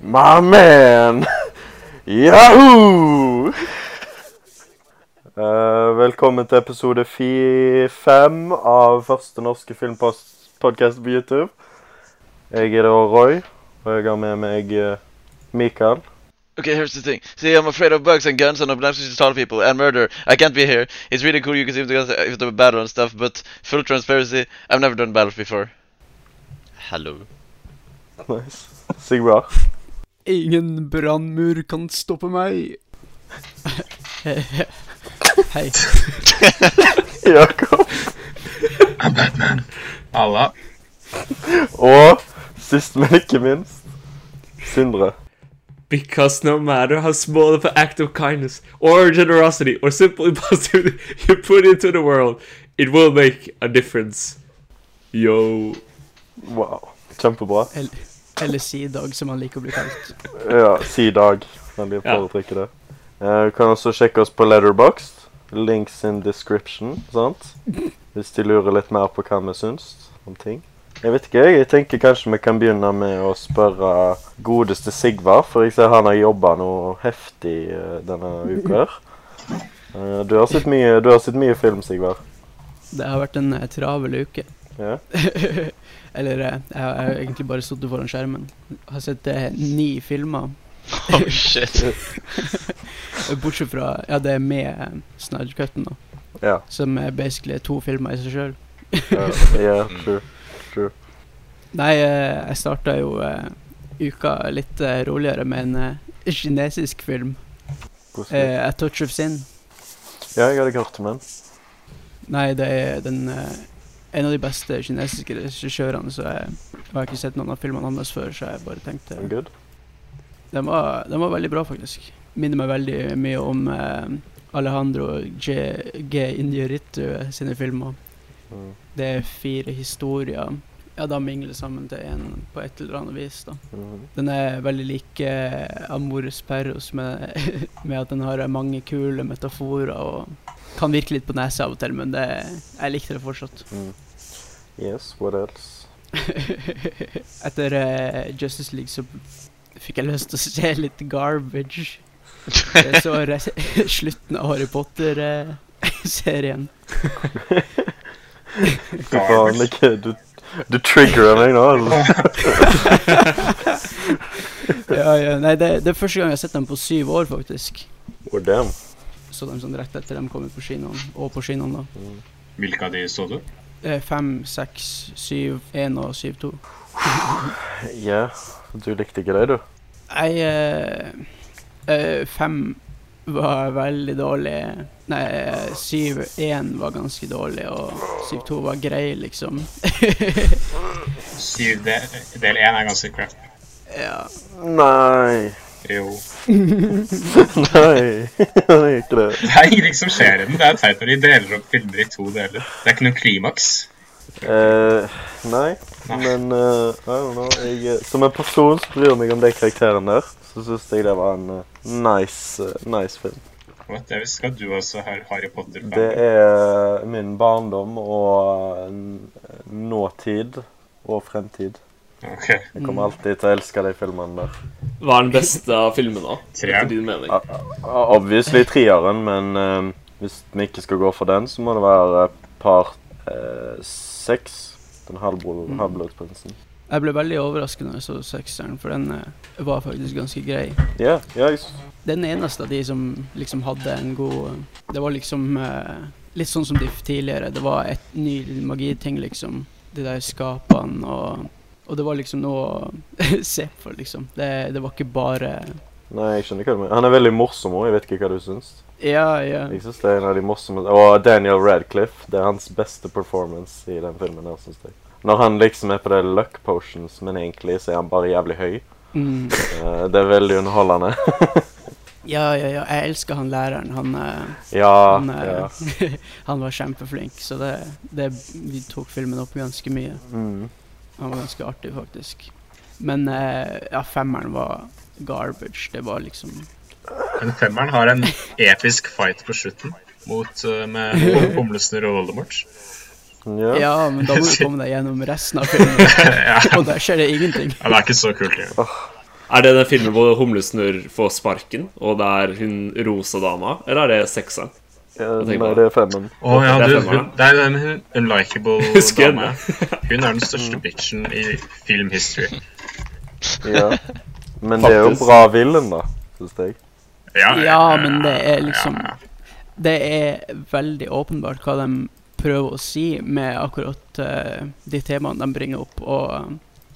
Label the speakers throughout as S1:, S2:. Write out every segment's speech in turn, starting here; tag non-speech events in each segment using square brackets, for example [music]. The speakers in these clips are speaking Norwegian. S1: My man! [laughs] Yahoo! Eh, velkommen til episode fi- fem av første norske filmpodkast på YouTube. Jeg er da Roy, og jeg har med meg eh, Mikael.
S2: Okay, here's the thing. See, I'm afraid of bugs and guns and obnoxious tall people and murder. I can't be here. It's really cool you can see because if the battle and stuff, but full transparency, I've never done battles before. Hello.
S1: Nice. Sigvard.
S3: Ingen brannmur kan stoppe meg. Hei.
S1: [laughs] Jakob.
S4: Halla.
S1: Og sist, men ikke minst, Sindre.
S5: Because no matter how small of an act of kindness or generosity or simple [laughs] positivity you put into the world, it will make a difference. Yo.
S1: Wow. Kjempebra.
S3: Eller, eller si Dag, som han liker å bli kalt.
S1: Ja, si dag. Veldig
S5: Ja.
S1: foretrekker det. Eh, Du kan også sjekke oss på Letterboxd. Links in description, sant? Hvis de lurer litt mer på hva vi syns om ting. Jeg vet ikke, jeg. jeg tenker kanskje vi kan begynne med å spørre godeste Sigvard, for jeg ser han har jobba noe heftig eh, denne uka her. Eh, Du har sett mye, du har sett mye film, Sigvard.
S3: Det har vært en eh, travel uke. [laughs]
S1: Ja.
S3: eller eh, jeg har jeg har egentlig bare sittet foran skjermen. Har sett eh, ni filmer.
S2: [laughs] Oh [laughs] shit.
S3: Bortsett fra Ja, det er med eh, Snyder Cutten, da.
S1: Ja.
S3: Som er basically to filmer i seg sjøl.
S1: Ja, Eh, ja, true.
S3: Nei, eh, jeg starta jo eh, uka litt eh, roligere med en eh, kinesisk film.
S1: Koselig.
S3: Eh, A Touch of Sin.
S1: Ja, jeg hadde hørt om den.
S3: Nei, det er den eh, En av de beste kinesiske regissørene, så jeg, og jeg har ikke sett noen av filmene hans før, så jeg bare tenkte
S1: I'm Good.
S3: Den var, den var veldig bra, faktisk. Minner meg veldig mye om eh, Alejandro G. G. Injuritu sine filmer.
S1: Mm.
S3: Det er fire historier. Ja, da mingler sammen til én på et eller annet vis, da.
S1: Mhm.
S3: Den er veldig lik eh, Amores Perros med, [laughs] med at den har eh, mange kule metaforer og kan virke litt på nesa av og til, men det, jeg likte det fortsatt.
S1: mm. Yes, what else?
S3: [laughs] Etter eh, Justice League så fikk jeg lyst til å se litt garbage. Jeg [laughs] så re slutten av Harry Potter-serien.
S1: Fy faen,
S4: Garbage.
S1: ikke, du, du triggerer meg nå. [laughs] altså.
S3: ja, ja, [laughs] nei, det, det er første gang jeg har sett dem på syv år, faktisk.
S1: Oh, damn.
S3: Så dem sånn rett etter dem kom ut på kinoen, og på kinoen, da.
S4: Hvilke av de så du?
S3: Eh, Fem, seks, syv, én og syv, to.
S1: Ja, du likte ikke det, du.
S3: Nei, eh, eh, fem var veldig dårlig. Nei, eh, syv én var ganske dårlig, og syv to var grei, liksom. [laughs]
S4: Syv del, del én er ganske crap.
S3: ja.
S1: Nei.
S4: Jo.
S1: [laughs] Nei, han er ikke det.
S4: Det er ingenting som skjer i den. Det er teit når de deler opp filmer i to deler. Det er ikke noe klimaks.
S1: Eh, nei, men eh, I don't know. Jeg, eh, som en person som bryr meg om de karakterene der, så syns jeg det var en eh, nice, eh, nice film.
S4: What? Jeg visste ikke at du også har Harry Potter-fan.
S1: Det er min barndom og eh, n- nåtid og fremtid.
S4: Ok.
S1: Jeg kommer alltid til å elske de filmene der.
S5: Hva er den beste av filmen, da?
S4: Treeren.
S5: Etter din mening.
S1: Ja. Obviously treeren, men eh, hvis vi ikke skal gå for den, så må det være part eh, seks. Den halvbro- halvblodsprinsen.
S3: Jeg ble veldig overrasket når jeg så sekseren, for den eh, var faktisk ganske grei.
S1: Ja, ja, jeg s-
S3: Den eneste av de som liksom hadde en god Det var liksom eh, litt sånn som de tidligere. Det var et ny magiting, liksom. De der skapene og Og det var liksom noe å [laughs] se på, liksom. Det, det var ikke bare
S1: Nei, jeg skjønner hva du mener. Han er veldig morsom òg. Jeg vet ikke hva du syns.
S3: Ja, ja.
S1: Jeg synes det er en av de morsomme Og Daniel Radcliffe. Det er hans beste performance i den filmen. her, synes jeg. Når han liksom er på det luck potions, men egentlig så er han bare jævlig høy.
S3: Mm.
S1: Eh, det er veldig underholdende. [laughs]
S3: Ja, ja, ja. Jeg elsker han læreren. Han, eh,
S1: ja,
S3: han, eh,
S1: ja.
S3: [laughs] han var kjempeflink, så det, det Vi tok filmen opp ganske mye.
S1: Mm.
S3: Han var ganske artig, faktisk. Men eh, ja, femmeren var garbage. Det var liksom
S4: Men femmeren har en episk fight på slutten mot
S5: [laughs]
S4: eh, med Humlesnurr og Voldemort. [laughs]
S1: ja.
S3: Ja, men da må du komme deg gjennom resten av filmen,
S4: ja.
S3: og der skjer det ingenting.
S4: ja, det er ikke så kult. egentlig.
S5: Er det den filmen hvor humlesnurr får sparken, og det er hun rosa dama? Eller er det sekseren?
S1: Eh,
S5: tenker
S1: nei,
S5: på
S1: det er femmen.
S4: Å ja,
S5: Det er
S4: du,
S5: femmeren,
S4: hun, det er den hun- unlikable
S5: [laughs] Husker jeg Mm.
S4: dama. Hun er den største bitchen i filmhistory.
S1: Ja. Men det er jo
S5: Faktisk.
S1: bra villen, da, syns jeg.
S4: Ja,
S3: Ja, men det er liksom
S4: ja.
S3: Det er veldig åpenbart hva de prøver å si med akkurat eh, de temaene de bringer opp, og eh,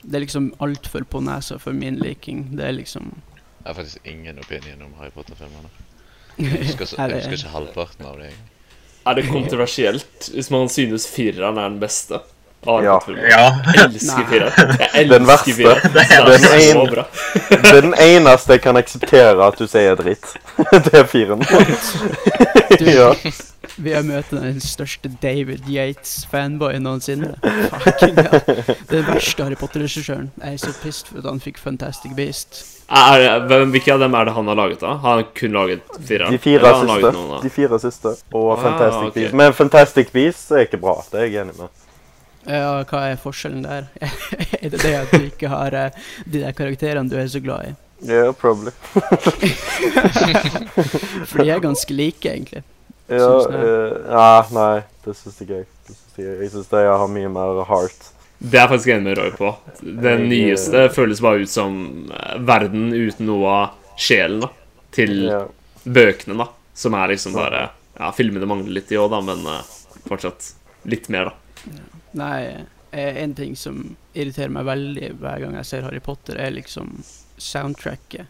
S3: det er liksom altfor på nesa for min liking. Det er liksom
S2: Jeg har faktisk ingen opinion om Harry Potter-filmene. Jeg husker så-
S3: Her
S2: jeg
S3: er-
S2: husker ikke halvparten av det. jeg.
S5: Er det kontroversielt hvis man synes fireren er den beste? Av
S1: Ja.
S5: filmen?
S4: ja.
S5: Jeg elsker
S3: Nei.
S5: fireren. Jeg
S1: Den verste.
S5: elsker fireren.
S4: Det er
S5: Den er så
S1: den ene.
S5: bra.
S1: Det er den eneste jeg kan akseptere at du sier er dritt. [laughs] Det er
S3: [laughs]
S1: firen.
S3: Du,
S1: Ja.
S3: Vi har møtt den største David Yates-fanboyen noensinne. Fucking hell. Den verste Harry Potter-regissøren. Jeg er så pissed for at han fikk Fantastic Beast.
S5: Er, det- hvem, hvilke av dem er det han har laget, da? Har han kun laget fireren?
S1: De fire
S5: Eller har han laget
S1: siste.
S5: noen, da?
S1: De fire siste. Og
S5: Ah,
S1: Fantastic
S5: ok.
S1: Beasts. Men Fantastic Beasts er ikke bra. Det er jeg enig med.
S3: Ja, hva er forskjellen der? [laughs] er det det at du ikke har eh, de der karakterene du er så glad i?
S1: Yeah, probably.
S3: [laughs] For de er ganske like, egentlig.
S1: Ja,
S3: Synes det.
S1: eh, ja, nei, det syns ikke jeg. Det syns ikke jeg Jeg syns de har mye mer heart.
S5: Det er jeg faktisk enig med Roy på. Den
S1: Jeg-
S5: nyeste føles bare ut som eh, verden uten noe av sjelen da, til
S1: Ja.
S5: bøkene, da. Som er liksom bare Ja, filmene mangler litt i år, da, men eh, fortsatt litt mer, da.
S3: Nei, eh, en ting som irriterer meg veldig hver gang jeg ser Harry Potter, er liksom soundtracket.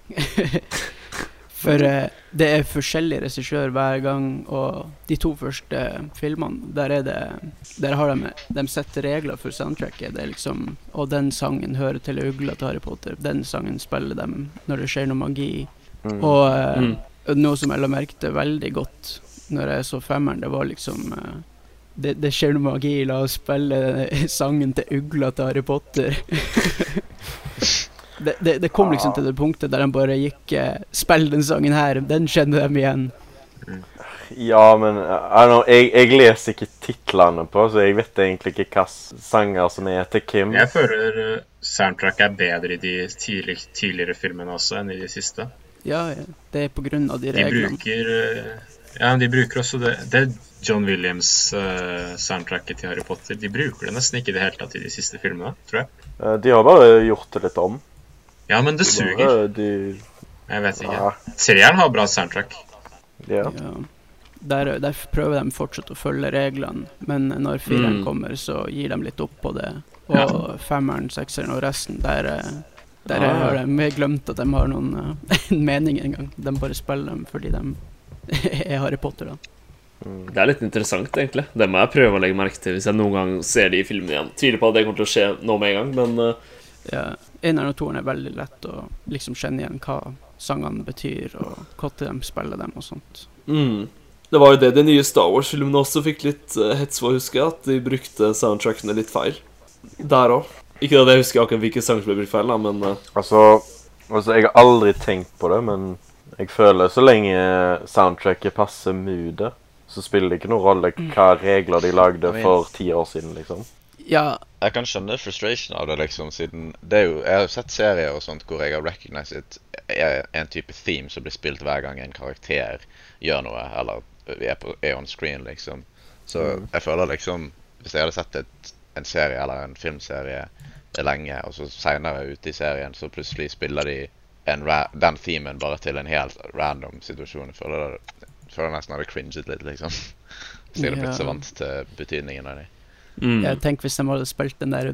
S3: [laughs] For eh, det er forskjellig regissør hver gang, og de to første filmene, der er det Der har de De setter regler for soundtracket. Det er liksom Og den sangen hører til ugla til Harry Potter. Den sangen spiller dem når det skjer noe magi.
S1: Mm.
S3: Og eh,
S5: Mm.
S3: noe som jeg la merke til veldig godt når jeg så femmeren, det var liksom eh, det, det skjer noe magi, la oss spille [laughs] sangen til ugla til Harry Potter. [laughs] det, det, det kom liksom til det punktet der de bare gikk eh, Spill den sangen her, den kjenner de igjen.
S1: Ja, men eh, I don't know, jeg, jeg leser ikke titlene på, så jeg vet egentlig ikke hva s- sanger som er til Kim.
S4: Jeg føler eh, soundtrack er bedre i de tidlig, tidligere filmene også enn i de siste.
S3: Ja, ja, det er på grunn av de
S4: De
S3: reglene.
S4: bruker eh, Ja, de bruker også det Det er John Williams-soundtracket til Harry Potter. De bruker det nesten ikke i det hele tatt i de siste filmene, tror jeg.
S1: Eh, De har bare gjort det litt om.
S4: Ja, men det suger.
S1: Bare De,
S4: Jeg vet ikke.
S1: ja,
S4: Treeren har bra soundtrack.
S1: ja.
S3: Ja. Der, der prøver de fortsatt å følge reglene, men når fireren
S5: Mm.
S3: kommer, så gir de litt opp på det. Og
S4: Ja.
S3: femmeren, sekseren og resten, der, eh, der
S5: Ah.
S3: har de glemt at de har noen eh, [laughs] mening engang. De bare spiller dem fordi de [laughs] er Harry Potter, da.
S5: Det er litt interessant, egentlig. Det må jeg prøve å legge merke til hvis jeg noen gang ser de filmene igjen. Tviler på at det kommer til å skje nå med en gang, men eh,
S3: Ja. Eneren og toeren er veldig lett å liksom kjenne igjen hva sangene betyr, og når de spiller dem og sånt.
S5: Mm. Det var jo det de nye Star Wars-filmene også fikk litt eh, hets for, husker jeg. At de brukte soundtrackene litt feil. Der òg. Ikke at jeg husker akkurat hvilke sanger som ble brukt feil, da, men eh,
S1: Altså, altså, jeg har aldri tenkt på det, men jeg føler så lenge soundtracket passer moodet, så spiller det ikke noen rolle
S3: Mm.
S1: hva regler de lagde for ti år siden, liksom.
S3: Ja,
S2: Jeg kan skjønne frustration oh, av det, liksom, siden det er jo, Jeg har jo sett serier og sånt hvor jeg har recognized et- en type theme som blir spilt hver gang en karakter gjør noe, eller er, på, er on screen, liksom. Så jeg føler liksom Hvis jeg hadde sett et, en serie eller en filmserie lenge, og så seinere ute i serien, så plutselig spiller de en ra den themen bare til en helt random situasjon. Jeg føler, det, føler nesten jeg hadde cringet litt, liksom. Hvis jeg hadde blitt
S3: Ja.
S2: så vant til betydningen av det.
S5: Mm.
S3: Jeg tenker hvis de hadde spilt den der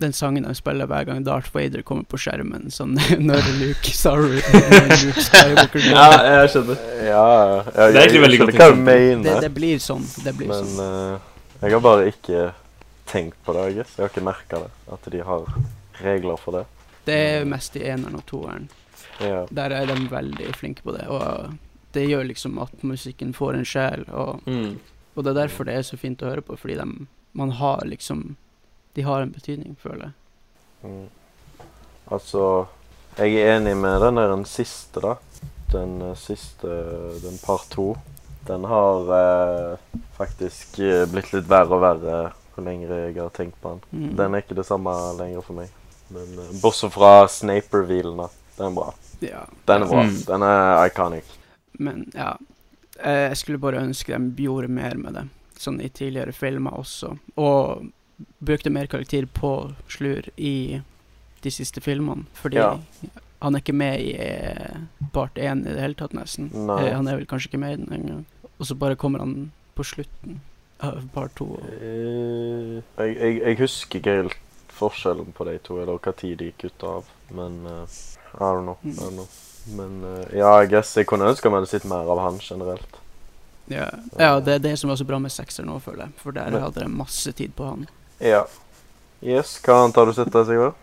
S3: den sangen de spiller hver gang Darth Vader kommer på skjermen, sånn [laughs] når Luke Sorry når Luke Skywalker
S1: [laughs]
S5: Ja,
S3: dør.
S5: jeg skjønner.
S1: eh, Ja, jeg,
S5: Det er egentlig veldig
S1: skjønner
S5: godt
S1: hva du
S5: eksempel.
S3: Det,
S1: mener,
S3: det blir sånn. Det blir
S1: men
S3: sånn.
S1: eh, jeg har bare ikke tenkt på det, jeg guess. Jeg har ikke merket det, at de har regler for det.
S3: Det er mest i eneren og toeren.
S1: Ja.
S3: Der er de veldig flinke på det. Og det gjør liksom at musikken får en sjel, og,
S5: Mm.
S3: og det er derfor det er så fint å høre på, fordi de, man har liksom De har en betydning, føler jeg.
S1: Mm. Altså, jeg er enig med den der den siste, da. Den eh, siste, den par to. Den har eh, faktisk eh, blitt litt verre og verre jo lenger jeg har tenkt på den.
S3: Mm.
S1: Den er ikke det samme lenger for meg. Men eh, bortsett fra Snape-revealen, da. Den er bra.
S3: Ja.
S1: Den er bra.
S5: Mm.
S1: Den er iconic.
S3: Men ja. Eh, Jeg skulle bare ønske de gjorde mer med det, sånn i tidligere filmer også. Og brukte mer karakter på Slur i de siste filmene, fordi
S1: Ja.
S3: han er ikke med i eh, part én i det hele tatt, nesten.
S1: Nei.
S3: Eh, Han er vel kanskje ikke med i den engang. Og så bare kommer han på slutten av part to. og-
S1: Eh, Jeg, jeg, jeg husker ikke helt forskjellen på de to, eller hva tid de gikk ut av, men eh, I don't know. I don't know. Men eh, ja, I guess jeg kunne ønske meg hadde sett mer av han generelt.
S3: Ja. ja, det er det som var så bra med sekser nå, føler jeg. For der
S1: Men-
S3: hadde de masse tid på han.
S1: Ja. Yes, hva annet har du sett der, Sigvard?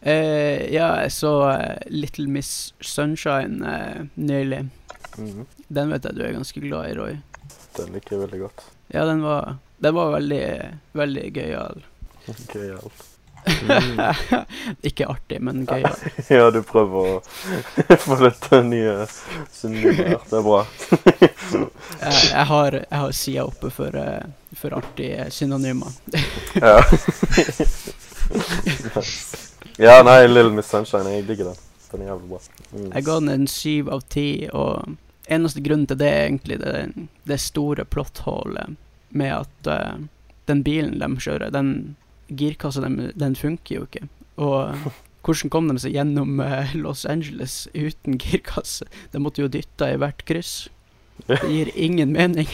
S3: Eh, ja, jeg så eh, Little Miss Sunshine eh, nylig.
S1: Mhm.
S3: Den vet jeg du er ganske glad i, Roy.
S1: Den liker jeg veldig godt.
S3: Ja, den var, den var veldig, veldig gøyal.
S1: Gøyal.
S3: [laughs] Ikke artig, men gøyal.
S1: [laughs] Ja, du prøver å [laughs] få litt nye synonymer. Det er bra.
S3: Jeg, jeg har, jeg har sida oppe for, eh, for artige synonymer.
S1: [laughs] [laughs] Ja. ja, nei, Little Miss Sunshine. Jeg digger den. Den er jævlig bra. Mm.
S3: Jeg ga den en syv av ti, og eneste grunnen til det er egentlig det, det store plotthullet med at eh, den bilen de kjører, den girkassa dem, den funker jo ikke. Og hvordan kom de seg gjennom eh, Los Angeles uten girkasse? De måtte jo dytte i hvert kryss. Det gir ingen mening.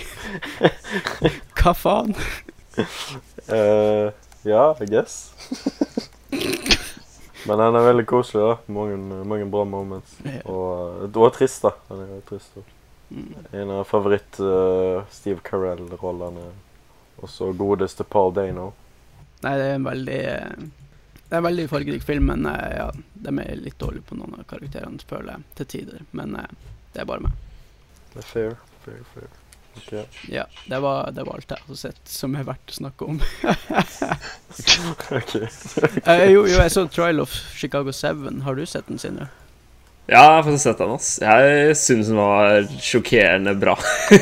S3: Hva faen?
S1: Eh, ja, I guess. Men den er veldig koselig, da. Mange, mange bra moments. Og, eh, og trist, da. Den er jo trist da. En av favoritt eh, Steve Carell-rollene. Og så godeste Paul Dano.
S3: Nei, det er en veldig eh, Det er en veldig fargerik film, men eh, ja, de er litt dårlige på noen av karakterene, føler jeg, til tider. Men eh, det er bare meg.
S1: Det er fair. fair, fair. Ok.
S3: Ja, det var, det var alt jeg har sett som er verdt å snakke om. [laughs]
S1: Ok.
S3: Eh, jo, jo, jeg så Trial of Chicago 7. Har du sett den, Sindre?
S5: Ja, jeg har faktisk sett den, ass. Jeg syns den var sjokkerende bra.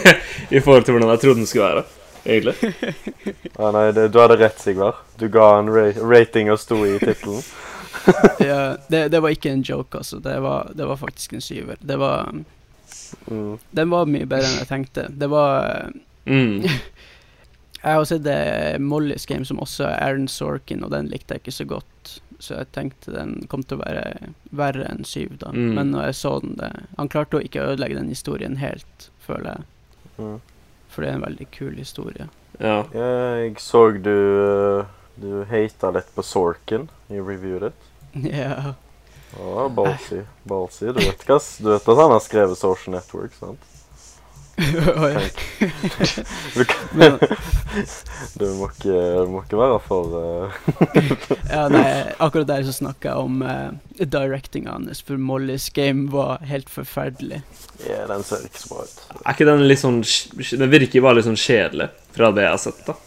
S5: [laughs] I forhold til hvordan jeg trodde den skulle være, egentlig.
S1: Ah, nei, det, du hadde rett, Sigvard. Du ga en ra rating og sto i tittelen.
S3: Ja, det, det var ikke en joke, altså. Det var, det var faktisk en syver. Det var,
S1: Mm.
S3: den var mye bedre enn jeg tenkte. Det var
S5: Mm.
S3: Jeg har sett eh, Mollys Game, som også er Aaron Sorkin, og den likte jeg ikke så godt. Så jeg tenkte den kom til å være verre enn syv, da.
S5: Mm.
S3: Men når jeg så den det, Han klarte å ikke ødelegge den historien helt, føler jeg.
S1: Mm.
S3: For det er en veldig kul historie. [laughs]
S5: Ja.
S1: Ja, jeg så du eh, Du hata litt på Sorkin i reviewet ditt.
S3: Ja.
S1: Ja, ballsy. ballsy. Du, vet hva, s- du vet at han har skrevet Social Network, sant?
S3: Oi.
S1: Du, kan, [laughs]
S3: Men,
S1: du, må, ikke, du må ikke være for eh,
S3: [laughs] ja, nei, akkurat der så snakka jeg om eh, directinga hans, for Mollys game var helt forferdelig.
S1: Ja, den ser ikke så bra ut.
S5: Er ikke den litt sånn sj- Den virker bare litt sånn kjedelig fra det jeg har sett, da.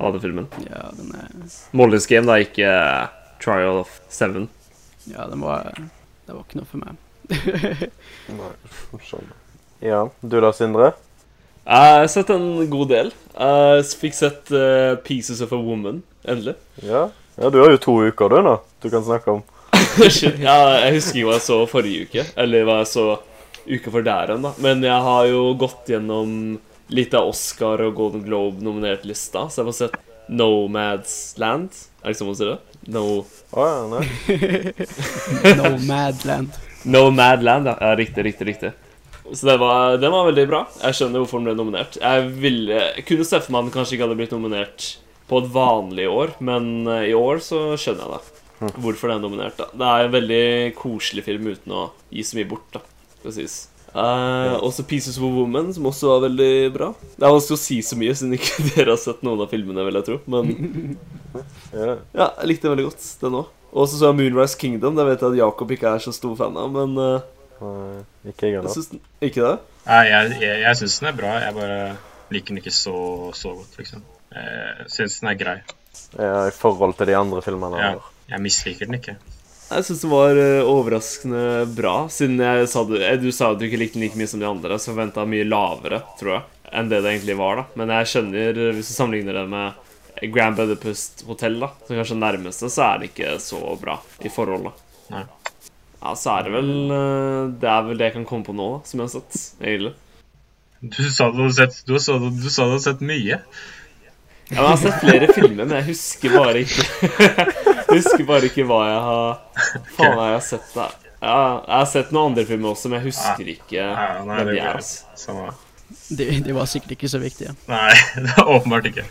S5: Av den filmen.
S3: Ja, den, er,
S5: Mollys Game, da, ikke eh, Trial of Seven.
S3: ja, den var Det var ikke noe for meg. [laughs]
S1: Nei, skjønner. Ja, du da, Sindre?
S5: Jeg har sett en god del. Jeg s- fikk sett eh, Pieces of a Woman, endelig.
S1: Ja? ja, du har jo to uker, du, nå. Du kan snakke om.
S5: Shit, [laughs] ja, jeg husker ikke hva jeg så forrige uke, eller hva jeg så uka før der igjen, da. Men jeg har jo gått gjennom litt av Oscar og Golden Globe-nominert-lista, så jeg får sett Nomads Land. Er det ikke sånn man sier det? No,
S1: Å ja, nei.
S3: Nomadland.
S5: Nomadland, ja. ja. Riktig, riktig, riktig. Så den var, den var veldig bra. Jeg skjønner hvorfor den ble nominert. Jeg, ville, jeg kunne sett for meg at den kanskje ikke hadde blitt nominert på et vanlig år, men eh, i år så skjønner jeg det. Hvorfor den er nominert, da. Det er en veldig koselig film uten å gi så mye bort, da. Precis. Eh, også 'Pieces of a Woman', som også var veldig bra. Det er vanskelig å si så mye, siden ikke [laughs] dere har sett noen av filmene, vil jeg tro. [laughs] Men
S1: Ja.
S5: ja, jeg likte den veldig godt, den òg. Og så så jeg 'Moonrise Kingdom'. Det vet jeg at Jakob ikke er så stor fan av, men eh,
S1: Nei, Ikke jeg
S5: jeg
S1: [laughs] heller.
S5: synes den, Ikke det?
S4: Nei, jeg, jeg, jeg syns den er bra. Jeg bare liker den ikke så, så godt, liksom. Jeg syns den er grei.
S1: Ja, I forhold til de andre filmene.
S4: Ja.
S1: Ja.
S4: Jeg misliker den ikke.
S5: Jeg syns den var eh, overraskende bra, siden jeg sa du, eh, du sa at du ikke likte den like mye som de andre, så forventa mye lavere, tror jeg, enn det det egentlig var, da. Men jeg skjønner, eh, hvis du sammenligner det med Grand Budapest Hotel, da, som kanskje er den nærmeste, så er det ikke så bra i forhold, da.
S4: Nei.
S5: Nei, Ja, så er det vel eh, Det er vel det jeg kan komme på nå, da, som jeg har sett. Egentlig.
S4: Du sa du hadde sett, du sa du, du sa du hadde sett mye.
S5: Ja, men jeg har sett flere filmer, men jeg husker bare ikke [laughs] Husker bare ikke hva jeg har Faen, jeg har sett det. Ja, jeg har sett noen andre filmer også, men jeg husker ikke
S4: Ja, nei,
S5: hvem
S4: det
S5: de er.
S4: blir
S5: Altså.
S4: samme.
S3: De, de var sikkert ikke så viktige.
S4: Nei, [laughs] det er åpenbart ikke.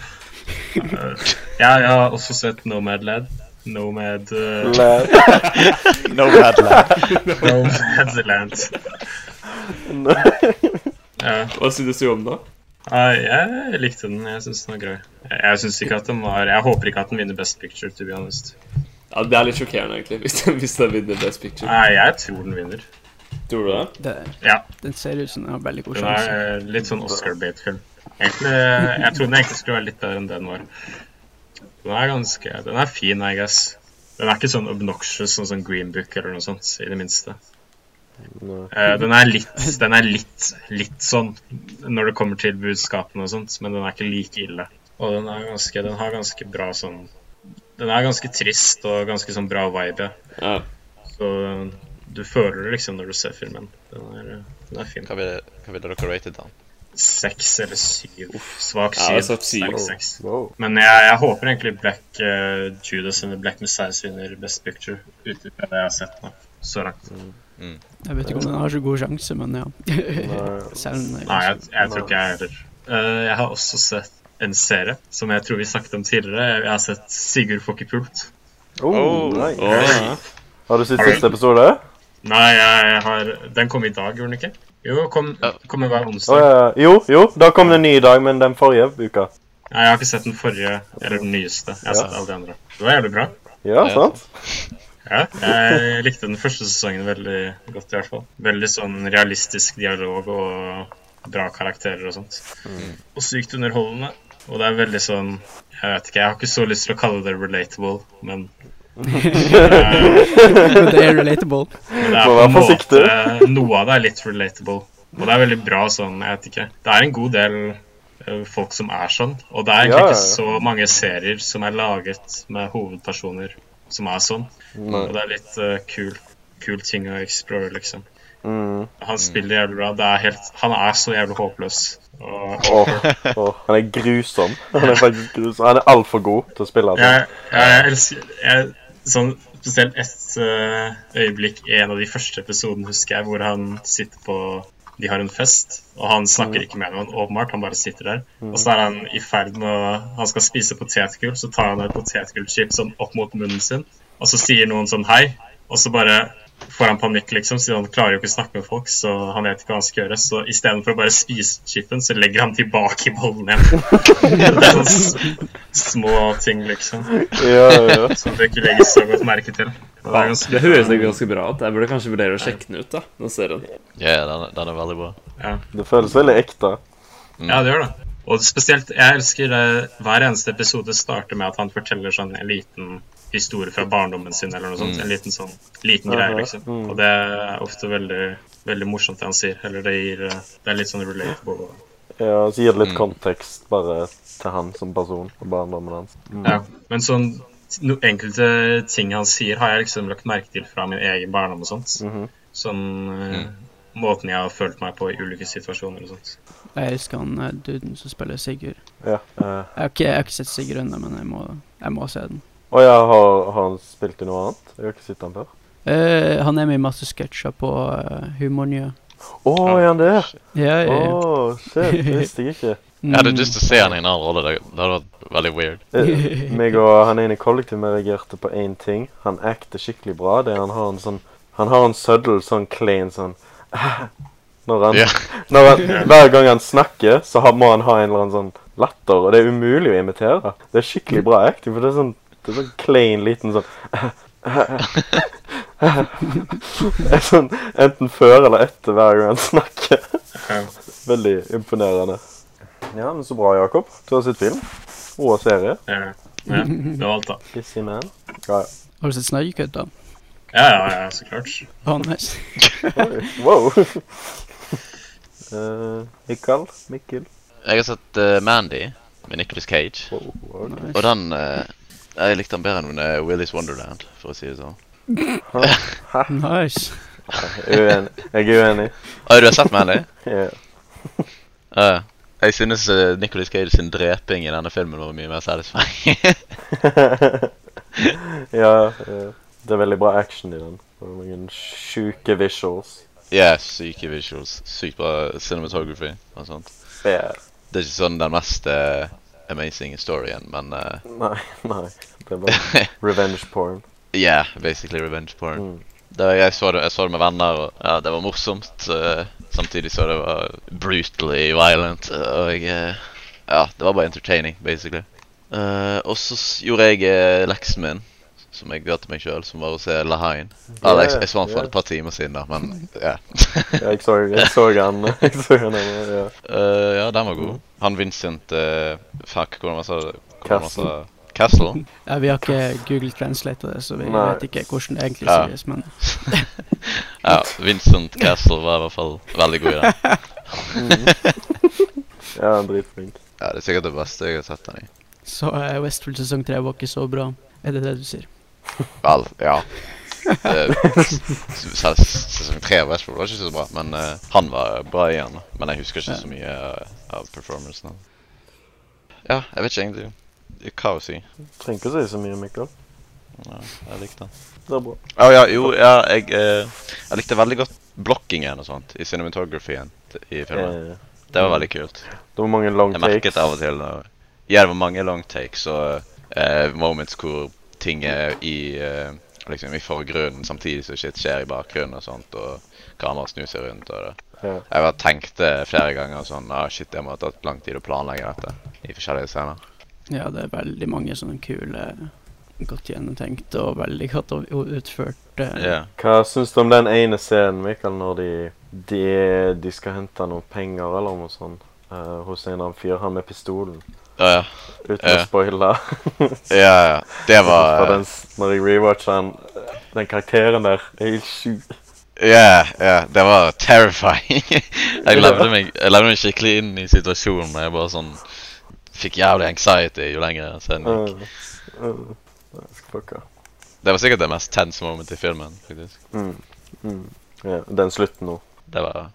S4: Eh, Ja, jeg har også sett Nomadland. Nomad eh,
S1: Lad.
S2: No bad lad.
S4: Nomadland. Ja.
S5: Hva synes du om det?
S4: Nei, jeg likte den. Jeg syns den var grei. Jeg, jeg synes ikke at den var Jeg håper ikke at den vinner Best Picture, to be honest.
S5: Ja, Det er litt sjokkerende, egentlig, [laughs] hvis den, hvis den vinner Best Picture.
S4: Nei, jeg tror den vinner.
S5: Tror du det?
S3: Det,
S4: Ja.
S3: Den ser ut som den har veldig god
S4: Den
S3: sjanse.
S4: er eh, litt sånn Oscar-bait-film. Egentlig, eh, Jeg tror den egentlig skulle være litt bedre enn den var. Den er ganske Den er fin, I guess. Den er ikke sånn obnoxious sånn som Green Book eller noe sånt, i det minste.
S1: Nei.
S4: Eh, den er litt Den er litt, litt sånn når det kommer til budskapene og sånt, men den er ikke like ille. Og den er ganske Den har ganske bra sånn Den er ganske trist og ganske sånn bra vibe, ja.
S5: Ja.
S4: Så eh, du føler det liksom når du ser filmen. Den er, eh, den er fin.
S2: Hva ville hva ville dere rated den?
S4: Seks eller syv. Svak
S5: Ja, jeg har
S4: syv.
S5: sagt syv.
S4: Sterk seks.
S1: Wow.
S4: Men jeg, jeg håper egentlig Black eh, Judas eller Black Messiahs vinner Best Picture. Ut ifra det jeg har sett nå. Så langt.
S3: Jeg vet ikke om den har så god sjanse, men ja.
S1: [laughs] Nei.
S3: [laughs] Selv om den er
S4: Nei,
S3: god.
S4: jeg, jeg tror ikke jeg heller. Eh, jeg har også sett en serie som jeg tror vi snakket om tidligere. Jeg har sett Sigurd får ikke pult.
S1: Oh,
S2: Oh,
S1: nice.
S5: Åh.
S1: Har du sett
S4: Alright.
S1: siste episode?
S4: Nei, jeg har Den kom i dag, gjorde den ikke? Jo, kom,
S2: Ja.
S4: kommer hver
S1: Å,
S4: onsdag.
S1: ja. Jo, jo, da kom det en ny i dag, men den forrige uka.
S4: Nei, jeg har ikke sett den forrige eller den nyeste. Jeg har
S1: Ja.
S4: sett alle de andre. Det var jævlig bra.
S1: Ja,
S2: Ja.
S1: sant?
S4: Ja, jeg likte den første sesongen veldig godt, i hvert fall. Veldig sånn realistisk dialog og bra karakterer og sånt. Og sykt underholdende. Og det er veldig sånn Jeg vet ikke, jeg har ikke så lyst til å kalle det relatable, men
S3: Men det er relatable.
S4: men det er
S1: Må
S4: på en
S1: være
S4: måte
S1: forsiktig.
S4: Noe av det er litt relatable. Og det er veldig bra sånn, jeg vet ikke. Det er en god del eh, folk som er sånn. Og det er egentlig
S1: Ja,
S4: ikke
S1: ja,
S4: så mange serier som er laget med hovedpersoner som er sånn.
S1: Nei.
S4: Og det er litt eh, kul, kul ting å explore, liksom.
S1: Mm.
S4: Han spiller jævlig bra. Det er helt, han er så jævlig håpløs. Og
S1: Åh, åh, han er grusom. Han er faktisk grusom. Han er altfor god til å spille. Altså.
S4: jeg, jeg elsker jeg, sånn, Spesielt et eh, øyeblikk i en av de første episodene husker jeg, hvor han sitter på De har en fest, og han snakker ikke med noen, åpenbart. Han bare sitter der. Og så er han i ferd med å Han skal spise potetgull, så tar han et potetgullchip sånn opp mot munnen sin, og så sier noen sånn hei, og så bare får han panikk, liksom, siden han klarer jo ikke å snakke med folk, så han vet ikke hva han skal gjøre. Så istedenfor å bare spise chipen, så legger han tilbake i bollen igjen. Det er sånne s- små ting, liksom,
S1: Ja, ja, ja.
S4: som du ikke legger så godt merke til. Og Det er ganske,
S5: Det høres egentlig ganske bra ut. Jeg burde kanskje vurdere å sjekke den ut, da. Den serien.
S2: Ja, yeah, den, er- den er veldig bra.
S1: Det føles veldig ekte.
S4: Ja, det gjør det. Og spesielt, jeg elsker eh, hver eneste episode starter med at han forteller sånn en liten historie fra barndommen sin, eller noe sånt. En liten sånn, liten greie,
S1: Aha,
S4: liksom.
S1: mm.
S4: Og det er ofte veldig, veldig morsomt det han sier. Eller det gir, eh, det er litt sånn relatable.
S1: Ja, så gir det litt
S2: Mm.
S1: kontekst bare til han som person og barndommen hans. Mm.
S4: Ja, men sånn no, enkelte ting han sier, har jeg liksom lagt merke til fra min egen barndom og sånt.
S1: Mhm.
S4: Sånn eh,
S5: Mm.
S4: måten jeg har følt meg på i ulike situasjoner og sånt.
S3: Jeg elsker han eh, duden som spiller Sigurd.
S1: Ja. eh.
S3: Jeg har ikke, jeg har ikke sett Sigurd ennå, men jeg må, jeg må se den.
S1: Og ja, har, har han spilt i noe annet? Jeg har ikke sett han før.
S3: Eh, han er med i masse sketsjer på uh, Humornyhet.
S1: Å, er han der?
S3: Ja,
S1: Å,
S3: ja, ja.
S1: shit. Det visste jeg ikke.
S2: Jeg hadde
S3: Mm.
S2: lyst til å se han i en annen rolle. Det, det hadde vært veldig weird.
S1: Eh, meg og han ene i kollektivet vi reagerte på én ting. Han acter skikkelig bra. Det er han har en sånn Han har en søddel sånn klein sånn [laughs] Når han,
S2: Ja.
S1: når han Hver gang han snakker, så har, må han ha en eller annen sånn latter, og det er umulig å imitere. Det er skikkelig bra acting, for det er sånn det er sånn klein, liten sånn [laughs] Det er sånn Enten før eller etter hver gang han snakker.
S4: Ja.
S1: Veldig imponerende. Ja, men så bra, Jakob. Du har sett film og serie.
S4: Eh, ja, det var alt, da.
S1: Busy man. Ja, ja.
S3: Har du sett Snøykutt, da?
S4: Ja, ja, ja, så klart.
S3: Å, nice.
S1: Wow. [laughs] Eh, Mikael? Mikkel?
S2: Jeg har sett eh, Mandy med Nicolas Cage.
S1: Wow, ok.
S2: uh, Og den eh, Jeg likte den bedre enn eh, Willy's uh, Wonderland, for å si det sånn.
S3: Nice.
S1: Uenig. Jeg er uenig.
S2: Å, du har sett [laughs] meg, eller?
S1: Ja. [laughs]
S2: Ja. jeg synes uh, Nicholas Cage sin dreping i denne filmen var mye mer satisfying.
S1: ja, eh, det er veldig bra action i den. Det er noen sjuke visuals.
S2: Ja, syke visuals. Sykt bra cinematography og sånt.
S1: Ja.
S2: Det er ikke sånn den mest eh, amazing storyen, men eh,
S1: Nei, nei. Det er bare
S2: [laughs]
S1: revenge porn.
S2: yeah, basically revenge porn.
S1: Mm.
S2: Det, jeg, så det, jeg så det med venner, og ja, det var morsomt. eh, samtidig så det var brutally violent, og eh, ja, det var bare entertaining, basically. Eh, og så s- gjorde jeg eh, leksen min, som jeg ga til meg sjøl, som var å se Lahain. Eller, jeg, jeg så han for
S1: ja.
S2: et par timer siden, da, men ja.
S1: Ja, jeg så, jeg så han. [laughs] Jeg så han, ja.
S2: Eh, ja, den var
S1: Mm.
S2: god. Han Vincent eh, Fuck, hvordan var det? hvordan var det-
S1: Castle.
S2: Castle?
S3: Ja, vi har ikke Google translate det, så vi
S1: Nei.
S3: vet ikke hvordan det egentlig
S2: Ja.
S3: sies, men
S2: Ja, Vincent Castle var i hvert fall veldig god i den.
S1: Ja, han er dritflink.
S2: [laughs] Ja, Det er sikkert det beste jeg har sett den i.
S3: Så eh, Westworld sesong 3 var ikke så bra. Er det det du sier?
S2: Vel, ja. [laughs] Eh, s- Selv s- sesong tre av Westworld var ikke så bra, men eh, han var bra igjen. Men jeg husker ikke så mye eh, av performancen hans. Ja, jeg vet ikke egentlig hva å si.
S1: Trenger ikke å si så mye, Mikkel.
S2: Ja, jeg likte den.
S1: Det er bra.
S2: Å ja, jo, ja, jeg, eh, jeg likte veldig godt blokkingen og sånt i cinematografien t- i filmen.
S1: Eh,
S2: Det var veldig kult.
S1: Det var mange long
S2: Jeg
S1: takes.
S2: merket av og til når Ja, det var mange long takes og eh, moments hvor ting er i eh, liksom i forgrunnen samtidig som shit skjer i bakgrunnen og sånt, og kameraet snur seg rundt og det.
S1: Ja.
S2: Jeg bare tenkte flere ganger sånn ah, shit, jeg må ha tatt lang tid å planlegge dette i forskjellige scener.
S3: Ja, det er veldig mange sånne kule, godt gjennomtenkt og veldig godt og- og utført eh,
S2: Ja.
S1: Hva syns du om den ene scenen, Mikael, når de, de, de skal hente noen penger eller noe sånt eh, hos en av han fyr, han med pistolen?
S2: Ja, ja.
S1: Uten
S2: Ja.
S1: å spoile.
S2: ja, ja. Det
S1: For
S2: var
S1: den, s- når jeg rewatcher den, eh, den karakteren der er helt sjuk.
S2: eh, Ja, ja, det var terrifying. [laughs] jeg, levde meg, jeg levde meg skikkelig inn i situasjonen. og Jeg bare sånn fikk jævlig anxiety jo lenger scenen gikk.
S1: Uh, uh, fucka.
S2: Det var sikkert det mest tense moment i filmen. faktisk.
S1: Mm. Mm. Ja, den slutten nå.
S2: Det var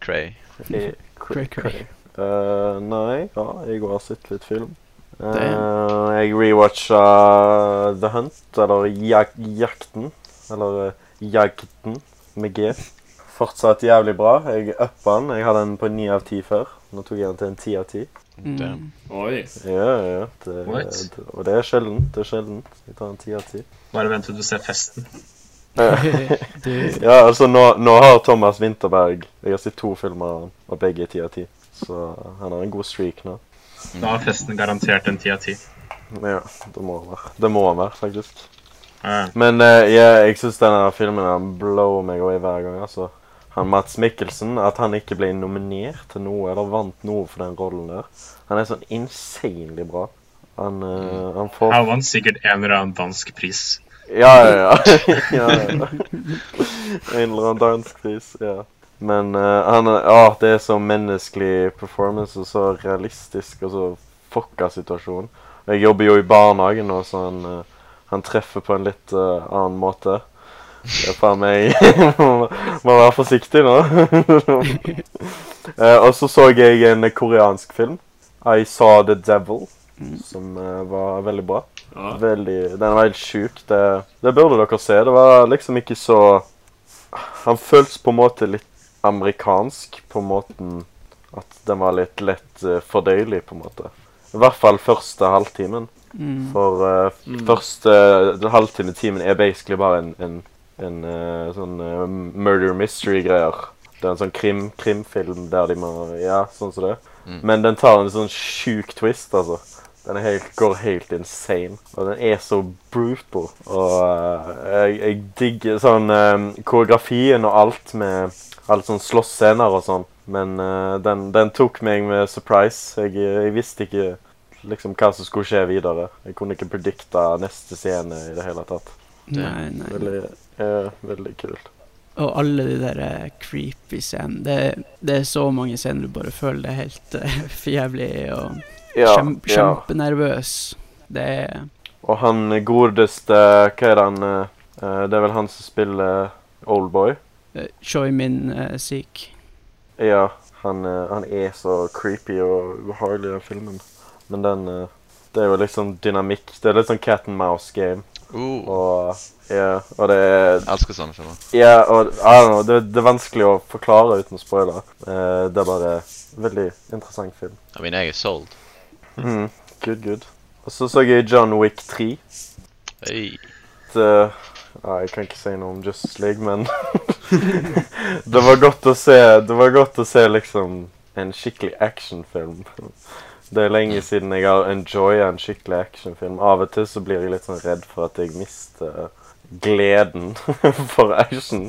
S2: cray.
S1: Eh,
S3: cray cray.
S1: Eh, nei, ja, jeg har sett litt film. Eh,
S3: Damn.
S1: jeg rewatcha The Hunt, eller Jak Jakten. Eller eh, Jagten, med G. Fortsatt jævlig bra. Jeg uppa den. Jeg hadde den på 9 av 10 før. Nå tok jeg den til en 10 av 10.
S2: Damn.
S3: Mm.
S5: Oi.
S1: Ja, ja, ja. Det,
S4: What?
S1: det, og det er sjelden. Det er sjelden. Jeg tar en 10 av 10.
S3: [laughs]
S4: Bare vent til du ser festen.
S3: Du,
S1: Ja, altså nå, nå har Thomas Winterberg Jeg har sett to filmer av han, og begge er ti av ti. Så han har en god streak nå.
S4: Da har festen garantert en ti av ti.
S1: Men ja, det må han være. Det må han være, faktisk.
S4: Ja,
S1: Men eh, jeg, jeg syns denne filmen han blower meg away hver gang. altså. Han Mats Mikkelsen, at han ikke ble nominert til noe eller vant noe for den rollen der. Han er sånn insanely bra. Han, eh, han får
S4: Han vant sikkert en eller annen dansk pris.
S1: Ja, ja, [laughs] ja. ja, ja. En eller annen dansk pris, ja. Men eh, han er- ja, det er så menneskelig performance og så realistisk og så fucka situasjon. Jeg jobber jo i barnehagen nå, så han, eh, han treffer på en litt eh, annen måte. Det er faen meg [laughs] Må må være forsiktig nå. [laughs] Eh, og så så jeg en koreansk film, I Saw The Devil, som eh, var veldig bra.
S5: Ja.
S1: Veldig, den var helt sjuk. Det, det burde dere se. Det var liksom ikke så Han føltes på en måte litt amerikansk, på måten at den var litt lett eh, fordøyelig, på en måte. I hvert fall første halvtimen.
S3: mm.
S1: For eh, f- første eh, halvtime timen er basically bare en, en, en eh, sånn eh, murder mystery-greier. Det er en sånn krim, krimfilm der de må Ja, sånn som det. Men den tar en sånn sjuk twist, altså. Den er helt, går helt insane. Og den er så brutal. Og eh, jeg, jeg digger sånn eh, koreografien og alt med Alt sånn slåssscener og sånn. Men eh, den, den tok meg med surprise. Jeg, eh, jeg visste ikke liksom hva som skulle skje videre. Jeg kunne ikke predikta neste scene i [laughs] det hele tatt.
S3: Nei, nei.
S1: Veldig, eh, veldig kult.
S3: Og alle de der eh, creepy scenene. Det, det er så mange scener du bare føler det er helt eh, [laughs] for jævlig og kjem, kjempenervøs. Det er
S1: Og han godeste Hva er det han eh, Eh, det er vel han som spiller Oldboy.
S3: Eh, Choi Min eh, Sik.
S1: Ja, han, eh, han er så creepy og ubehagelig i den filmen. Men den eh, Det er jo liksom dynamikk. Det er litt sånn cat and mouse-game.
S2: Uh,
S1: Og ja, og det er
S2: elsker sånne filmer.
S1: Ja, og I don't know, det, det er vanskelig å forklare uten å spoile. Eh, det er bare veldig interessant film.
S2: I mean, jeg er sold.
S1: Mm. Good, good. Og så så jeg John Wick 3.
S2: Hey.
S1: Et, eh, ja, jeg kan ikke si noe om Justice League, men [laughs] det var godt å se Det var godt å se liksom en skikkelig actionfilm. Det er lenge siden jeg har enjoya en skikkelig actionfilm. Av og til så blir jeg litt sånn redd for at jeg mister gleden [laughs] for action.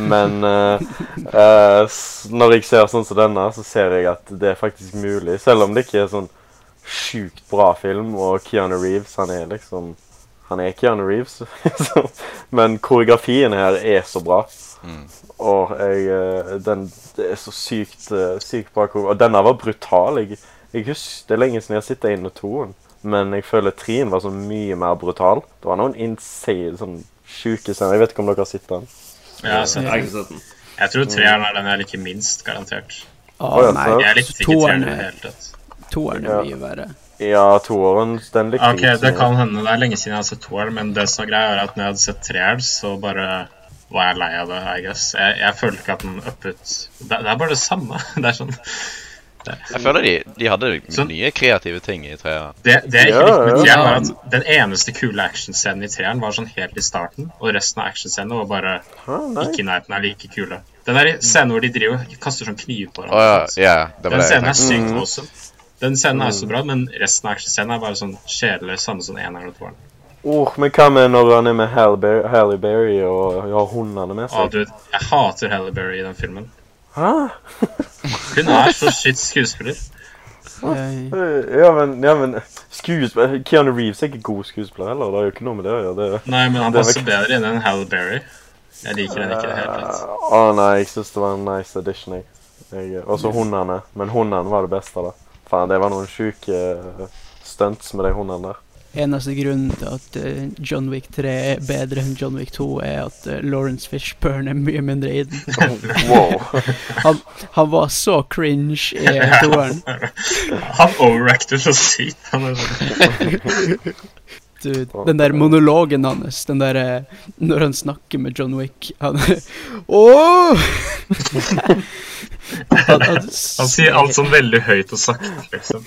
S1: Men eh, eh, s- når jeg ser sånn som denne, så ser jeg at det er faktisk mulig. Selv om det ikke er sånn sjukt bra film, og Keanu Reeves, han er liksom han er Keanu Reeves, [laughs] så- men koreografien her er så bra.
S2: Mm.
S1: Og jeg, eh, den, det er så sykt, eh, sykt bra koreografi. Og denne var brutal. Jeg, jeg husker, Det er lenge siden jeg har sett én og toen, men jeg føler trien var så mye mer brutal. Det var noen insane, sånn sjuke scener. Jeg vet ikke om dere har sett den?
S4: Ja, så
S5: Jeg
S4: jeg,
S5: har ikke sett den.
S4: jeg tror treeren er den jeg liker minst, garantert.
S3: Å
S1: Å, ja,
S3: nei,
S1: så-
S4: Jeg er litt ikke treeren i det hele tatt.
S3: toeren
S1: Ja.
S3: er mye verre.
S1: Ja, toeren. Den likte
S4: Ok,
S1: jeg ikke. så
S4: det
S1: mye.
S4: kan hende. Det er lenge siden jeg har sett toeren, men det som er greia, er at når jeg hadde sett treeren, så bare var jeg lei av det, I guess. Jeg, jeg følte ikke at den uppet det, det er bare det samme. [laughs] Det er sånn
S2: Jeg føler de, de hadde
S4: Sånn.
S2: nye kreative ting i treeren.
S4: Det, det jeg ikke
S1: Ja,
S4: likte med
S1: ja.
S4: treeren, var at den eneste kule actionscenen i treeren var sånn helt i starten, og resten av actionscenene var bare
S1: Hæ, Ah, nei.
S4: ikke i nærheten av like kule. Den der scenen hvor de driver og kaster sånn kniv på
S2: Å ja,
S4: hverandre.
S2: ja, det
S4: Den
S2: var det jeg
S4: scenen er
S2: tenkte.
S4: sykt
S1: Mm.
S4: awesome. Den scenen er så bra, men resten av actionscenen er bare sånn kjedelig, samme som eneren og toeren.
S1: Åh, men hva med når han er med Halle Berry, Halle Berry og har hundene med
S4: Å,
S1: seg?
S4: du, jeg hater Halliberry i den filmen.
S1: Hæ?
S4: Hun er så shit skuespiller.
S3: Jeg,
S1: Eh, Ja, men, ja, men skuesp- Keanu Reeves er ikke god skuespiller heller. Det har jo ikke noe med det å gjøre. det-
S4: Nei, men han
S1: Det er
S4: passer
S1: vel-
S4: bedre inn enn Halliberry. Jeg liker henne ikke i det hele tatt.
S1: Eh, Å nei, jeg syns det var en nice edition. jeg. jeg og så hundene. Men hundene var det beste, da. Faen, det var noen sjuke eh, stunts med de hundene
S4: [laughs]
S1: der.
S3: eneste grunnen til at eh, John Wick 3 er bedre enn John Wick 2, er at eh, Lawrence Fishburne er mye mindre i den.
S1: Wow.
S3: Han var så cringe i
S4: [laughs]
S3: toeren.
S4: Han overacter så sykt. Han er sånn
S3: Du, Den der monologen hans, den der eh, når han snakker med John Wick Han [laughs]
S4: [laughs]
S3: Åh! han, han,
S4: Han sier alt sånn veldig høyt og sakte, liksom.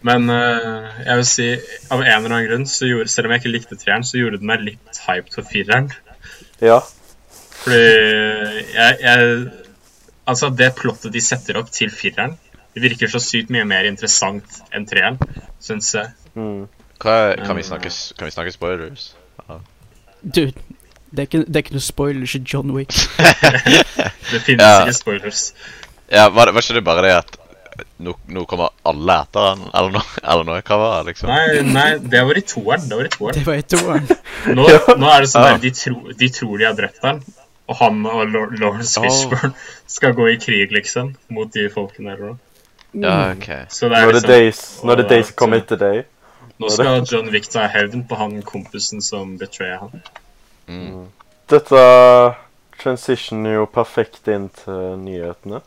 S4: Men eh, jeg vil si, av en eller annen grunn, så gjorde, selv om jeg ikke likte treeren, så gjorde den meg litt hyped for fireren.
S1: Ja.
S4: Fordi eh, jeg, jeg Altså, det plottet de setter opp til fireren, det virker så sykt mye mer interessant enn treeren, syns jeg.
S1: Mm.
S2: Hva, kan, vi snakke, s- kan vi snakke spoilers?
S3: Du, det er ikke, det er ikke noe spoilers i John Wick.
S4: Det finnes
S2: Ja.
S4: ikke spoilers.
S2: Ja, var, det- var ikke det bare det at nå, nå kommer alle etter han, eller noe? [laughs] Eller noe? Hva var det, liksom?
S4: Nei, nei, det var i toeren. Det var i toeren.
S3: Det var i toeren.
S4: Nå, nå er det sånn
S2: Ja.
S4: der, de, tro, de tror de har drept han, og han og Lor- Lawrence
S2: Åh.
S4: Fishburne skal gå i krig, liksom, mot de folkene der. og-
S2: Ja,
S3: Mm.
S2: ok.
S4: Så det er
S1: Når det er
S4: liksom,
S1: de s- når det er de som kommer etter deg.
S4: nå skal John Wick ta hevn på han kompisen som betraya han.
S2: Mm.
S1: Dette transitioner jo perfekt inn til nyhetene.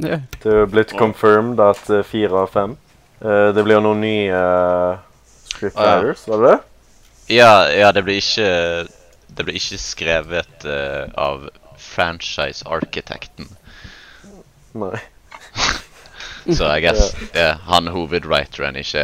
S3: Ja.
S1: Det er jo blitt confirmed at eh, fire av fem. Eh, det blir noen nye eh, script
S2: Ah, ja.
S1: writers, var det det?
S2: Ja, ja, det blir ikke Det blir ikke skrevet eh, av franchise-arkitekten.
S1: Nei.
S2: Så jeg guess ja, han hovedwriteren ikke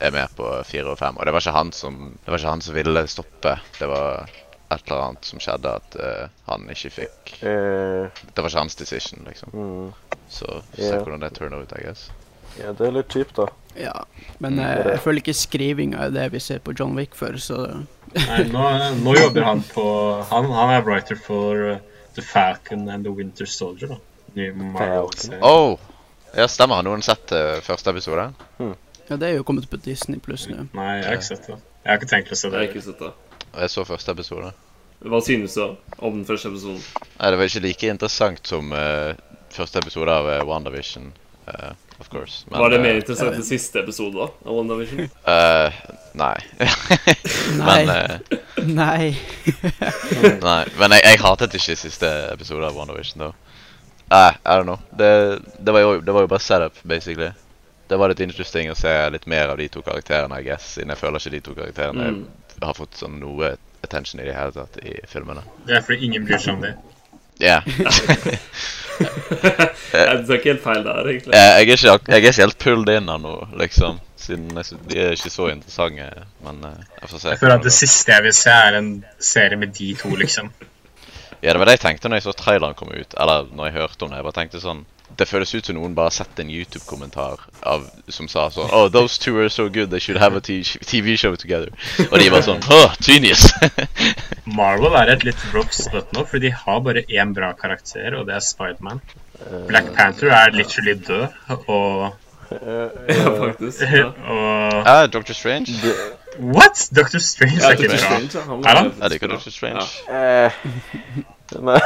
S2: er med på fire og fem. Og det var ikke han som, det var ikke han som ville stoppe. Det var et eller annet som skjedde at eh, han ikke fikk
S1: Eh,
S2: Det var ikke hans decision, liksom.
S1: mm.
S2: Så se
S1: Ja.
S2: hvordan det turner ut, I guess.
S1: Ja, det er litt kjipt, da.
S3: ja. Men eh, jeg føler ikke skrivinga er det vi ser på John Wick før, så
S4: Nei, nå, nå jobber han på Han, han er writer for uh, The Falcon and The Winter Soldier, da. Ny Marvel-serie.
S2: Oh! Ja, stemmer. Har noen sett eh, første episode?
S3: Ja, det er jo kommet på Disney pluss nå.
S4: Nei, jeg har ikke sett det. Jeg har ikke tenkt å se
S5: Jeg har
S4: det.
S5: ikke sett det.
S2: Jeg så første episode.
S5: Hva synes du om den første episoden?
S2: Nei, det var ikke like interessant som eh, første episode av eh, WandaVision. eh, of course. Men,
S5: Var det
S2: eh,
S5: mer interessant enn siste episode da, av WandaVision?
S2: eh, nei. [laughs]
S3: Nei.
S2: Men eh,
S3: [laughs] Nei.
S2: Nei, men jeg, jeg hatet ikke siste episode av WandaVision, da. Nei, I don't know. Det, det, var jo, det var jo bare setup, basically. Det var litt interesting å se litt mer av de to karakterene, I guess, siden jeg føler ikke de to karakterene
S5: Mm.
S2: har fått sånn noe attention i det hele tatt i filmene.
S4: Det er fordi ingen bryr seg om det.
S2: Ja. [laughs]
S5: Jeg tar ikke helt feil der, egentlig.
S2: Eh, jeg, er ikke, ak- jeg er ikke helt pulled in av noe, liksom. Siden jeg, sy- de er ikke så interessante, men eh, jeg får se.
S4: Jeg føler at det siste jeg vil se, er en serie med de to, liksom.
S2: Ja, det var det jeg tenkte når jeg så traileren komme ut, eller når jeg hørte om det. Jeg bare tenkte sånn Det føles ut som noen bare har sett en YouTube-kommentar av, som sa sånn Oh, those two are so good, they should have a t- TV show together. Og de var sånn Oh, [laughs] genius!
S4: Marvel er et litt rough spot nå, for de har bare én bra karakter, og det er Spiderman. Black Panther er literally død, og,
S5: [laughs] Ja, faktisk. Ja.
S4: og
S2: ja, Dr. Ah, Strange.
S4: What?! Doctor Strange
S5: Ja,
S4: er
S5: Dr.
S4: ikke bra.
S5: Strange, ja, han
S4: Er han?
S5: faktisk
S2: Jeg liker
S5: bra.
S2: Dr. Strange.
S1: Eh,
S5: [laughs]
S1: Nei.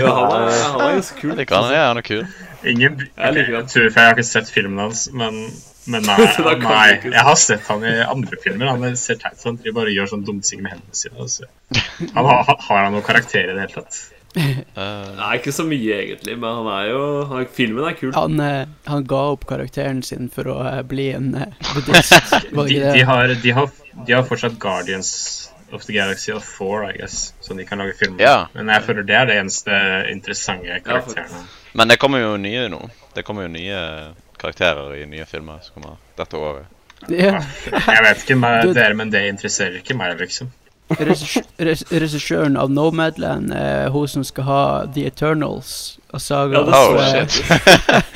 S5: Ja, han var, han var ganske kul.
S2: Jeg liker han, ja, han er kul.
S4: Ingen bry-
S5: Jeg liker
S4: jeg
S5: han.
S4: tror for jeg har ikke sett filmen hans, men, men nei,
S5: Så [laughs] da kan du
S4: nei.
S5: ikke se.
S4: Jeg har sett han i andre filmer. Han er- ser teit ut. Han driver bare og gjør sånn dumsing med hendene sine. Altså. Han har, har han noen karakter i det hele tatt?
S2: Eh,
S5: Nei, ikke så mye, egentlig, men han er jo han, Filmen er kul.
S3: Han, eh, han ga opp karakteren sin for å eh, bli en eh,
S2: [laughs]
S3: buddhist. Var
S4: De,
S3: det
S4: de,
S3: ikke det?
S4: har, de, har, de har fortsatt Guardians of the Galaxy og Thor, I guess, som de kan lage film med.
S2: Ja.
S4: Men jeg føler det er det eneste interessante karakteren.
S2: men det kommer jo nye nå. Det kommer jo nye karakterer i nye filmer som kommer dette året.
S3: Ja.
S4: Jeg vet ikke med
S3: [laughs] Du-
S4: dere, men det interesserer ikke meg, liksom.
S3: Regissj- res- Regissøren av Nomadland er hun som skal ha The Eternals og Saga.
S5: Ja, det
S2: Oh,
S3: Så, eh,
S2: shit.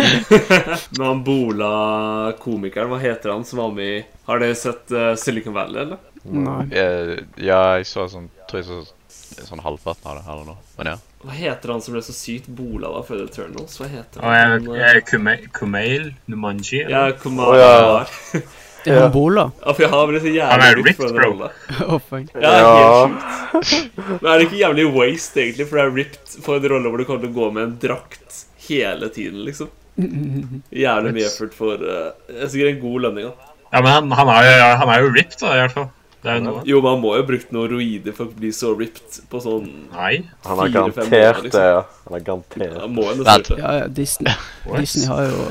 S5: Men han Bola-komikeren, hva heter han som var med i Har dere sett eh, Silicon Valley, eller?
S3: Nei.
S2: Eh, ja, jeg så sånn Tror jeg så sånn halvparten av det her eller noe. Men ja.
S5: Hva heter han som ble så sykt bola da før Eternals? Hva heter
S4: Og jeg,
S5: han?
S4: jeg, Kume- Kumail Numanji
S5: ja,
S4: eller?
S5: Kumar.
S1: Å, ja.
S3: Det er han Bola. [laughs]
S5: Ja, for jeg har blitt så
S4: Han
S5: jævlig
S4: er
S5: brukt for
S4: ripped,
S5: den
S4: bro.
S5: rollen.
S3: Å, faen.
S5: Ja, det er helt
S1: Ja.
S5: sjukt. Men er det ikke jævlig waste, egentlig, for det er ripped for en rolle hvor du kommer til å gå med en drakt hele tiden, liksom? Jævlig mye effort for eh, Det er sikkert en god lønning, da.
S4: Ja, men han, han, er, jo- han er jo ripped, da, i hvert fall. Det er jo noe.
S5: Jo, man må jo ha brukt noen roider for å bli så ripped på sånn
S4: Nei.
S1: Han har garantert
S5: Fire, fem måneder, liksom.
S1: det, ja. Han har
S5: ja,
S1: garantert.
S5: Må jo
S2: Vent.
S5: nesten gjøre det.
S3: Ja, ja, Disney,
S4: What?
S3: Disney har jo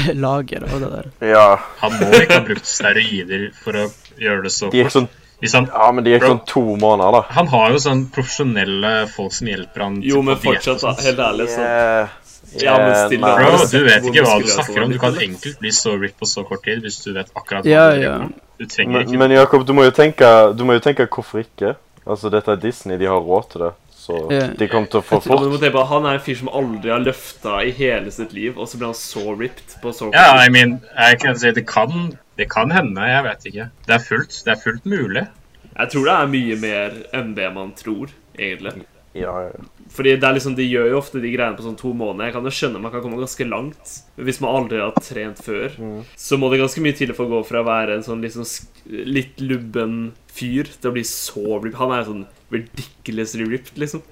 S3: eh, [laughs] lager av det der.
S1: Ja.
S4: Han må ikke ha brukt steroider for å gjøre det så
S1: De gikk
S4: fort.
S1: sånn,
S4: Hvis han,
S1: ja, men de gikk sånn to måneder, da.
S4: han har jo sånn profesjonelle folk som hjelper han.
S5: Jo,
S4: til-
S5: men
S4: på diett og
S5: fortsatt, da.
S4: sånt.
S5: Helt ærlig, så
S1: Yeah.
S5: Ja, men still,
S1: Eh, nei.
S5: Har
S4: Bro,
S5: du
S4: du
S5: sett
S4: vet
S5: hvor
S4: ikke hva du
S5: muskuløs han
S4: snakker om.
S5: er
S4: Du kan
S5: blitt, eller?
S4: enkelt bli så ripped på så kort tid hvis du vet akkurat hva
S3: Ja,
S4: du
S3: ja.
S4: driver med. Du trenger
S1: Men,
S4: ikke
S1: men Jakob, du må jo tenke Du må jo tenke hvorfor ikke. Altså, dette er Disney, de har råd til det. Så
S3: Ja.
S1: de kommer til å få
S5: Ja, men du
S1: fort.
S5: må tenke på at Han er en fyr som aldri har løfta i hele sitt liv, og så blir han så ripped på så kort
S4: Ja,
S5: tid.
S4: I mean, jeg kan si det kan, det kan hende, jeg vet ikke. Det er fullt, det er fullt mulig.
S5: Jeg tror det er mye mer enn det man tror, egentlig.
S1: Ja, ja.
S5: Fordi det er liksom, De gjør jo ofte de greiene på sånn to måneder. Jeg kan jo skjønne Man kan komme ganske langt. Men hvis man aldri har trent før, så må det ganske mye til for å gå fra å være en sånn liksom sk- litt lubben fyr til å bli så ripped. Han er sånn ridiculously ripped, liksom.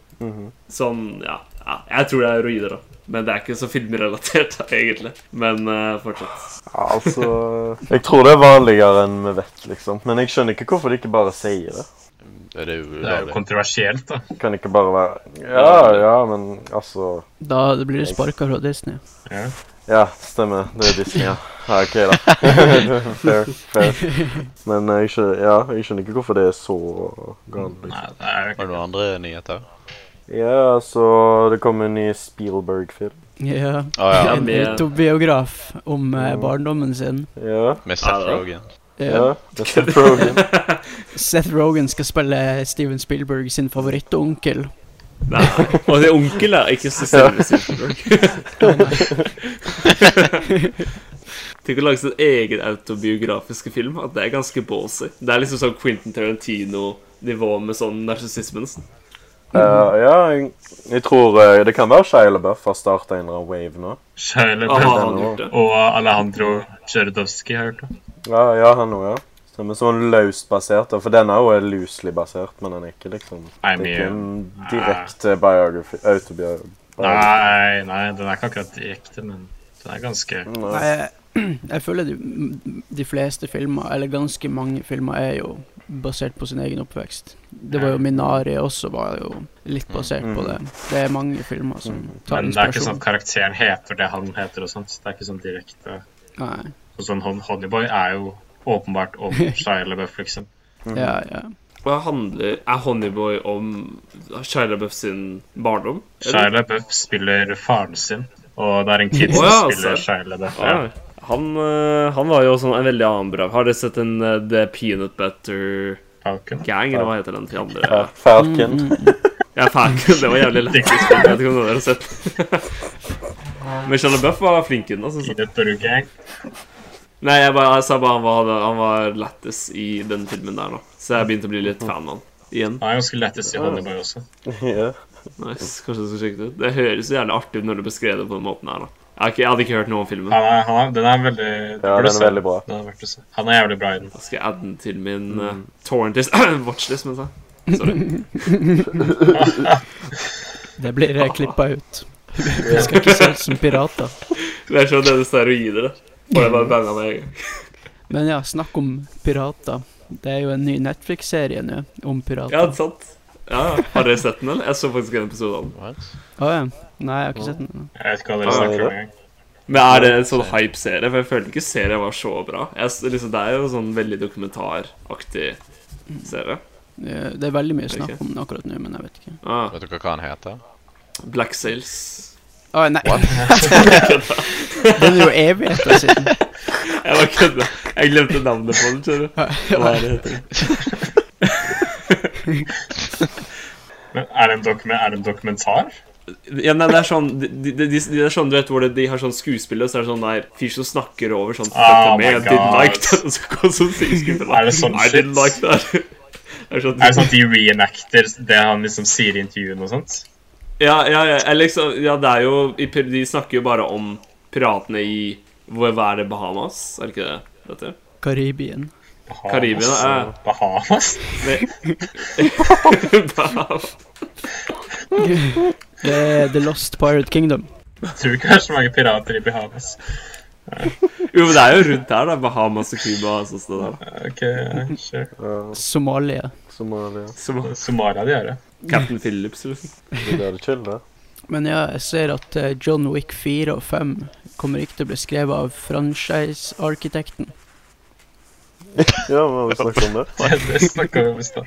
S5: Sånn, ja, ja. Jeg tror det er roider, da. Men det er ikke så filmrelatert, [laughs] egentlig. Men eh, fortsatt.
S1: Ja, altså [laughs] Jeg tror det er vanligere enn vi vet, liksom. Men jeg skjønner ikke hvorfor de ikke bare sier det.
S2: Det
S4: Det
S2: er jo
S4: er jo
S2: ulovlig.
S4: kontroversielt, da.
S1: Kan ikke bare være Ja, ja, men altså
S3: Da blir det sparka fra Disney.
S1: Ja, stemmer. Det er Disney, ja. ja OK, da. [laughs] fair. fair. Men eh, jeg skjønner, ja, jeg skjønner ikke hvorfor det er så galt. liksom.
S4: Nei, det er
S2: Har du noen andre nyheter?
S1: Ja, altså Det kommer en ny Spielberg-film.
S3: Ja.
S2: Å ja.
S5: Ja.
S3: En
S5: med-
S3: autobiograf om eh, barndommen sin.
S1: Ja.
S2: Med
S5: Ja,
S2: Seth
S5: da.
S2: Rogen.
S1: ja. Det er Seth Rogen.
S3: Seth Rogan skal spille Steven Spielberg sin favorittonkel.
S5: Nei. [laughs] Og det er onkel er ikke så selve Silverberg. [laughs] Tenk å lage sin egen autobiografiske film. At det er ganske ballsy. Det er liksom sånn Quentin Tarantino-nivå med sånn narsissisme. nesten.
S1: Eh, ja, jeg, jeg tror eh, det kan være Shia LaBeouf har starta en eller annen wave nå.
S4: Shia
S5: Ah,
S4: LaBeouf
S5: har han gjort det?
S4: og Alejandro Jodorowsky har jeg hørt det.
S1: Ja, ja han òg, ja. Stemmer. Sånn løst basert. da, For den er jo loosely basert, men den er ikke liksom Det
S4: Nei,
S1: er
S4: mye.
S1: ikke en direkte biography autobiografi.
S4: Nei, nei, den er ikke akkurat direkte, men den er ganske
S3: [clears throat] Jeg, jeg føler de, de fleste filmer, eller ganske mange filmer, er jo basert på sin egen oppvekst. Det var jo Minari også var jo litt basert på
S5: Mm.
S3: det. Det er mange filmer som tar
S4: Mm. Men det er ikke sånn
S3: inspirasjon.
S4: at karakteren heter det han heter og sånt. Det er ikke sånn direkte
S3: Nei.
S4: Og sånn Hon- Honeyboy er jo åpenbart om
S3: [laughs]
S4: Shia LaBeouf, liksom.
S5: Mm.
S3: Ja, ja.
S5: Hva handler Er Honeyboy om Shia LaBeouf sin barndom?
S4: Shia LaBeouf spiller faren sin, og det er en kid som
S5: Å, ja,
S4: spiller
S5: altså.
S4: Shia LaBeouf. Ja.
S5: Ja. Han, eh, han var jo sånn en veldig annen bra Har dere sett en eh, The Peanut Butter
S4: Falcon.
S5: Gang, eller hva heter den til andre?
S1: Ja, Falcon.
S5: Ja, faen, [laughs] det var jævlig lett. Jeg vet ikke om dere har sett Men Shia LaBeouf var flink i den. Altså.
S4: Peanut Butter Gang.
S5: Nei, jeg, bare, jeg sa bare han var, han var lættis i den filmen der nå. Så jeg begynte å bli litt fan av han. Igjen.
S4: Han er ganske lettest i Honeyboy også.
S1: [laughs] ja.
S5: Nice. Kanskje jeg skal sjekke det ut. Det høres så jævlig artig ut når du beskrev det på den måten her. da. Jeg, har ikke, jeg hadde ikke hørt noe om filmen.
S4: Han er, han er, den er veldig
S1: Ja, den er veldig bra.
S4: Den er verdt å se. Han er jævlig bra i den.
S5: Jeg skal adde den til min mm. torrentist [clears throat] watchlist, mens jeg Sorry.
S3: Det blir eh, klippa ut. Vi skal ikke se ut som pirater.
S5: Det er sånn det er steroider, det. Og jeg [laughs] bare banga meg en gang.
S3: Men ja, snakk om pirater. Det er jo en ny Netflix-serie nå om
S5: Ja,
S3: pirater.
S5: sant. Ja, ja. Har dere sett den, eller? Jeg så faktisk en episode av den.
S2: What?
S3: Å ja. Nei, jeg har ikke sett den. ennå.
S4: Jeg vet ikke hva
S1: Ja,
S4: dere snakker
S1: det-
S4: om engang.
S5: Men er det en sånn hype-serie? For jeg følte ikke serien var så bra. Jeg, s- liksom, det er jo sånn veldig dokumentaraktig serie.
S3: Eh, Det er veldig mye snakk
S5: Ok.
S3: om den akkurat nå, men jeg vet ikke.
S5: Ah,
S2: Vet dere hva han heter?
S5: Black Sails.
S3: Å Ah, nei. [laughs] den er jo evigheter [laughs] siden.
S5: Jeg bare kødda. Jeg glemte navnet på den, skjønner du. Hva er det heter det?
S4: Men er det, en dokumen, er det en dokumentar?
S5: Ja, nei, det er sånn de, de, de, de, det er sånn, du vet hvor det, de har sånn skuespill, og så er det sånn der fyr som snakker over sånn
S4: Oh
S5: «Fuck,
S4: my
S5: jeg didn't
S4: God.
S5: like that, [laughs] og så går sånn
S4: [laughs]
S5: skuespiller
S4: Er det sånn
S5: I didn't like
S4: shit?
S5: that. [laughs] Det er sånn,
S4: Er det sånn at de reenacter det han liksom sier i intervjuene og sånt?
S5: Ja, ja, ja, eller liksom, ja, det er jo i pir- De snakker jo bare om piratene i Hvor hva er det Bahamas? Er det ikke det? Dette?
S3: [laughs] Karibien.
S4: Bahamas,
S5: Karibien, ja.
S4: og Bahamas?
S5: Det- Bahamas.
S3: Det er The Lost Pirate Kingdom.
S4: Jeg tror ikke det er så mange pirater i Bahamas.
S5: [laughs] jo, men det er jo rundt der, da. Bahamas og Cuba og sånt. sted der.
S4: Ok, ja, sure.
S1: Ja,
S3: Somalia.
S1: Somalia.
S5: Som
S4: Somalia de gjør det.
S5: Captain Phillips, liksom.
S1: Det er det chill, da.
S3: Men ja, jeg ser at eh, John Wick 4 og 5 kommer ikke til å bli skrevet av franchise-arkitekten.
S1: Ja, men vi snakker om det.
S4: Det snakka vi om i stad.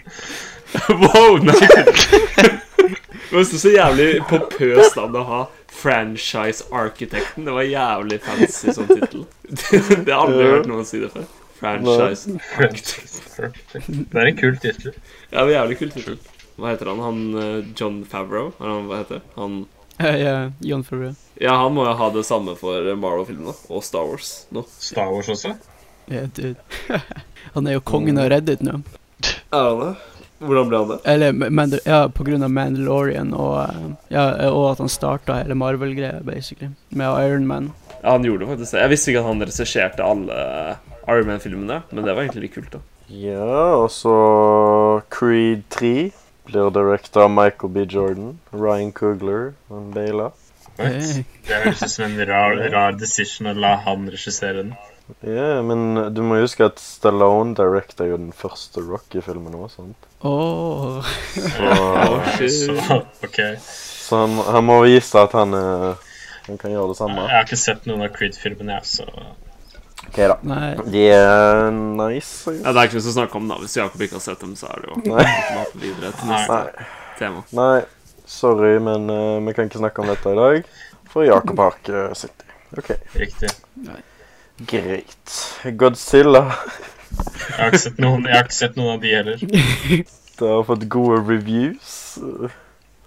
S5: [laughs] wow, nei! Det var så så jævlig pompøst navn å ha. Franchise-arkitekten. Det var jævlig fancy som tittel. [laughs] Det det har aldri
S1: Ja.
S5: hørt noen si det før. Franchise.
S4: Det er en kul tittel.
S5: Ja, det er jævlig kult tittel. Hva heter han? Han eh, John Favreau? Er han, hva heter han?
S3: [laughs] Ja, ja, John Favreau.
S5: Ja, han må jo ha det samme for Marvel-filmene og Star Wars nå.
S4: Star Wars også.
S3: Ja, dude. [laughs] Han er jo kongen av Reddit nå.
S5: Er han det? Hvordan ble han det?
S3: Eller Mandal ja, på grunn av Mandalorian og, eh, ja, og at han starta hele Marvel-greia, basically, med Iron Man.
S5: Ja, han gjorde det faktisk det. Jeg visste ikke at han regisserte alle eh, Iron Man-filmene, men det var egentlig litt kult, da.
S1: Ja, og så Creed 3 blir directa av Michael B. Jordan, Ryan Coogler og Bela.
S4: Right.
S3: Hey.
S4: Det høres ut som en rar, rar decision å la han regissere den.
S1: Ja, men du må huske at Stallone directa jo den første Rocky-filmen òg, sant?
S3: Åh.
S1: Så,
S4: Så, ok.
S1: så han, han må vise at han, eh, han kan gjøre det samme.
S4: Jeg har ikke sett noen av Creed-filmene, jeg, så
S1: Ok, da.
S3: Nei.
S1: De er nice.
S5: Ja, Det er ikke noe å snakke om, da. Hvis Jakob ikke har sett dem, så er det jo
S1: Nei.
S5: Nå hopper vi videre til neste
S1: Nei,
S5: tema.
S1: nei. sorry, men eh, vi kan ikke snakke om dette i dag. For Jakob har ikke sett dem. OK,
S4: riktig.
S1: greit. Godzilla. [laughs]
S4: Jeg har ikke sett noen, jeg har ikke sett noen av de heller.
S1: Det har fått gode reviews.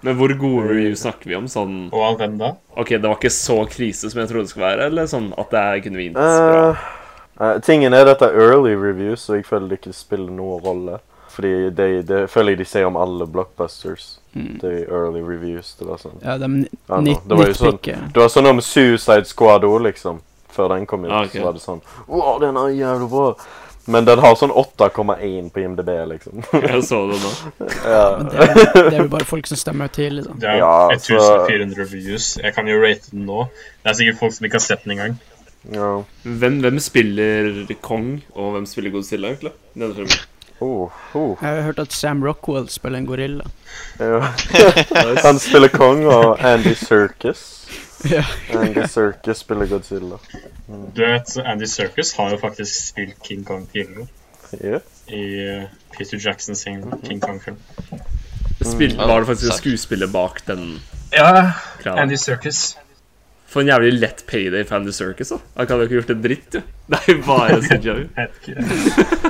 S5: Men hvor gode reviews snakker vi om? Sånn
S4: Og av hvem da?
S5: OK, det var ikke så krise som jeg trodde det skulle være, eller sånn at det er genuint bra? [laughs]
S1: Eh, eh, tingen er dette er early reviews, så jeg føler det ikke spiller noen rolle. Fordi det de, føler jeg de sier om alle blockbusters.
S3: Mm.
S1: Det er early reviews. Det var sånn.
S3: Ja, de nit-
S1: Ja, nå, det var jo sånn-
S3: nitpicker.
S1: Det var sånn om Suicide Squad òg, liksom. Før den kom ut,
S5: Ah, ok.
S1: så var det sånn Wow, den er jævlig bra. Men den har sånn 8,1 på IMDb, liksom. [laughs]
S5: Jeg så det nå.
S3: Men det, er- det er jo bare folk som stemmer liksom. tidlig, da.
S4: Det er
S1: Ja, altså-
S4: 1400 reviews. Jeg kan jo rate den nå. Det er sikkert folk som ikke har sett den engang.
S1: ja.
S5: Hvem, hvem spiller kong, og hvem spiller Godzilla, egentlig? I Denne filmen.
S1: Oh, oh.
S3: Jeg har hørt at Sam Rockwell spiller en gorilla.
S1: Ja. Han spiller kong, og Andy Circus.
S3: Ja.
S1: Andy Circus spiller Godzilla.
S4: Du vet, så Andy Serkis har jo faktisk spilt King Kong tidligere
S1: Ja.
S4: i eh, Peter Jacksons sin King Kong-film.
S5: Spilte,
S2: Mm.
S5: var det faktisk en
S2: Sak.
S5: skuespiller bak den
S4: Ja,
S5: kranen?
S4: Andy Serkis.
S5: For en jævlig lett payday for Andy Circus, da. Han kan jo ikke gjort en dritt, jo. [laughs] Det er jo bare CJ.
S4: Jeg vet ikke.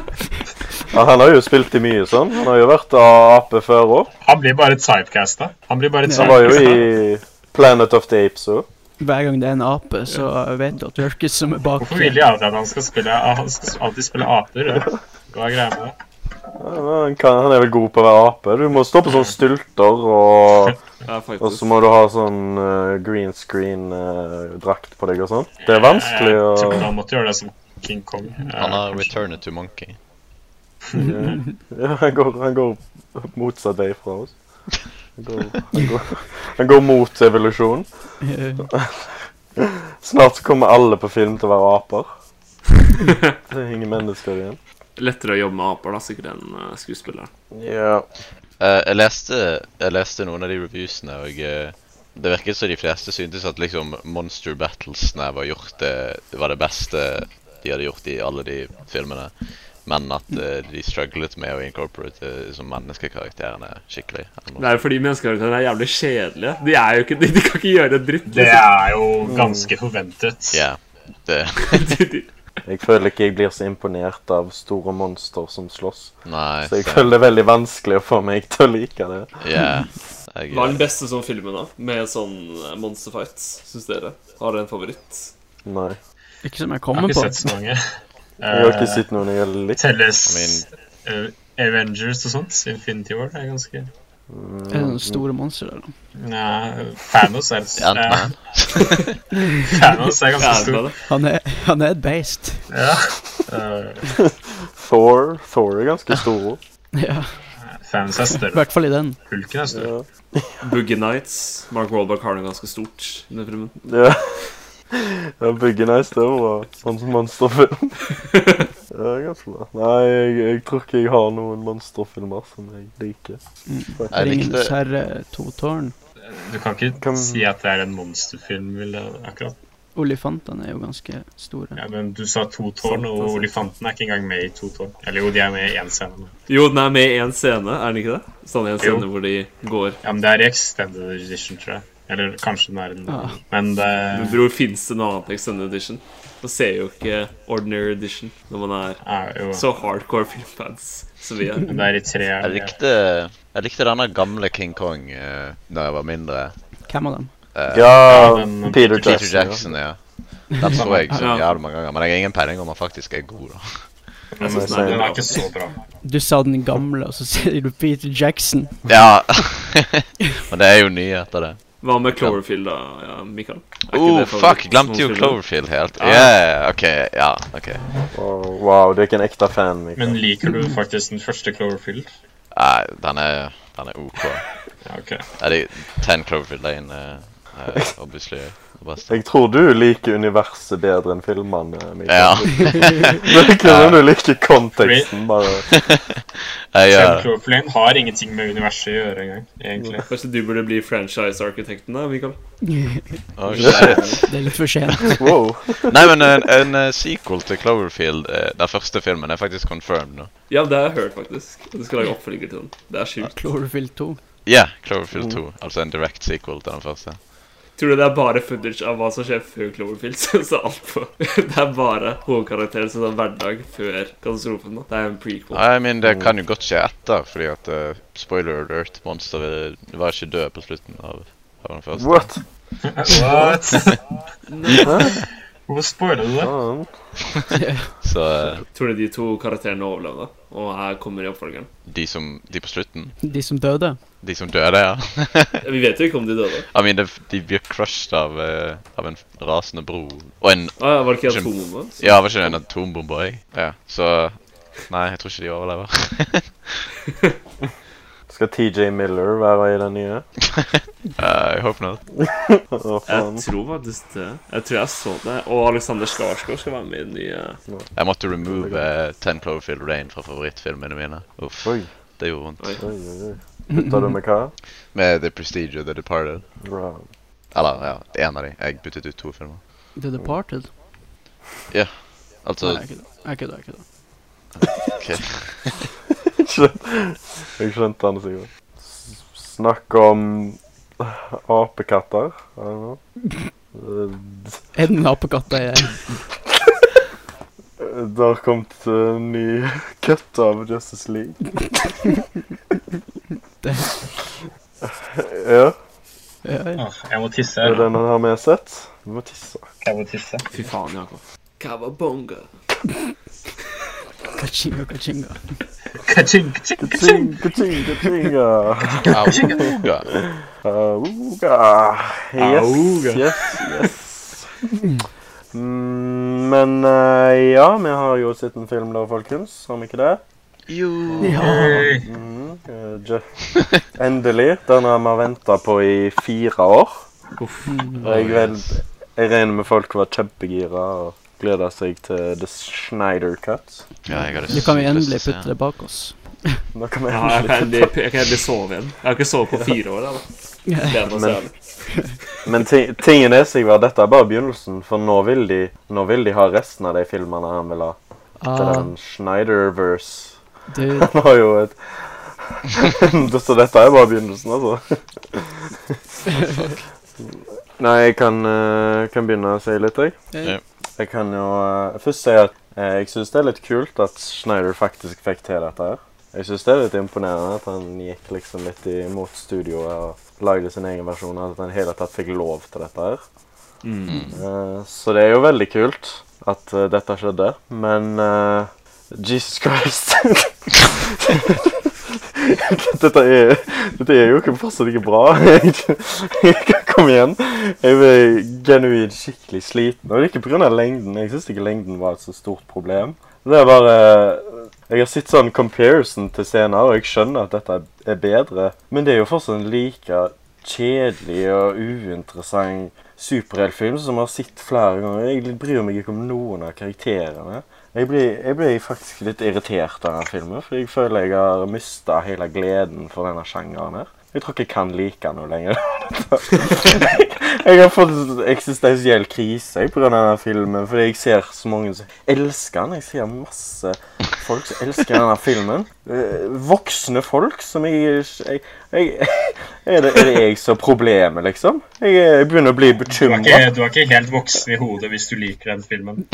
S1: ja. Han har jo spilt i mye sånn. Han har jo vært ape før òg.
S4: Han blir bare typecasta. Han blir bare
S1: Han var jo
S4: typecasta.
S1: i Planet of the Apes òg.
S3: Hver gang det er en ape, så vet du at Jørkes som er bak
S4: Hvorfor vil de alltid at han skal spille Han skal alltid spille aper? Ja. Hva er greia med det?
S1: Han, kan- han er vel god på å være ape. Du må stå på sånne stylter, og,
S5: Ja,
S1: og så
S5: faktisk.
S1: må du ha sånn eh, green screen-drakt på deg og sånn. Det er vanskelig å
S4: Jeg tror ikke han måtte gjøre det som King Kong.
S2: Han har returned to monkey.
S1: [laughs] Ja, han går, han går motsatt vei fra oss. Han går, han går, han går mot evolusjon.
S3: Eh,
S1: Snart kommer alle på film til å være aper.
S4: [laughs]
S1: Det er ingen mennesker igjen.
S5: Lettere å jobbe med aper, da, sikkert, enn eh, skuespilleren.
S1: Ja.
S2: Eh, jeg, leste, jeg leste noen av de reviewsene, og eh, det virket som de fleste syntes at liksom Monster Battlesene var gjort det, det var det beste de hadde gjort i alle de filmene. Men at eh, de strugglet med å incorporate eh, liksom menneskekarakterene skikkelig. eller
S5: Det
S2: noe.
S5: er jo fordi menneskeorganisasjonene er jævlig kjedelige. De, er jo ikke, de, de kan ikke gjøre en dritt.
S4: Eh, Det er jo ganske forventet.
S2: Ja, det
S5: liksom. De- de-
S1: Jeg føler ikke jeg blir så imponert av store monster som slåss.
S2: Nei.
S1: Så jeg føler det er veldig vanskelig å få meg til å like det.
S2: Ja.
S5: Hva er den
S2: Jeg, eh,
S5: beste sånn filmen, da? Med sånn eh, monsterfights, syns dere? Har dere en favoritt?
S1: Nei.
S3: [laughs] Ikke som jeg
S4: Jeg har
S3: kommer
S4: ikke
S3: på.
S4: sett så mange.
S1: Jeg har ikke
S4: Eh,
S1: sett noen jeg liker.
S4: Telles
S2: I
S4: eh, Avengers og sånt. Infinity War er ganske
S3: Er det noen store monstre der, da?
S4: Nei, Thanos er, eh,
S2: Ant-Man. [laughs]
S4: Thanos er ganske
S5: Ærlig
S4: stor.
S5: med det.
S3: Han er, han er et beist.
S4: Ja. Eh,
S1: Thor, Thor er ganske
S4: [laughs]
S1: stor.
S3: Ja,
S4: Thanos er
S3: I
S4: større.
S3: hvert fall i den.
S4: Hulken er større.
S1: Ja.
S5: Boogie Nights. Mark Wahlberg har noe ganske stort i den filmen.
S1: Ja. ja Bygge Nice, [laughs] det var sånn som [laughs] monsterfilm. Det er ganske bra. Nei, jeg, jeg tror ikke jeg har noen monsterfilmer som jeg liker.
S2: Jeg
S3: Ringenes
S2: likte
S3: herre, to tårn.
S4: Du kan ikke
S1: Kan-
S4: si at det er en monsterfilm, vil jeg akkurat.
S3: Olifantene er jo ganske store.
S4: Ja, men du sa to tårn,
S5: Sant,
S4: og
S5: sant.
S4: olifanten er ikke engang med i to tårn. Eller jo, de er med i én scene.
S5: Jo, den er med i én scene, er den ikke det? Sånn en
S4: Jo.
S5: scene hvor de går.
S4: Ja, men det er i extended edition, tror jeg. Eller kanskje den er en
S3: Ja.
S4: Men
S5: Men
S4: det
S5: bror, fins det noe annet enn Extended Edition? Man ser jo ikke Ordinary Edition når man er
S4: er jo
S5: så hardcore filmfans som vi er.
S4: men Det er i tre
S2: Jeg likte, jeg likte denne gamle King Kong uh, da jeg var mindre.
S3: Hvem av dem?
S2: Eh,
S1: Ja,
S4: Ja, men-
S1: Peter Jackson.
S2: Peter Jackson, ja. Den så jeg så
S5: Ja.
S2: jævlig mange ganger, men jeg har ingen peiling om han faktisk er god. da.
S5: Jeg synes
S1: Nei,
S5: den
S4: Den
S5: er
S4: er ikke så bra.
S3: Du sa den gamle, og så sier du Peter Jackson. [laughs]
S2: Ja, [laughs] men det er jo nye etter det.
S5: Hva med Cloverfield, da, ja, Mikael? Er ikke
S2: Oh,
S5: det liksom
S2: fuck,
S5: favoritt-
S2: glemte jo
S5: filmen?
S2: Cloverfield helt.
S5: Ah.
S2: Yeah, ok, ja, ok.
S1: Wow, wow, du er ikke en ekte fan, Mikael.
S4: Men liker du faktisk den første Cloverfield?
S2: Nei, den er, den er ok.
S4: Ja, ok.
S2: Er det 10 Cloverfield Lane, uh, obviously, det beste.
S1: Jeg tror du liker universet bedre enn filmene,
S2: Ja,
S1: [laughs] Mikael. Virker som du liker konteksten, bare.
S2: jeg
S4: Ten
S2: gjør det.
S4: Cloverfield Lane har ingenting med universet å gjøre engang, egentlig.
S5: Kanskje du burde bli franchise-arkitekten, da,
S2: [laughs]
S5: Mikael?
S3: Det
S2: Å, shit.
S3: er litt for sent.
S1: Wow.
S2: Nei, men en, en eh, sequel til Cloverfield, eh, den første filmen, er faktisk confirmed nå.
S5: Ja, det har jeg hørt, faktisk. Du skal lage oppfølger til den. Det er sjukt.
S3: Cloverfield
S1: [laughs]
S3: 2.
S2: Ja, Cloverfield 2, altså en direct sequel til den første.
S5: Tror du det er bare footage av hva som skjer før Cloverfield? [laughs] Så så alt på. Det er bare hovedkarakteren som har hverdag før katastrofen. da. Det er en prequel.
S2: I mean, det kan jo godt skje etter, fordi at eh, spoiler alert, monsteret var ikke død på slutten av, av den første.
S1: What?
S4: What? Hvorfor spoiler du det?
S1: Faen.
S2: Så eh,
S5: Tror du de to karakterene overlevde? Og her kommer i oppfølgeren.
S2: de som De på slutten?
S3: De som døde.
S2: De som døde, ja.
S5: Vi vet jo ikke om de døde.
S2: I mean, det, de blir crushed av, eh, av en rasende bro. Og en
S5: Å Ah, ja, var det ikke
S2: Jim.
S5: atombombe?
S2: Ja, var ikke det en atombombe eh? òg? Ja. Så Nei, jeg tror ikke de overlever.
S1: Skal TJ Miller være i den nye?
S2: Eh, I hope not.
S1: Å, faen.
S5: Jeg tror faktisk det. Jeg tror jeg så det. Og Alexander Skarsgård skal være med i den nye
S2: Jeg måtte remove eh, 10 Cloverfield Rain fra favorittfilmene mine. Uff,
S1: Oi,
S2: det gjorde vondt.
S5: Oi.
S1: oi, oi. oi. Bytta du med hva?
S2: Med The Prestige og The Departed.
S1: Bra.
S2: Eller, ja, én av de. Jeg byttet ut to filmer.
S3: The Departed?
S2: Altså,
S3: Nei, jeg kødder. Jeg kødder, jeg kødder.
S2: ok.
S1: Skjønt- Jeg skjønte han sikkert. S- Snakk om apekatter. I don't know. Eh,
S3: Er det en apekatt der?
S1: Det har kommet eh, en ny [laughs] cut av Justice League. [laughs]
S3: Det-
S1: Ja,
S3: Ja, ja.
S4: Åh, jeg må tisse.
S1: det er
S4: her.
S1: den han har med sett. Du må tisse.
S4: Jeg må tisse.
S5: Fy faen, Jakob.
S3: Kachinga, kachinga.
S4: Kaching, kaching, kaching.
S1: Ka-ching, ka-ching, ka-ching, ja.
S2: Au. Ja.
S1: Auga. Yes,
S5: Auga.
S1: yes, yes. Mm, Men eh, ja, vi har jo sett en film da, folkens. Har vi ikke det?
S2: Jo.
S3: Ja.
S4: Hey.
S1: Mhm, eh, Je- Endelig. Den har vi venta på i fire år.
S3: Mm.
S1: Og jeg, vel, jeg regner med folk var kjempegira og gleda seg til The Schneider Cut.
S2: Ja, jeg hadde
S3: Nå kan vi
S2: sykt lyst til
S3: endelig
S2: å se
S3: putte det bak oss.
S1: Nå kan vi
S5: Ja, jeg kan
S1: endelig
S5: endelig, jeg kan endelig sove igjen. Jeg har ikke sovet på fire år. Da. Det er noe
S1: Men-
S5: særlig.
S1: Men ti tingen er Sigvard, dette er bare begynnelsen, for nå vil de, nå vil de ha resten av de filmene han vil ha. Til
S3: Ah,
S1: den Schneiderverse. [laughs]
S3: du,
S1: Han har jo et [laughs] Så dette er bare begynnelsen,
S5: [laughs]
S1: altså. Nei, jeg kan, eh, kan begynne å si litt, jeg.
S3: eh,
S1: Jeg kan jo eh, først si at eh, jeg syns det er litt kult at Schneider faktisk fikk til dette her. Jeg syns det er litt imponerende at han gikk liksom litt imot studioet og lagde sin egen versjon, og at han i hele tatt fikk lov til dette her. Eh, så det er jo veldig kult at eh, dette skjedde, men eh, Jesus Christ [laughs] dette, er, dette er jo ikke, fortsatt ikke bra. [laughs] Jeg- Kom igjen. Jeg ble genuint skikkelig sliten. Og det er ikke pga. lengden. Jeg syns ikke lengden var et så stort problem. Det er bare Jeg har sett sånn comparison til scener, og jeg skjønner at dette er bedre, men det er jo fortsatt en like kjedelig og uinteressant superheltfilm som jeg har sett flere ganger. Jeg bryr meg ikke om noen av karakterene. Jeg ble, jeg ble faktisk litt irritert av denne filmen, for jeg føler jeg har mista hele gleden for denne sjangeren her. Jeg tror ikke jeg kan like den noe lenger. [laughs] jeg har fått en eksistensiell krise pga. denne filmen, fordi jeg ser så mange som elsker den. Jeg ser masse folk som elsker denne filmen. Eh, Voksne folk som jeg, jeg, jeg [laughs] er, det, er det jeg som er problemet, liksom? Jeg, jeg begynner å bli
S4: Du er,
S1: bekymra.
S4: ikke, du er ikke helt voksen i hodet hvis du liker den filmen.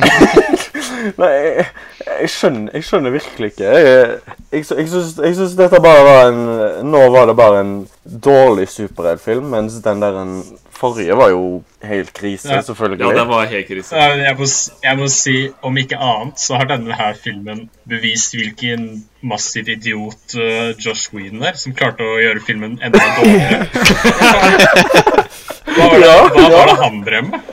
S1: Nei, jeg, jeg, skjønner, jeg skjønner virkelig ikke. Jeg, jeg, sy- jeg, syns, jeg syns dette bare var en Nå var det bare en dårlig superheltfilm, mens den der en forrige var jo helt krise,
S4: Ja.
S1: selvfølgelig.
S5: Ja, det var helt krise.
S4: Så Eh, jeg, må, s- jeg må si, om ikke annet, så har denne her filmen bevist hvilken massiv idiot eh, Josh Whedon er, som klarte å gjøre filmen enda
S1: [laughs]
S4: dårligere. Hva var det,
S1: Ja,
S4: hva
S1: ja.
S4: var det han drev med?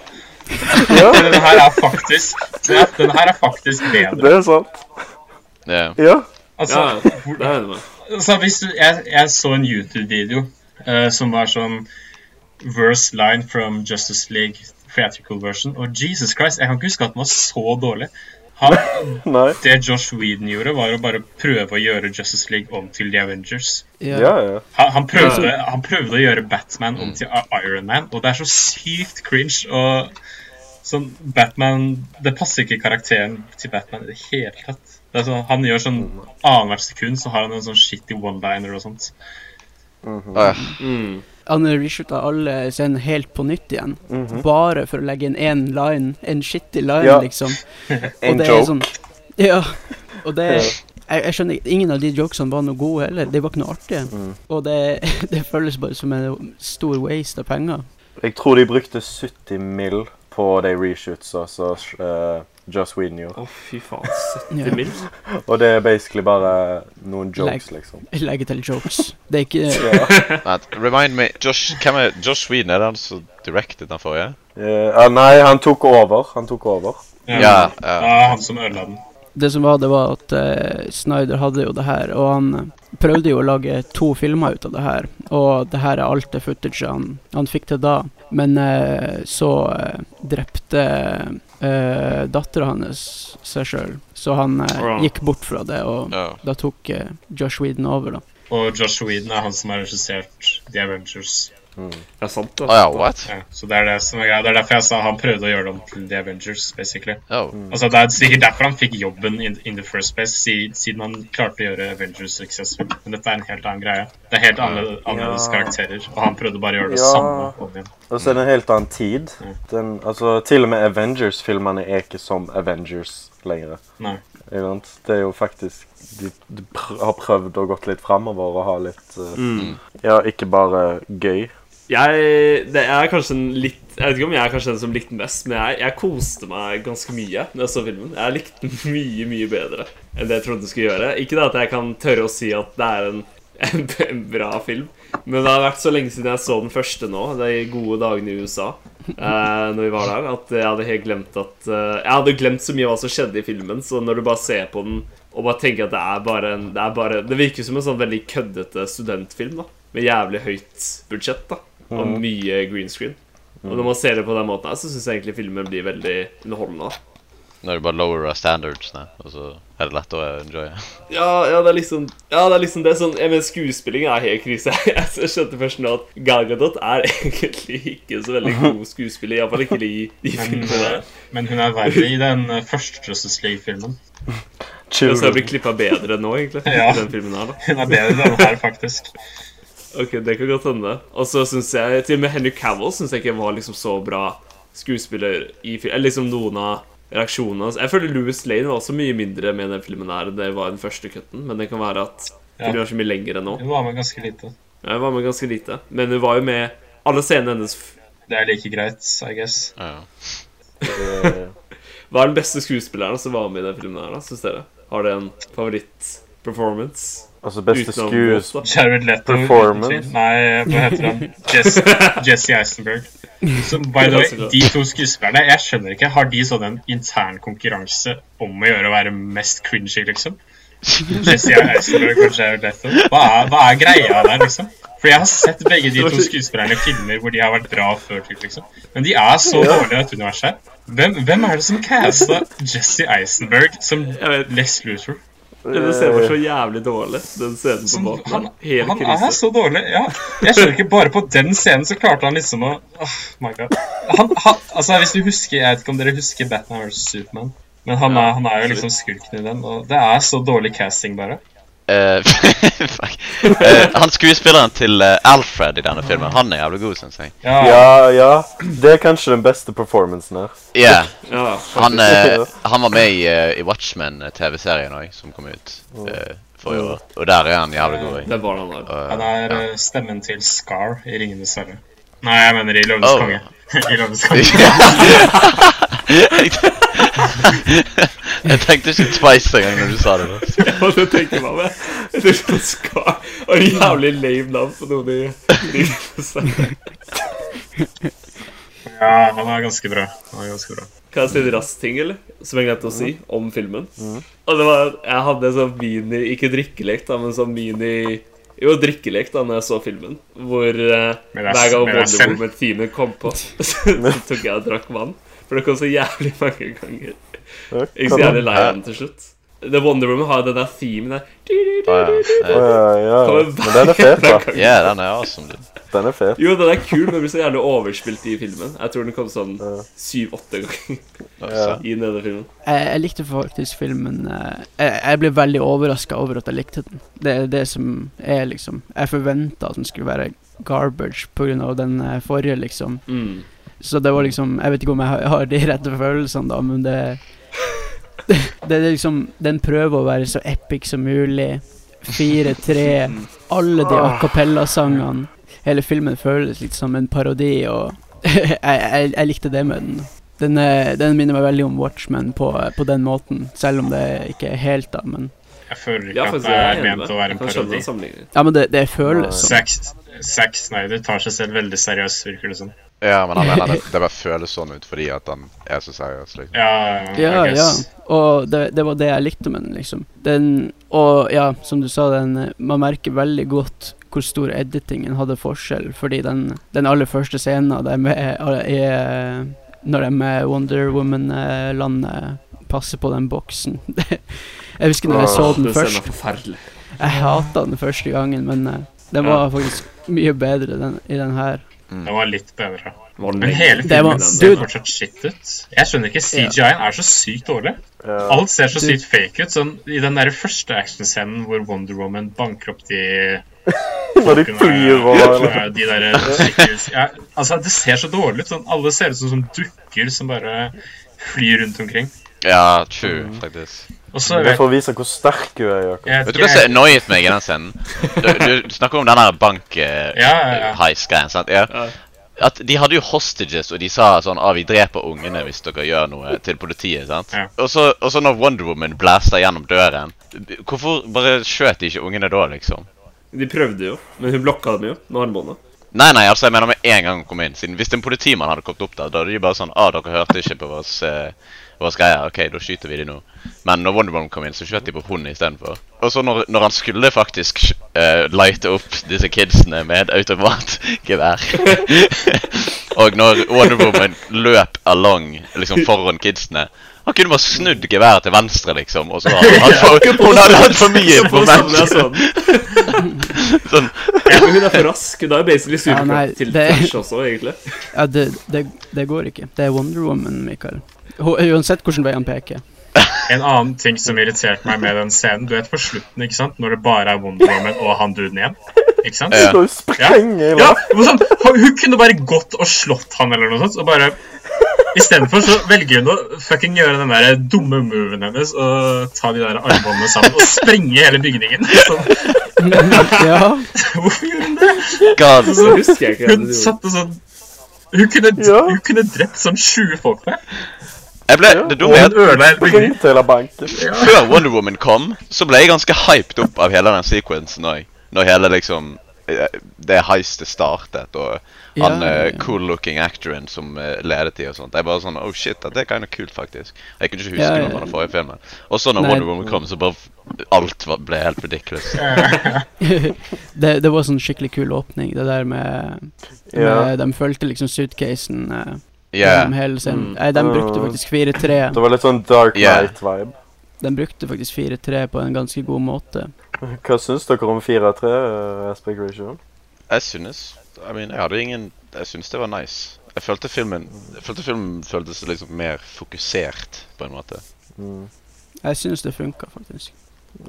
S1: Ja,
S4: [laughs] Denne her er faktisk, denne her er faktisk bedre.
S1: det er sant.
S2: Ja.
S1: Ja.
S5: Ja,
S4: Altså,
S5: det er jeg enig med.
S4: Altså, hvis du, jeg, jeg så en YouTube-video eh, som var sånn Verse line from Justice League theatrical version. Og Jesus Christ, jeg kan ikke huske at den var så dårlig. Han,
S1: Nei.
S4: det Josh Whedon gjorde, var å bare prøve å gjøre Justice League om til The Avengers.
S1: Ja,
S3: ja.
S1: ja. Mm.
S4: Han, han, prøvde, han prøvde å gjøre Batman om til I- Iron Man, og det er så sykt cringe. Og sånn Batman Det passer ikke karakteren til Batman i det hele tatt. Det er sånn, han gjør sånn
S1: Mm.
S4: annethvert sekund så har han en sånn shitty one-liner og sånt.
S2: Å, ja.
S5: Mm.
S3: Han reshootet alle scenene helt på nytt igjen.
S1: Mhm.
S3: Bare for å legge inn én line, en shitty line,
S1: Mm. Ja.
S3: liksom.
S1: En
S3: det er
S1: joke.
S3: Sånn, ja. Og det jeg, jeg skjønner ikke, Ingen av de jokesene var noe gode heller. De var ikke noe artige.
S1: Mm.
S3: Og det, [laughs] det føles bare som en stor waste av penger.
S1: Jeg tror de brukte 70 mill. på de reshootsa som uh, Joss Whedon gjorde.
S5: Å, fy faen. 70 mil?
S1: Og det er basically bare noen jokes, liksom.
S3: Legge til jokes. Det er ikke
S2: Vent, Remind me Josh, hvem er Josh Sweden? Er det han som directed den forrige?
S1: ah, Eh, ja, nei, han tok over. Han tok over.
S2: Ja. ja.
S4: Ja, han som ødela den.
S3: det som var, det var at eh, Snyder hadde jo det her, og han eh, prøvde jo å lage to filmer ut av det her, og det her er alt det footage han, han fikk til da. Men eh, så eh, drepte uh, dattera hans seg sjøl, så han eh,
S5: Wow.
S3: gikk bort fra det, og
S2: Oh.
S3: da tok eh, Josh Whedon over, da.
S4: Og Josh Whedon er han som har regissert The Avengers.
S5: Ja, sant,
S2: oh
S6: Ah,
S5: da.
S2: yeah, what?
S4: Ja, så Det er det som er greia. Det er derfor jeg sa han prøvde å gjøre det om til The Avengers. basically.
S2: Oh.
S4: Altså, Det er sikkert derfor han fikk jobben in, in the first place, si, siden han klarte å gjøre Avengers successful. Men dette er en helt annen greie. Det er helt annerledes, annerledes
S5: Ja.
S4: karakterer, og han prøvde bare å gjøre det
S1: Ja.
S4: samme om igjen.
S1: Og så er det en helt annen tid. Den, altså, til og med Avengers-filmene er ikke som Avengers lenger.
S4: Nei.
S1: Ikke sant? Det er jo faktisk De, de pr har prøvd å gått litt framover og ha litt eh, Ja, ikke bare gøy.
S5: Jeg det er kanskje en litt Jeg vet ikke om jeg er kanskje den som likte den best, men jeg, jeg koste meg ganske mye når jeg så filmen. Jeg likte den [laughs] mye, mye bedre enn det jeg trodde den skulle gjøre. Ikke da at jeg kan tørre å si at det er en, [laughs] en, b- en bra film, men det har vært så lenge siden jeg så den første nå, de gode dagene i USA, eh, når vi var der, at jeg hadde helt glemt at eh, Jeg hadde glemt så mye hva som skjedde i filmen, så når du bare ser på den og bare tenker at det er bare en Det, er bare, det virker som en sånn veldig køddete studentfilm, da. Med jævlig høyt budsjett, da. Og mye green screen. Og når man ser det på den måten her, så syns jeg egentlig filmen blir veldig underholdende. da.
S2: Nå är det bara lower our standards nu och så är det lätt att enjoy.
S5: Ja, ja, det er liksom Ja, det er liksom det sånn Jeg mener, skuespilling er helt krise. [laughs] Jeg skjønte først nå at Gal Gadot er [laughs] egentlig ikke så veldig god skuespiller. Iallfall ikke i de
S4: [laughs] Men, eh,
S5: filmene der.
S4: men hun er verre i den eh, første Justice League-filmen.
S5: Jeg tror jeg
S1: Children.
S5: blir klippa bedre nå, egentlig.
S4: [laughs]
S5: i
S4: Ja.
S5: Den filmen her, da.
S4: Hun er bedre i denne her, faktisk.
S5: Ok, det kan godt hende. Og så syns jeg til og med Henry Cavill synes jeg ikke var liksom så bra skuespiller i film. Eller liksom noen av reaksjonene hans. Jeg føler Louis Lane var også mye mindre med i den filmen her enn det var i den første cutten, men det kan være at
S4: Ja.
S5: det var så mye lenger enn nå.
S4: Hun var med ganske lite.
S5: Jeg var med ganske lite. Men hun var jo med alle scenene hennes
S4: Det er like greit, I guess.
S2: Ja.
S1: eh,
S5: Hva er den beste skuespilleren som var med i den filmen her, da, syns dere? Har det en favorittperformance?
S1: altså, beste
S5: Utenom
S1: skues
S5: Wolf, da.
S4: Jared Leto.
S1: Performance.
S4: uten tvil. Nei, hva heter han? Jess, Jesse Eisenberg. Så, by the way, de to skuespillerne, jeg skjønner ikke, har de sånn en intern konkurranse om å gjøre å være mest cringy, liksom? Jesse Eisenberg og Jared Leto. Hva er, hva er greia der, liksom? For jeg har sett begge de to skuespillerne i filmer hvor de har vært bra før, typ, liksom. Men de er så dårlige i dette universet. Hvem, hvem er det som casta Jesse Eisenberg som
S5: Jeg vet
S4: Les Luther?
S5: Den scenen var så jævlig dårlig, den scenen på
S4: Som,
S5: båten.
S4: han,
S5: her. Helt
S4: han
S5: krise.
S4: er så dårlig. Ja. Jeg skjønner ikke, Bare på den scenen så klarte han liksom å Åh, my god. Han, han, altså Hvis du husker, Jeg vet ikke om dere husker Batman vs. Superman, men han,
S5: Ja,
S4: er, han er jo liksom skurken i den. og Det er så dårlig casting, bare.
S2: Eh, [laughs] fuck. Eh, han skuespilleren til eh, Alfred i denne filmen, han er jævlig god, syns jeg.
S4: Ja,
S1: Ja, ja. Det er kanskje den beste performancen her.
S2: Ja,
S5: Ja,
S2: han, eh, han var med i, eh, i Watchmen-TV-serien òg, som kom ut eh, forrige år. Og der er han jævlig god. jeg.
S5: det var han der.
S2: Og,
S4: Han er
S2: ja.
S4: eh, stemmen til Scar i 'Ringenes herre'. Nei, jeg mener i 'Løvenes
S2: Oh.
S4: konge'. [laughs] I
S5: [laughs]
S4: Løvenes konge.
S2: [laughs] [laughs] Jeg tenkte ikke twice engang når du sa det. da.
S5: Og det tenker man med. Jeg tenkte på Skar. Og en jævlig lame navn på noen i Kan
S4: Ja, han er ganske bra. Han er ganske bra.
S5: jeg si en rask ting, eller? Som jeg glemte å si om filmen. Og det var, Jeg hadde en sånn mini Ikke drikkelek, da, men sånn mini Jo, drikkelek da når jeg så filmen. Hvor eh,
S4: Med deg-
S5: hver gang
S4: med deg selv.
S5: Wonderwoman-timen kom på, [laughs] så tok jeg og drakk vann. For det kom så jævlig mange ganger. Jeg er så jævlig lei av den til slutt. The Wonder Woman har jo den der themen der.
S2: Å, ja.
S1: Ja,
S2: Eh,
S1: ja, ja.
S5: Kommer
S1: Men den er fet,
S5: [laughs] hver
S1: da.
S5: gang.
S2: Ja, den er awesome. dude.
S1: Den er fet.
S5: Jo, den er kul, men den blir så jævlig overspilt i filmen. Jeg tror den kom sånn syv-åtte ganger
S2: Altså.
S5: i denne filmen.
S3: Jeg, jeg likte faktisk filmen eh, Jeg, jeg ble veldig overraska over at jeg likte den. Det er det som er liksom Jeg forventa at den skulle være garbage pga. den eh, forrige, liksom.
S5: Mm.
S3: Så det var liksom Jeg vet ikke om jeg har, har de rette følelsene, da, men det det, det er liksom Den prøver å være så epic som mulig. Fire-tre. Alle de a cappella-sangene. Hele filmen føles litt som en parodi, og [laughs] jeg, jeg, jeg likte det med den. Den, eh, den minner meg veldig om Watchmen på, på den måten, selv om det ikke er helt, da, men
S4: Jeg føler ikke
S5: Ja,
S4: at
S5: faktisk,
S4: det
S5: jeg
S4: er
S5: er enig
S4: ment
S5: med
S4: å
S5: deg.
S4: være
S5: Jeg
S4: en
S5: kan skjønne
S4: parodi.
S5: den sammenligningen.
S3: Ja, men det, det føles som
S4: Sex. Zack Snyder tar seg selv veldig seriøst, virker det som.
S6: Ja, men han mener det, det bare føles sånn ut fordi at han er så seriøs. liksom.
S4: Ja,
S3: Ja,
S4: I
S3: ja.
S4: guess.
S3: Og det, det var det jeg likte med den, liksom. Den, og ja, som du sa, den eh, Man merker veldig godt hvor stor editingen hadde forskjell, fordi den, den aller første scenen av dem er, er når de med Wonder Woman-landet passer på den boksen. [laughs] jeg husker når jeg så den
S5: Den scenen
S3: først.
S5: er forferdelig.
S3: Jeg hata den første gangen, men eh, den var faktisk mye bedre den, i den her.
S4: Det var litt bedre.
S5: Var
S4: Men hele
S3: Det var-
S4: filmen ser
S3: dude.
S4: fortsatt shit ut. Jeg skjønner ikke, CGI-en er så sykt dårlig.
S1: Ja.
S4: Alt ser så
S3: Dude.
S4: sykt fake ut. Sånn, I den der første actionscenen hvor Wonder Woman banker opp de
S1: Var de
S4: folkene-
S1: flyr og eller?
S4: Ja, de der sykehus- ja, Altså, Det ser så dårlig ut. Sånn, alle ser ut som, som dukker som bare flyr rundt omkring.
S2: Ja, true, faktisk.
S4: Og så
S1: Det
S4: vet
S1: får vise hvor sterk du er, Jakob.
S4: jeg
S2: Vet du hva som annoyet meg i den scenen? Du, du snakker om den der
S4: Ja, ja, ja.
S2: bank-heis-greien, sant? Ja.
S5: Ja.
S2: At de hadde jo hostages, og de sa sånn ah, 'Vi dreper ungene hvis dere gjør noe', til politiet. sant?
S4: Ja.
S2: Og, så, og så når Wonder Woman blaster gjennom døren, hvorfor bare skjøt de ikke ungene da, liksom?
S5: De prøvde jo, men hun blokka dem jo med armbåndet.
S2: Nei, nei, altså, jeg mener med en gang hun kom inn. siden Hvis en politimann hadde kommet opp der, da hadde de bare sånn 'Ah, dere hørte ikke på vårs, eh, vårs greier. Ok, da skyter vi de nå.' Men når Wonder Woman kom inn, så skjøt de på hunden istedenfor. Og så når, når han skulle faktisk sk- eh, lighte opp disse kidsene med et automatgevær [laughs] Og når Wonder Woman løp along liksom foran kidsene han kunne bare snudd geværet til venstre, liksom. og så hadde han for, Hun hadde hatt for mye
S5: Så på
S2: moment!
S5: samme jeg så den.
S2: Sånn,
S5: Ja, men hun er for rask. Hun er jo basically superkraft
S3: nei,
S5: til
S3: det-
S5: Flash også, egentlig.
S3: Ja, det, det, det går ikke. Det er Wonder Woman, Mikael. Hun- Uansett hvilken vei han
S4: [laughs]
S3: peker.
S4: En annen ting som irriterte meg med den scenen Du vet på slutten, ikke sant? Når det bare er Wonder Woman og han duden igjen. Ikke sant?
S2: Ja.
S1: Skal du sprenge i
S4: Ja,
S1: luften?
S4: det var sånn, hun hun kunne bare gått og slått han eller noe sånt, og bare Istedenfor så velger hun å fucking gjøre den der dumme moven hennes og ta de der armbåndene sammen og sprenge hele bygningen. [laughs] Så,
S3: ja.
S4: hvorfor gjorde hun det?
S2: God.
S5: Så husker jeg ikke hva
S4: Hun
S5: du gjorde.
S4: satte sånn Hun kunne,
S1: Ja.
S4: hun kunne drept sånn 20 folk der.
S2: Jeg ble, det dumme
S4: Og
S2: er at
S4: hun ødela hele bygningen.
S1: Sprengte hele banken.
S2: før Wonder Woman kom, så ble jeg ganske hyped opp av hele den sequensen òg. Når hele liksom eh, det heistet startet, og han
S3: Ja, ja, ja.
S2: cool-looking actoren som eh, ledet de og sånt. Jeg bare sånn Oh shit, det er kind of kult, faktisk. Jeg kunne ikke huske
S3: Ja, ja,
S2: noe
S3: ja.
S2: fra den forrige filmen. Og så når
S3: Nei.
S2: Wonder Woman kom, så bare f- Alt var, ble helt ridiculous.
S4: Eh,
S3: [laughs] det, det var sånn skikkelig kul åpning, det der med,
S1: Ja.
S3: med De fulgte liksom suitcasen eh, gjennom
S2: Yeah.
S3: hele scenen. Nei, de brukte faktisk 4-3.
S1: Mm. Det var litt sånn Dark
S2: Ja.
S1: Knight-vibe.
S3: De brukte faktisk 4-3 på en ganske god måte.
S1: Hva syns dere om 4-3 eh, aspect ratio?
S2: Jeg synes I mean, jeg hadde ingen Jeg synes det var nice. Jeg følte filmen jeg følte filmen føltes liksom mer fokusert, på en måte.
S1: Mm.
S3: Jeg syns det funka,
S1: [laughs]
S3: faktisk.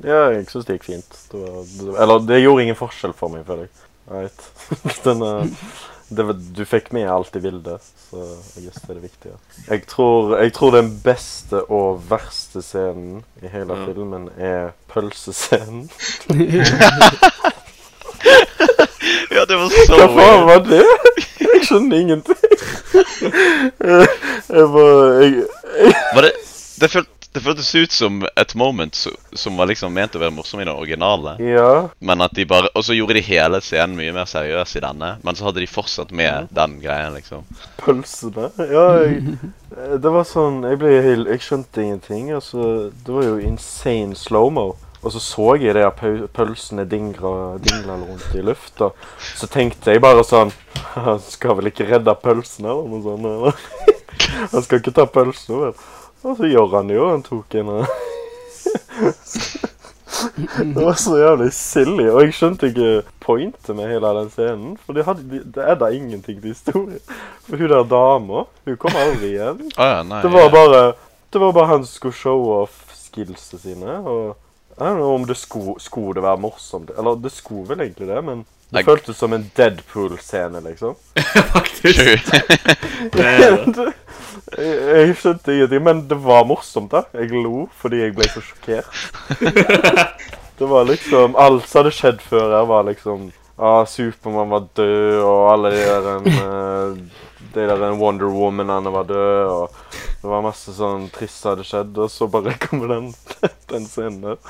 S1: Ja, jeg syns det gikk fint. Det var, det, eller det gjorde ingen forskjell for meg, føler jeg. Right. [laughs] Den, eh, det, var- du fikk med alt jeg ville, så jeg guess det er det viktige. Jeg tror, jeg tror den beste og verste scenen i hele
S5: Ja.
S1: filmen er pølsescenen.
S2: Ja, det var
S1: Hva
S2: [laughs] så
S1: faen var det? Jeg skjønner ingenting. [laughs] Eh, Jeg bare jeg,
S2: Var det det, følt, det føltes ut som et moment so, som var liksom ment å være morsom i den originale.
S1: Ja.
S2: Men at de bare, Og så gjorde de hele scenen mye mer seriøs i denne. Men så hadde de fortsatt med den greien, liksom.
S1: Pølsene. Ja, jeg, eh, det var sånn Jeg ble helt Jeg skjønte ingenting. Altså, det var jo insane slow-mo. Og så så jeg de der pau- pølsene dingra, dingla rundt i lufta. Så tenkte jeg bare sånn [laughs] Han skal vel ikke redde pølsene, eller noe sånt? Eller? [laughs] Han skal ikke ta pølsene, vel? Og så gjør han det jo. Han tok en av [laughs] Det var så jævlig silly, og jeg skjønte ikke pointet med hele den scenen. For de hadde, de, det er da ingenting til historie. For hun der dama, hun kom aldri igjen.
S2: Å ja, nei.
S1: Det var bare, det var bare han som skulle show off skillsene sine. og... Jeg vet ikke om det skulle, skulle det være morsomt. Eller det skulle vel egentlig det, men det
S2: Jeg-
S1: føltes som en Deadpool-scene, liksom.
S5: Faktisk.
S2: True.
S5: Det er det.
S1: jeg, jeg skjønte ingenting, men det var morsomt, da. Jeg lo fordi jeg ble så sjokkert. det var liksom Alt som hadde skjedd før her, var liksom ah, Supermann var død, og alle de der en, eh, De der en Wonder Woman-ene var døde, og [laughs] det var masse sånn trist som hadde skjedd, og så bare kommer den, den scenen der.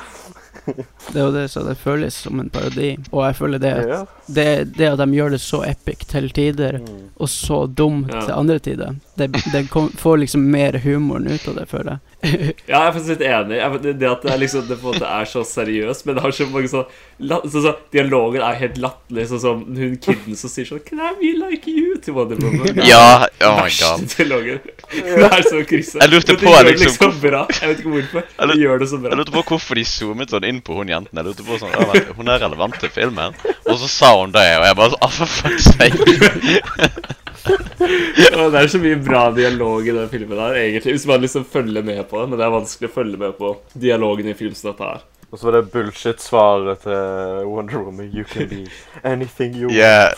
S3: Det er jo det, så det føles som en parodi. Og jeg føler det at
S1: Ja.
S3: det, det at de gjør det så epic til tider,
S1: Mm.
S3: og så dumt
S5: Ja.
S3: til andre tider, det, det kom, får liksom mer humoren ut av det, føler jeg.
S5: Ja, jeg er faktisk litt enig. Jeg- Det det at det er, liksom, det på en måte er så seriøst, men det har så mange sånn la- så, så, Dialogen er helt latterlig, sånn som hun kiden som sier sånn Can I be like you? til Wonderwoman.
S2: Ja,
S5: [laughs]
S2: oh my god.
S5: Verste dialogen. Det er så krise.
S2: Jeg lurte
S5: Men de
S2: på,
S5: gjør det
S2: liksom,
S5: liksom bra. Jeg vet ikke hvorfor.
S2: Jeg lurte-
S5: De gjør det så bra.
S2: Jeg lurte på hvorfor de zoomet sånn inn på hun jenten. Jeg lurte på sånn, «Å, vent, Hun er relevant til filmen. Og så sa hun det, og jeg bare sånn «Å, for fuck's [laughs] sake.
S5: Og det er så mye bra dialog i den filmen her, egentlig. Hvis man liksom følger med på det, men det er vanskelig å følge med på dialogen i film som dette her.
S1: Og så var det bullshit-svaret til Wonder Woman. You can be anything you want.
S2: Yeah.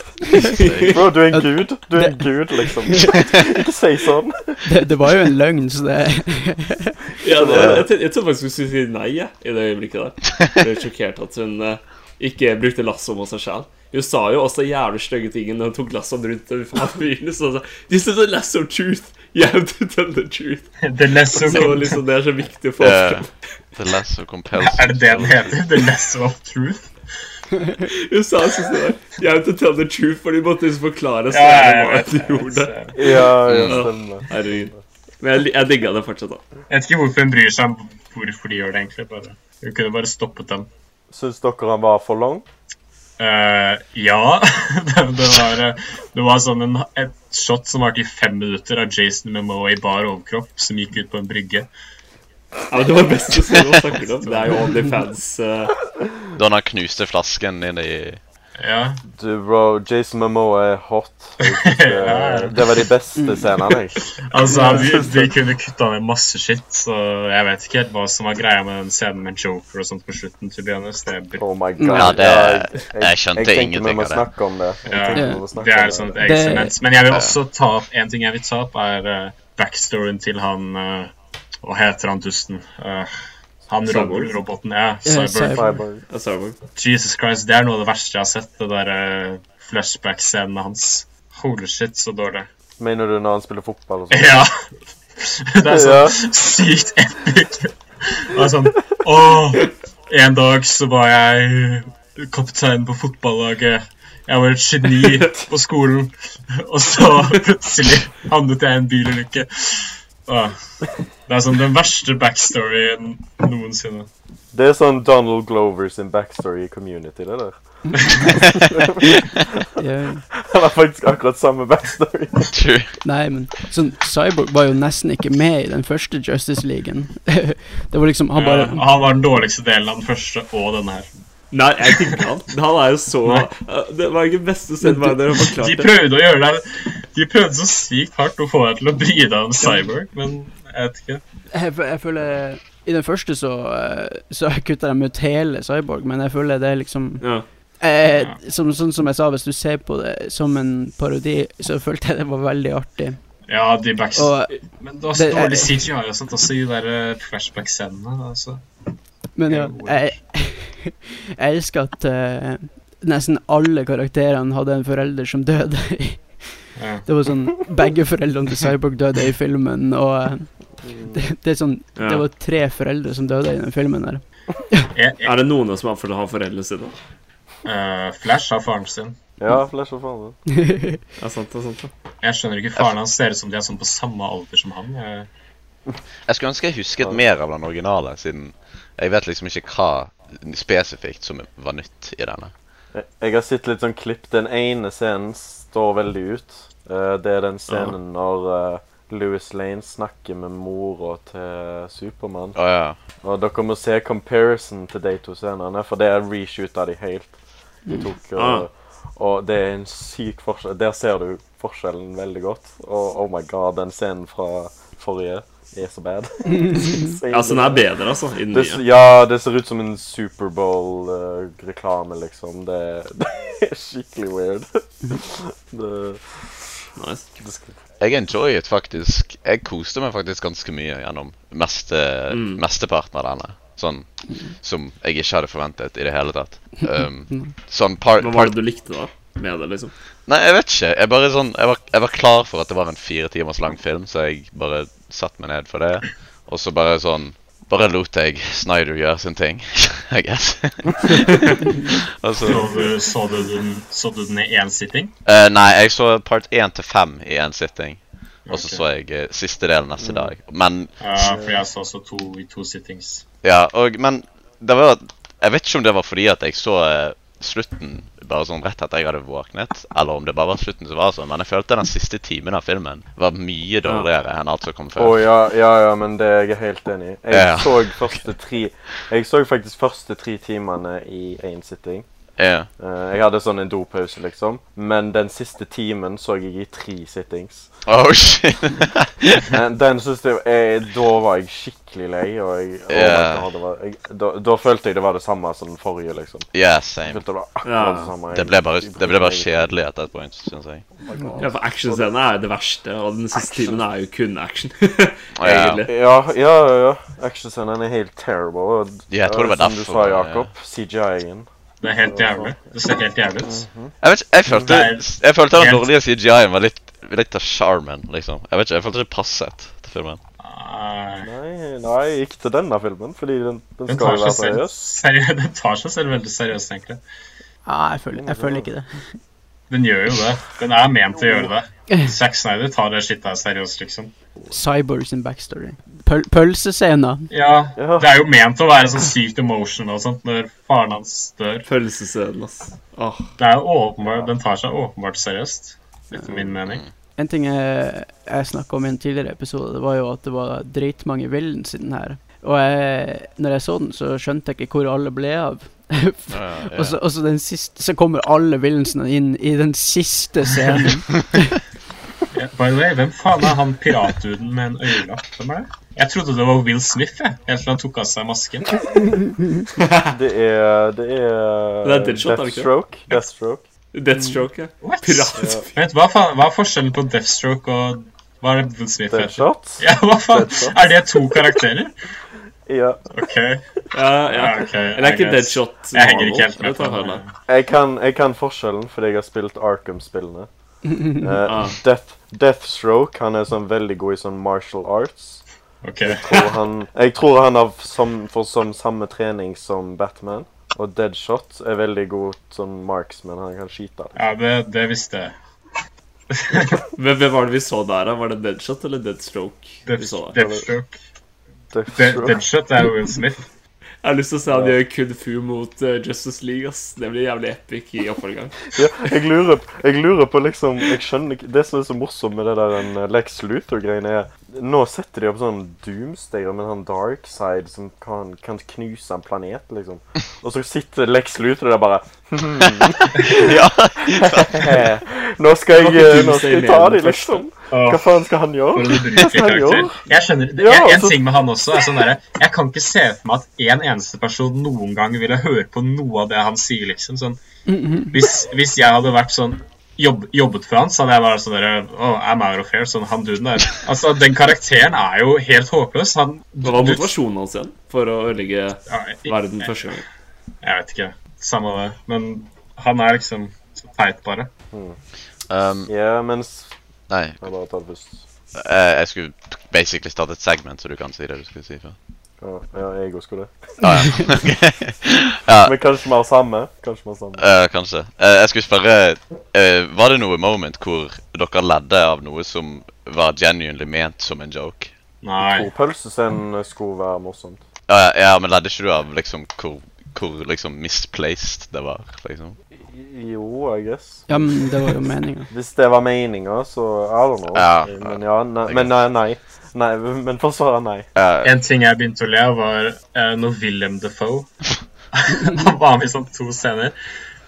S1: Bro, du er en gud. Du er en
S3: Det-
S1: gud,
S2: [laughs]
S1: liksom. Ikke si sånn.
S3: Det, det var jo en løgn, så det
S1: [laughs]
S5: Ja, det, jeg, jeg, jeg tror faktisk hun skulle si nei jeg, i det øyeblikket der. Jeg ble sjokkert at hun eh, ikke brukte lasso mot seg sjæl. Hun sa jo også jævlig stygge ting da hun tok lassoen rundt den faen bilen. Så hun sa sånn, This is a lasso of truth. You have to tell the truth.
S4: [laughs] The Lesser
S5: Så
S4: of
S5: liksom, det er så viktig å få
S2: eh,
S5: frem.
S2: The less of compels.
S4: Er det det den heter? The Lesser of Truth?
S5: Hun sa sånn som det var, You have to tell the truth, for de måtte liksom forklare
S4: Ja, jeg
S5: hva
S4: vet
S5: de
S4: det.
S5: gjorde.
S4: Jeg
S1: Ja, ja,
S2: Mm.
S1: stemmer.
S5: Herregud. Men jeg, jeg digga det fortsatt, da.
S4: vet ikke hvorfor hun bryr seg om hvorfor de gjør det, egentlig. bare. Hun kunne bare stoppet dem.
S1: Syns dere han var for lang?
S4: Eh, ja. [laughs] det, det, var, eh, det var sånn en, et shot som varte i fem minutter av Jason Momoa i bar overkropp som gikk ut på en brygge.
S5: Ja, men det var best å se hva snakker om. Det er jo OnlyFans. eh,
S2: Da han knuste flasken inn i
S4: Ja, [laughs]
S1: Du, bro, Jason Momoa er [laughs] hot. Jeg synes
S4: Ja.
S1: Det, det var de beste scenene. jeg.
S4: altså
S1: [laughs]
S4: De, de kunne kutta ned masse skitt, så jeg vet ikke helt hva som var greia med den scenen med Joker og sånt på slutten. to be honest. Det, blir-
S1: Oh my god.
S3: Ja,
S2: det-
S1: jeg-
S2: jeg skjønte
S1: tenker vi
S2: ingenting
S1: må
S2: av det.
S1: snakke om det. Jeg
S4: Ja,
S1: tenker vi må snakke
S4: det
S1: om
S4: er et sånt eget
S3: Det-
S4: segment. Men jeg vil også ta opp en ting jeg vil ta opp, er eh, backstoryen til han eh, Hva heter han dusten? Eh, han
S5: Cyborg?
S4: robotroboten. Ja,
S3: Ja, Cyborg.
S4: Cyborg.
S1: Cyborg.
S5: jeg sa det bare.
S4: Jesus Christ, det er noe av det verste jeg har sett. Det der eh, flashback-scenene hans. Holy shit, så dårlig. [laughs]
S1: Mener du når han spiller fotball og sånn?
S4: Ja! Det er så
S1: Ja.
S4: sykt epic. Det er sånn Åh! En dag så var jeg kaptein på fotballaget. Jeg var et geni på skolen. Og så plutselig havnet jeg i en bilulykke. Åh. Det er sånn den verste backstoryen noensinne.
S1: Det er sånn Donald Glover sin backstory i Community, det der. [laughs]
S3: ja.
S1: Han har faktisk akkurat samme backstory.
S2: True.
S3: Nei, men sånn, Cyborg var jo nesten ikke med i den første Justice League-en. [laughs] Det var liksom Han
S4: Ja,
S3: bare
S4: Eh, han var den dårligste delen av den første og denne her.
S5: Nei, jeg digga han. Han er jo så eh, Det var ikke det beste stedet var der å
S4: De
S5: forklare det.
S4: prøvde å gjøre deg De prøvde så sykt hardt å få deg til å bry deg om Cyborg, men jeg vet ikke.
S3: Jeg, fø- jeg føler I den første så, eh, så [laughs] kutta de ut hele Cyborg, men jeg føler det er liksom
S5: Ja.
S3: Eh, som, sånn som jeg sa, hvis du ser på det som en parodi, så følte jeg det var veldig artig.
S4: Ja, de backs...
S3: Og,
S4: men det var så
S3: det er-
S4: dårlig CGI og sånt også i de der eh, flashback-scenene. altså.
S3: men ja, jeg, [laughs] jeg elsker at eh, nesten alle karakterene hadde en forelder som døde. [laughs]
S4: Ja.
S3: Det var sånn Begge foreldrene til Cyborg døde i filmen, og eh, det, det er sånn Det
S5: Ja.
S3: var tre foreldre som døde i den filmen der.
S4: Jeg, jeg,
S5: Er det noen av oss som har for å ha foreldre sine?
S4: eh, Flash har faren sin.
S1: Ja, Flash og faen.
S5: Ja, sant, det er sant, det.
S4: Jeg skjønner ikke, Faren hans ser ut som de er sånn på samme alder som han. Jeg,
S2: Jeg skulle ønske jeg husket mer av den originale, siden jeg vet liksom ikke hva spesifikt som var nytt i denne.
S1: Jeg- Jeg har sett litt sånn klipp. Den ene scenen står veldig ut. Eh, det er den scenen når eh, Louis Lane snakker med mora til Supermann.
S2: Å ja.
S1: Og dere må se comparison til de to scenene, for det er reshoota de helt. De tok,
S5: Ah.
S1: og, og det er en syk forskjell. Der ser du forskjellen veldig godt. Og oh my god, den scenen fra forrige er så bad. [laughs]
S5: Altså, den er bedre, altså, i den
S1: Det, s-
S5: nye.
S1: ja, det ser ut som en Superbowl-reklame, liksom. Det, [laughs] det er skikkelig weird. Det,
S5: Nice.
S1: det skal,
S2: Jeg enjoyet faktisk Jeg koste meg faktisk ganske mye gjennom meste,
S5: Mm.
S2: mesteparten av denne. Sånn som jeg ikke hadde forventet i det hele
S5: [laughs]
S2: tatt.
S3: Mm.
S2: Um, sånn part,
S5: Hva var
S2: part
S5: det du likte da med det, liksom?
S2: Nei, jeg vet ikke. Jeg, bare sånn, jeg, var, jeg var klar for at det var en fire timers lang film, så jeg bare satte meg ned for det. Og så bare sånn
S6: bare lot jeg Snyder gjøre sin
S2: [laughs]
S6: ting, I
S5: [laughs]
S6: guess. altså
S4: Så du, så du, den, så du den i én sitting?
S6: eh, Nei, jeg så part én til fem i én sitting. Og så
S4: Ok.
S6: så jeg eh, siste del
S5: Mm.
S6: neste dag. Men
S4: Ja, for jeg så også to i to sittings.
S6: Ja, og, men det var Jeg vet ikke om det var fordi at jeg så eh, slutten bare sånn rett etter jeg hadde våknet, eller om det bare var slutten som var sånn, men jeg følte den siste timen av filmen var mye dårligere enn alt som kom
S1: Å
S6: før.
S1: ja, ja, ja, men det er jeg helt enig i. Jeg
S6: Ja.
S1: så første tre Jeg så faktisk første tre timene i én sitting.
S6: Ja.
S1: Eh, jeg hadde sånn en dopause, liksom. Men den siste timen så jeg i tre sittings.
S6: Oh, shit. [laughs]
S1: Men Den synes jeg, jeg Da var jeg skikkelig lei, og jeg, å,
S6: Ja.
S1: vet du hva, det var, jeg da, da følte jeg det var det samme som den forrige, liksom.
S6: yeah,
S1: Jeg
S6: same.
S1: følte det var
S5: Ja.
S1: akkurat det samme.
S6: Det ble bare, det ble bare kjedelig etter et point, syns jeg.
S5: Ja, for actionscenen er jo det verste, og den siste timen er jo kun action. [laughs]
S6: Ja.
S5: Egentlig.
S1: Ja, ja, ja. ja. Actionscenen er helt terrible. Og,
S6: Ja, jeg tror det var
S1: Som du
S6: derfor,
S1: sa,
S6: ja.
S1: Jakob. CGI-en.
S4: Det er helt jævlig. Det ser helt jævlig ut.
S6: Jeg vet ikke, jeg følte,
S4: Nei.
S6: jeg følte den dårlige CGI-en var litt, litt av sjarmen, liksom. Jeg vet ikke, jeg følte det passet til filmen.
S4: Nei,
S1: Nei, nei, ikke til denne filmen, fordi den, den
S4: Den
S1: skal
S4: tar
S1: jo
S4: seg
S1: være
S4: selv
S1: seriøs.
S4: seriøst. [laughs] Den tar seg selv veldig seriøst, egentlig.
S3: Ja, jeg føler, jeg føler ikke det.
S4: Den gjør jo det. Den er ment til å gjøre det. Zack Snyder tar det shit der seriøst, liksom.
S3: Cyber sin backstory. Pøl pølsescena.
S4: Ja,
S1: Ja.
S4: det er jo ment å være sånn sykt emotional og sånt når faren hans dør.
S5: Pølsescenen, ass. Åh.
S4: Det er jo åpenbart, Den tar seg åpenbart seriøst, etter min mening.
S3: En ting jeg, jeg snakka om i en tidligere episode, det var jo at det var dritmange villains i den her. Og jeg, når jeg så den, så skjønte jeg ikke hvor alle ble av.
S6: [laughs] Ja,
S3: Og så, og så den siste, så kommer alle villainsene inn i den siste scenen.
S6: [laughs]
S4: Ja, By the way, hvem faen er han piratduden med en øyelapp? Hvem er det? Jeg trodde det var Will Smith, jeg, helt til han tok av seg masken.
S1: Det er Det er,
S5: Det er Deadshot, er det ikke det?
S1: Deathstroke. Deathstroke.
S5: Deathstroke, ja.
S4: What?
S5: Pirat.
S4: Vent, hva, faen, hva er forskjellen på Deathstroke og Hva er det Will Smith heter?
S1: Deadshot?
S4: Ja, hva faen?
S1: Deadshot.
S4: Er det to karakterer?
S1: Ja.
S4: OK.
S5: Ja, ja.
S4: Ja, ok,
S5: Eller er
S4: I
S5: ikke
S4: guess.
S5: Deadshot
S4: Jeg henger ikke helt
S5: Marvel?
S4: med
S5: Det
S4: på
S5: tar
S4: det.
S5: jeg
S1: Jeg kan, jeg kan forskjellen fordi jeg har spilt
S5: [laughs]
S1: Arkham-spillene. Eh,
S5: Ah.
S1: Death, Deathstroke han er sånn veldig god i sånn martial arts.
S4: ok.
S1: Tror han, jeg tror han har som, får sånn samme trening som Batman. Og Deadshot er veldig god sånn marksman. Han kan skyte.
S4: Ja, det, det visste jeg. [laughs]
S5: Hvem, hvem var det vi så der, da? Var det Deadshot eller Deadstroke? vi så der?
S4: Deathstroke. De-
S1: Deathstroke.
S4: Deadshot er jo Will Smith.
S5: Jeg har lyst til å se han gjøre kung fu mot eh, Justice League. ass. Det blir jævlig epic i
S4: [laughs]
S5: oppfølgeren.
S1: Ja, jeg, lurer, p- jeg lurer på liksom jeg skjønner ikke, Det som er så morsomt med det der den eh, Lex Luthor-greiene, er Nå setter de opp sånn doomsday med sånn dark side som kan, kan knuse en planet, liksom. Og så sitter Lex Luthor der bare [laughs]
S6: ja.
S1: Nå skal jeg, eh, nå skal
S5: Doomsday
S1: jeg ta
S5: med den
S1: dem, liksom.
S4: Åh,
S1: Hva faen skal han
S4: for
S1: gjøre?
S4: en ubrukelig
S1: Hva gjør?
S4: karakter. Jeg skjønner,
S1: Ja,
S4: jeg, En
S1: altså-
S4: ting med han også er sånn derre Jeg kan ikke se for meg at en eneste person noen gang ville høre på noe av det han sier, liksom. sånn
S5: Mhm.
S4: Hvis, hvis jeg hadde vært sånn jobb, jobbet for han, så hadde jeg vært sånn derre oh, I'm out of here. Sånn han duden der. Altså, den karakteren er jo helt håpløs. Han
S5: Hva var motivasjonen hans igjen for å ødelegge
S4: Ja, jeg,
S5: verden første
S4: [laughs]
S5: gang?
S4: jeg vet ikke. Samme det. Men han er liksom så teit, bare.
S6: Um,
S1: Ja, mens
S6: nei,
S1: Jeg bare tar det først.
S6: eh, jeg skulle basically starte et segment, så du kan si det du skulle si før.
S1: Ja, ja, jeg også skulle det.
S6: Ah, ja.
S1: [laughs]
S6: Ok. ja.
S1: Men kanskje vi har samme? Kanskje vi har samme.
S6: Eh, kanskje. Eh, jeg skulle spørre eh, Var det noe moment hvor dere ledde av noe som var genuinely ment som en joke?
S4: Nei.
S1: Hvor pølsescenen skulle være eh, morsomt.
S6: Ja, ja, ja men ledde ikke du av liksom hvor, hvor liksom misplaced det var? liksom?
S1: Jo, I guess.
S3: Ja, men det var jo meninga.
S1: Hvis det var meninga, så I don't know.
S6: Ja.
S1: men ja, nei,
S6: Jeg
S1: men nei, nei. nei. Men for å svare nei.
S6: Eh,
S4: En ting jeg begynte å le av, var eh, når William Defoe [laughs] Han var med i sånn to scener.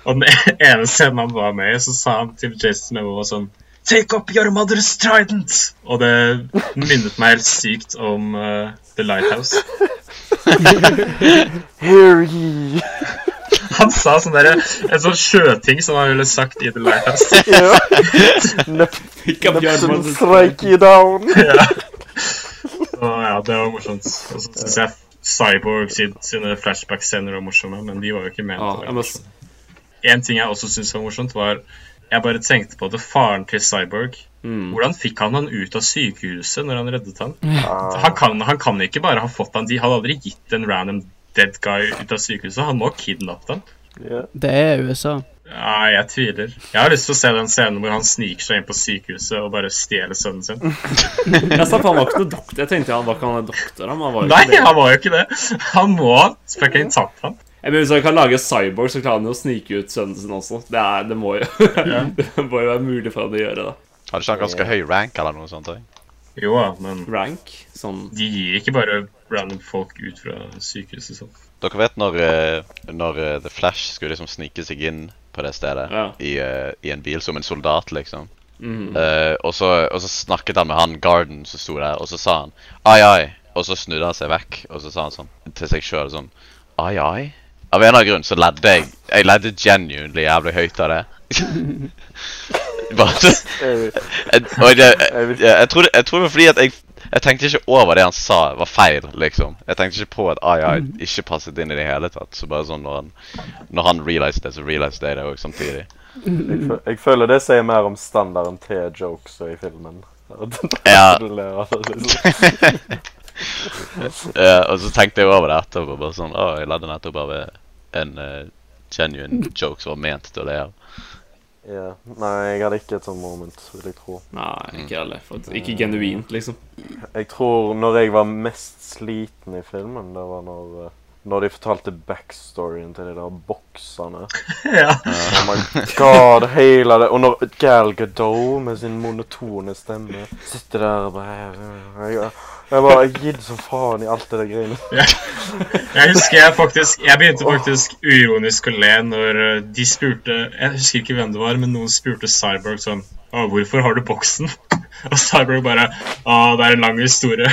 S4: Og den e- ene scenen han var med i, så sa han til Jason Momoa sånn Take up your mother's trident! Og det minnet meg helt sykt om eh, The Lighthouse.
S1: Hear ye!
S4: Han sa sånn derre En sånn sjøting som han ville sagt i The Lighthouse.
S1: [laughs] Ja. Nep-
S5: Pick up your
S1: Neptune
S5: mother's-
S1: strike you down!
S4: ja. Så ja, det var morsomt. Og så syns jeg Cyborg sin- sine flashback-scener var morsomme, men de var jo ikke ment
S5: Ah, Ja,
S4: å være
S5: jeg må s-
S4: En ting jeg også syntes var morsomt, var Jeg bare tenkte på at faren til Cyborg
S5: Mm.
S4: Hvordan fikk han han ut av sykehuset når han reddet han? Han
S1: Ah,
S4: kan, han kan ikke bare ha fått han, de hadde aldri gitt en random dead guy ut av sykehuset, han må ha kidnappet han.
S1: yeah.
S3: Det er USA.
S4: Nei, jeg tviler. Jeg har lyst til å se den scenen hvor han sniker seg inn på sykehuset og bare stjeler sønnen sin.
S5: Mm. Jeg sa faen, han var ikke noe doktor. Jeg tenkte han var ikke han er doktor. Han var jo ikke
S4: Nei,
S5: det.
S4: han var jo ikke det! Han må ha fucking tatt han.
S5: Jeg mener, Hvis han kan lage cyborg, så klarer han jo å snike ut sønnen sin også. Det, er, det, må, jo, [laughs] det må jo være mulig for han å gjøre det.
S6: Hadde ikke han ganske høy rank eller noe sånt? jeg?
S4: Jo da, men
S5: Rank? Sånn
S4: de gir ikke bare random folk ut fra sykehuset sånn.
S6: Dere vet når, eh, når eh, The Flash skulle liksom snike seg inn på det stedet
S5: Ja.
S6: i, eh, i en bil som en soldat, liksom.
S5: mm.
S6: Eh, og, så, og så snakket han med han Garden som sto der, og så sa han ai, ai. Og så snudde han seg vekk, og så sa han sånn til seg sjøl sånn ai, ai. Av en eller annen grunn så ledde jeg. Jeg ledde genuinely jævlig høyt av det. Bare så,
S1: Jeg-
S6: jeg, og det,
S1: Jeg
S6: jeg,
S1: vil-
S6: jeg, tror, det- jeg tror det var fordi at jeg jeg tenkte ikke over det han sa var feil, liksom. Jeg tenkte ikke på at ai, ai ikke passet inn i det hele tatt. Så bare sånn når han, når han realized det, så realized jeg det òg samtidig.
S1: Jeg, fø- jeg føler det sier mer om standarden til jokes i filmen. [laughs]
S6: Ja. [laughs]
S1: Du ler av det, liksom.
S6: Eh, og så tenkte jeg over det etterpå. bare sånn, å, Jeg lærte nettopp av eh, en eh, genuine joke som var ment til å le av.
S1: Ja. Nei, jeg hadde ikke et sånt moment, vil jeg tro.
S5: Nei, ikke heller. For ikke genuint, liksom. [laughs]
S1: Jeg tror når jeg var mest sliten i filmen, det var når, eh, når de fortalte backstoryen til de der
S4: [laughs]
S1: bokserne.
S4: Ja.
S1: Oh my god, hele det. Og når Gal Gadot med sin monotone stemme sitter der og bare Jeg, jeg bare jeg gidder som faen i alt det der greiene.
S4: Jeg husker jeg faktisk Jeg begynte faktisk uironisk å le når eh, de spurte Jeg husker ikke hvem det var, men noen spurte Cyborg sånn Å, hvorfor har du boksen? [laughs] Og Cyborg bare Å, det er en lang historie.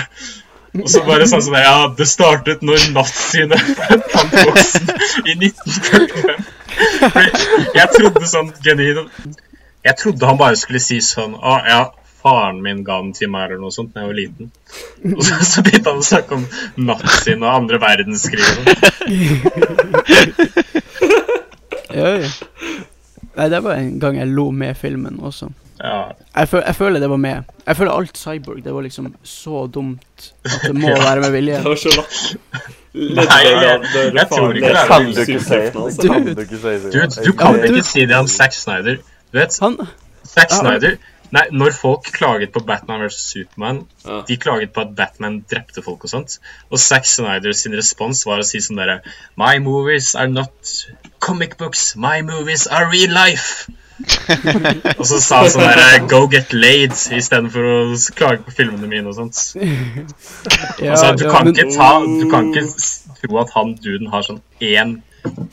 S4: Og så bare sånn som det Ja, det startet når naziene [laughs] fant boksen i 1945. Fordi Jeg trodde sånn genuint Jeg trodde han bare skulle si sånn Å, ja, faren min ga den til meg, eller noe sånt, da jeg var liten. Og så, [laughs] så begynte han å snakke om nazien og andre verdenskrig. og sånn.
S3: Oi. Nei, det var en gang jeg lo med filmen også.
S4: Ja,
S3: Jeg, føl jeg føler det var med. Jeg føler alt Cyborg, det var liksom så dumt at det må
S4: [laughs]
S3: være med vilje.
S5: Det var så lagt.
S4: Nei, jeg- jeg tror ikke det er
S1: Kan du ikke si
S5: altså.
S1: det? Kan du ikke si det?
S4: Du, altså. du kan ikke si det om Zack Snyder. Du vet,
S3: Han
S4: Zack
S3: Ja.
S4: Snyder Nei, når folk klaget på Batman vs. Superman,
S5: Ja.
S4: de klaget på at Batman drepte folk og sånt. Og Zack Snyder sin respons var å si sånn derre My movies are not comic books. My movies are real life. og så sa han sånn derre Go get laid, istedenfor å s- klage på filmene mine og sånt.
S3: ja,
S4: Altså, du,
S3: ja,
S4: kan
S3: men-
S4: ikke ta, du kan ikke s- tro at han duden har sånn én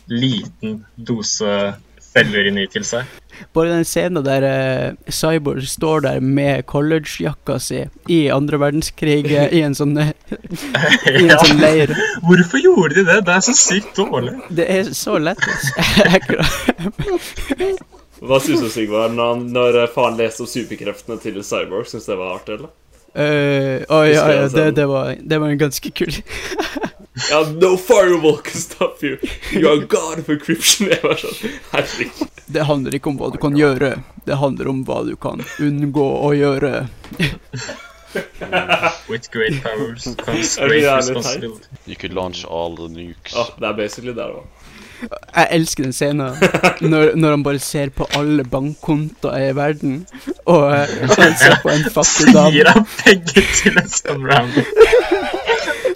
S4: liten dose selvurini til seg.
S3: Bare den scenen der eh, Cyborg står der med collegejakka si i andre verdenskrig eh, i en sånn,
S4: [laughs]
S3: eh, i en
S4: Ja.
S3: sånn leir.
S4: Hvorfor gjorde de det? Det er så sykt dårlig.
S3: Det er så lættis. [laughs] Jeg kla- [laughs]
S5: Hva syns du, Sigvard, når, han- når faren leste om superkreftene til Cyborg? Syns det var artig, eller?
S3: Øh, Oi,
S5: Husker
S3: oi,
S5: jeg
S3: oi,
S4: altså.
S5: selv.
S3: det, det, var, det var en ganske kul
S5: Ja, no firewall can stop you. You are god of encryption. Jeg var sånn, herregud.
S3: Det handler ikke om hva du kan gjøre, det handler om hva du kan unngå å gjøre.
S4: With great powers comes
S5: Er det
S4: great
S5: jævlig
S4: responsibility.
S6: You could launch all the nukes.
S5: Åh, det er basically der det var.
S3: Jeg elsker den scenen når, når han bare ser på alle bankkontoer i verden, og eh, han ser på en fattig
S4: Så gir
S3: dame.
S4: han penger til en sånn round.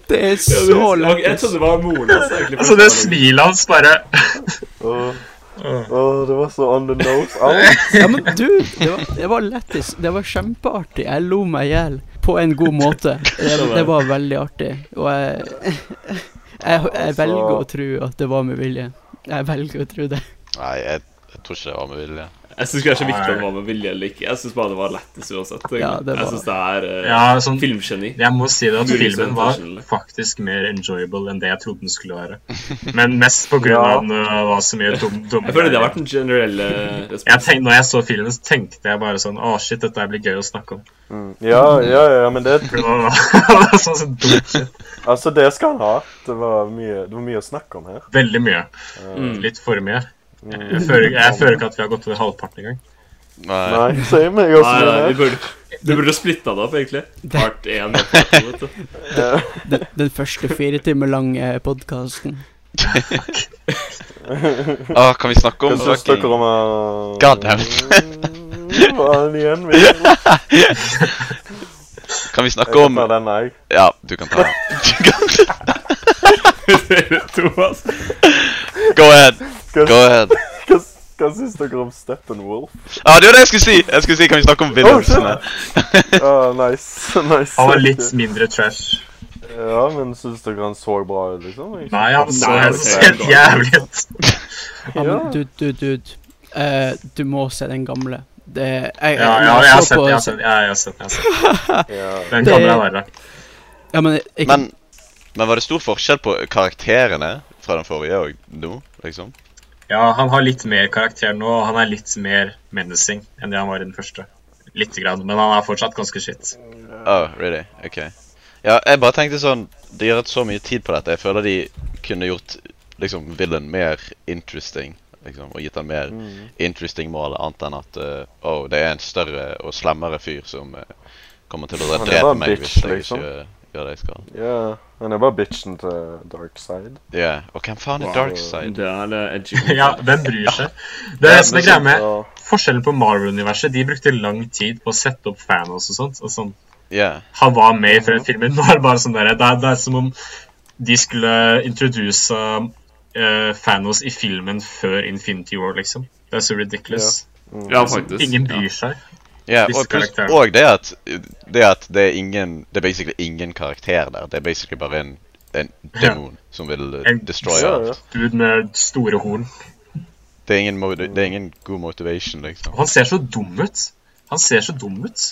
S3: Det er
S5: Ja, det-
S3: så
S5: ok, Jeg
S3: lættis.
S5: trodde det var moren hans. egentlig.
S4: Altså, det smilet hans bare
S1: Åh, åh, det var så on the nose. Au.
S4: [laughs]
S3: Ja, men du, det var, det var lættis. Det var kjempeartig. Jeg lo meg i hjel på en god måte. Det, det var veldig artig, og jeg, jeg, jeg velger å tro at det var med vilje. Jeg velger å tro det.
S6: Nei, jeg, jeg tror ikke det var med vilje.
S5: Jeg syns kanskje ikke viktig om det var med vilje eller ikke. Jeg syns bare det var lættis uansett.
S3: Ja, det
S5: Jeg
S3: var-
S5: syns det er eh,
S4: Ja, sånn
S5: filmgeni.
S4: Jeg må si det at
S5: Mulig
S4: filmen var
S5: sensationell.
S4: faktisk mer enjoyable enn det jeg trodde den skulle være. Men mest på grunn av eh, at det var så mye dum, dumme
S5: Jeg føler det har
S4: greier.
S5: vært eh, den generelle
S4: jeg
S5: responsen.
S4: tenkte, når jeg så filmen, så tenkte jeg bare sånn Å, shit, dette her blir gøy å snakke om.
S1: Mm, Ja, ja, ja, men det
S4: For Det var, [laughs] det var sånn så dumt.
S1: Altså, det skal han ha. Det var mye, det var mye å snakke om her.
S4: Veldig mye.
S5: Mm.
S4: Litt for mye. Jeg føler, jeg føler ikke at vi har gått over halvparten engang.
S6: Nei.
S1: Nei, same. Jeg også
S5: Nei, nei, vi
S1: mener.
S5: burde, du burde splitta det opp, egentlig. Part én. og part to,
S4: [laughs]
S5: vet du.
S3: Den, den første fire timer lange podkasten.
S6: Åh, kan vi snakke
S1: Hva
S6: om
S1: syns
S6: fucking-
S1: dere om uh,
S6: God damn.
S1: Hva er det igjen? Vi jeg
S6: [laughs] Kan vi snakke
S1: kan
S6: om
S1: ta den, jeg.
S6: Ja, du kan ta den. Du kan ta-
S5: Dere to, altså.
S6: Go ahead.
S1: Hva,
S6: Go ahead.
S1: hva, hva syns dere om Steppenwolf?
S6: Ja, det var det jeg skulle si! Jeg skulle si, Kan vi snakke om villainsene?
S1: Ah, nice. [laughs] nice.
S4: Han var litt mindre trash.
S1: Ja, men syns dere han så bra ut, liksom? Jeg-
S4: Nei, han så
S5: Nei,
S4: helt helt jævlig ut.
S3: Ja, men
S1: Ja.
S3: dude, dude, dude. Eh, du må se den gamle. Det, jeg, jeg,
S4: Ja, ja,
S3: jeg
S4: jeg har
S3: så
S4: sett
S3: på-
S4: den. Jeg har sett den. Ja, jeg har sett den. jeg har sett den.
S1: Ja.
S4: Den
S3: Det-
S4: kan dere være.
S3: Ja, men, jeg,
S6: Men, men var det stor forskjell på karakterene fra den forrige og nå, liksom?
S4: Ja, han har litt mer karakter nå, og han er litt mer menacing enn det han var i den første. Litt grann, men han er fortsatt ganske shit.
S6: Oh, really? Ok. Ja, jeg bare tenkte sånn De har hatt så mye tid på dette. Jeg føler de kunne gjort liksom villain mer interesting. Liksom, og gitt han mer
S1: Mm.
S6: interesting mål, annet enn at eh, Oh, det er en større og slemmere fyr som eh, kommer til å
S1: Han er bare
S6: drepe
S1: en
S6: meg
S1: bitch,
S6: hvis jeg
S1: liksom.
S6: ikke gjør, gjør det jeg skal.
S1: ja. Han er bare bitchen til Darkside.
S6: Ja, Og hvem faen er
S1: Wow.
S6: Darkside?
S5: Det er eh, edgy.
S4: [laughs] Ja, hvem bryr seg? Det er som er greia med
S1: Ja.
S4: forskjellen på Marvel-universet. De brukte lang tid på å sette opp Thanos og sånt. Og sånn.
S6: Ja.
S4: Han var med i flere filmer. [laughs] Nå er det bare sånn der, det, er, det er som om de skulle introduse eh, Thanos i filmen før Infinity War, liksom. Det er så ridiculous.
S5: Ja, faktisk.
S4: Ingen bryr seg.
S6: Ja,
S4: Disse
S6: og, pluss,
S4: karakterene.
S6: og det at det at det er ingen Det er basically ingen karakter der. Det er basically bare en, en demon som vil uh,
S4: En-
S6: destroy
S1: Ja, ja.
S6: alt.
S4: Dude med store horn.
S6: Det er, ingen mo- det er ingen god motivation, liksom.
S4: Og Han ser så dum ut. Han ser så dum ut.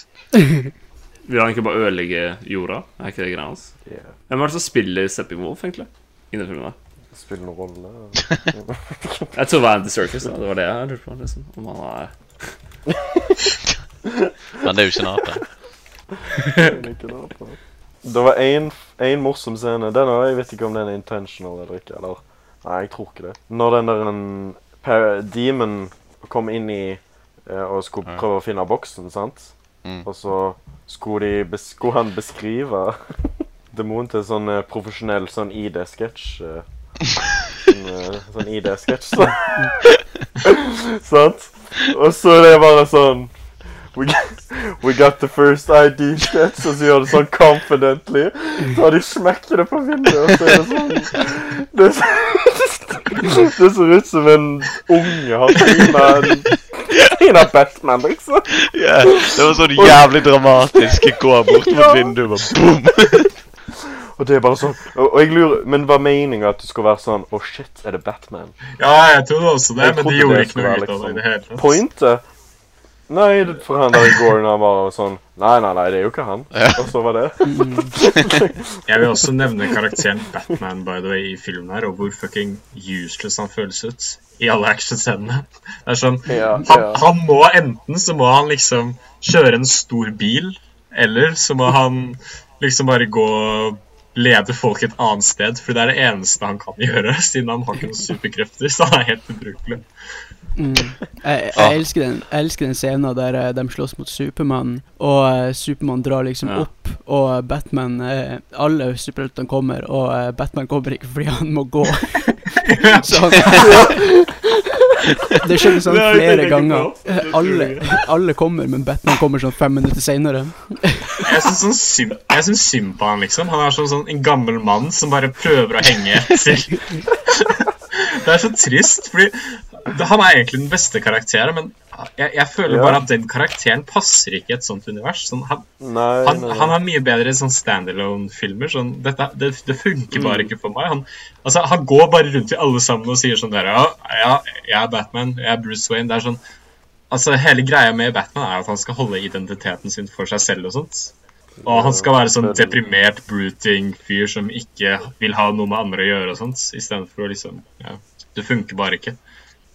S5: Vil han ikke bare ødelegge jorda? Er ikke det greia hans?
S1: Ja.
S5: Hvem er det som spiller Stepping Wolf, egentlig? I den filmen der?
S1: Spiller noen rolle.
S5: Jeg tror det var Andy Circus. Da. Det var det jeg lurte på. liksom Om han er
S6: Men det er jo ikke en ape.
S1: Jeg liker det, altså. Det var en, en morsom scene. Den er, jeg vet ikke om den er intentional eller ikke. eller... Nei, jeg tror ikke det. Når den der en pa- demon kom inn i eh, og skulle
S6: Ja.
S1: prøve å finne boksen, sant?
S6: Mm.
S1: Og så skulle, de, bes- skulle han beskrive [laughs] demonen til sånn eh, profesjonell sånn ID-sketsj. eh, Sånn, eh, sånn [laughs] ID-sketsj,
S6: [laughs]
S1: så. sant? Og så er det bare sånn [laughs] We got, we got the first ID sketch, og så gjør det sånn confidently. Så har de smekker det på vinduet, og så er det sånn Det, ser- det ser ut som en unge har tryna en tryna Batman, liksom.
S6: [laughs] Ja, det var sånn jævlig dramatisk. Gå bort mot
S1: Ja.
S6: vinduet og boom!
S1: Og det er bare sånn Og, og jeg lurer Men var meninga at det skulle være sånn Å, shit, er det Batman?
S4: Ja, jeg trodde også det,
S1: Jeg
S4: men de
S1: trodde
S4: gjorde
S1: det
S4: ikke
S1: skulle
S4: noe
S1: være
S4: ut av det. i
S1: liksom
S4: det hele tatt.
S1: Pointet? Nei, det- for han der i går han var sånn Nei, nei, nei, det er jo ikke han. Og så var det.
S4: Jeg vil også nevne karakteren Batman by the way, i filmen her, og hvor fucking useless han føles ut i alle actionscenene. Det er sånn,
S1: Ja,
S4: han,
S1: ja.
S4: han må enten så må han liksom kjøre en stor bil, eller så må han liksom bare gå og lede folk et annet sted, for det er det eneste han kan gjøre, siden han har ikke noen superkrefter, så han er helt ubrukelig.
S3: Mm. Jeg, jeg, elsker den, jeg elsker den scenen der eh, de slåss mot Supermann, og eh, Supermann drar liksom
S5: Ja.
S3: opp, og eh, Batman eh, Alle superheltene kommer, og eh, Batman kommer ikke fordi han må
S4: [laughs]
S3: gå. Så han, det skjedde sånn
S5: Det har jeg
S3: flere
S5: tenkt
S3: ganger.
S5: på. Det er
S3: Alle,
S5: utrolig
S3: alle kommer, men Batman kommer sånn fem minutter seinere.
S4: Jeg syns sånn sym- jeg syns synd på han, liksom. Han er sånn, sånn en gammel mann som bare prøver å henge etter. [laughs] Det er så trist, fordi det- han er egentlig den beste karakteren, men jeg, jeg føler
S1: Ja.
S4: bare at den karakteren passer ikke i et sånt univers. Sånn, han,
S1: Nei,
S4: han,
S1: nei,
S4: han
S1: nei.
S4: er mye bedre i sånn standalone-filmer. Sånn, dette- det, det
S1: Mm.
S4: funker bare ikke for meg. Han, altså, han går bare rundt til alle sammen og sier sånn der ja, ja, jeg er Batman, jeg er Bruce Wayne. Det er sånn Altså, hele greia med Batman er at han skal holde identiteten sin for seg selv og sånt. Og han skal være sånn
S1: veldig.
S4: deprimert bruting-fyr som ikke vil ha noe med andre å gjøre og sånt, istedenfor å liksom Ja, det funker bare ikke.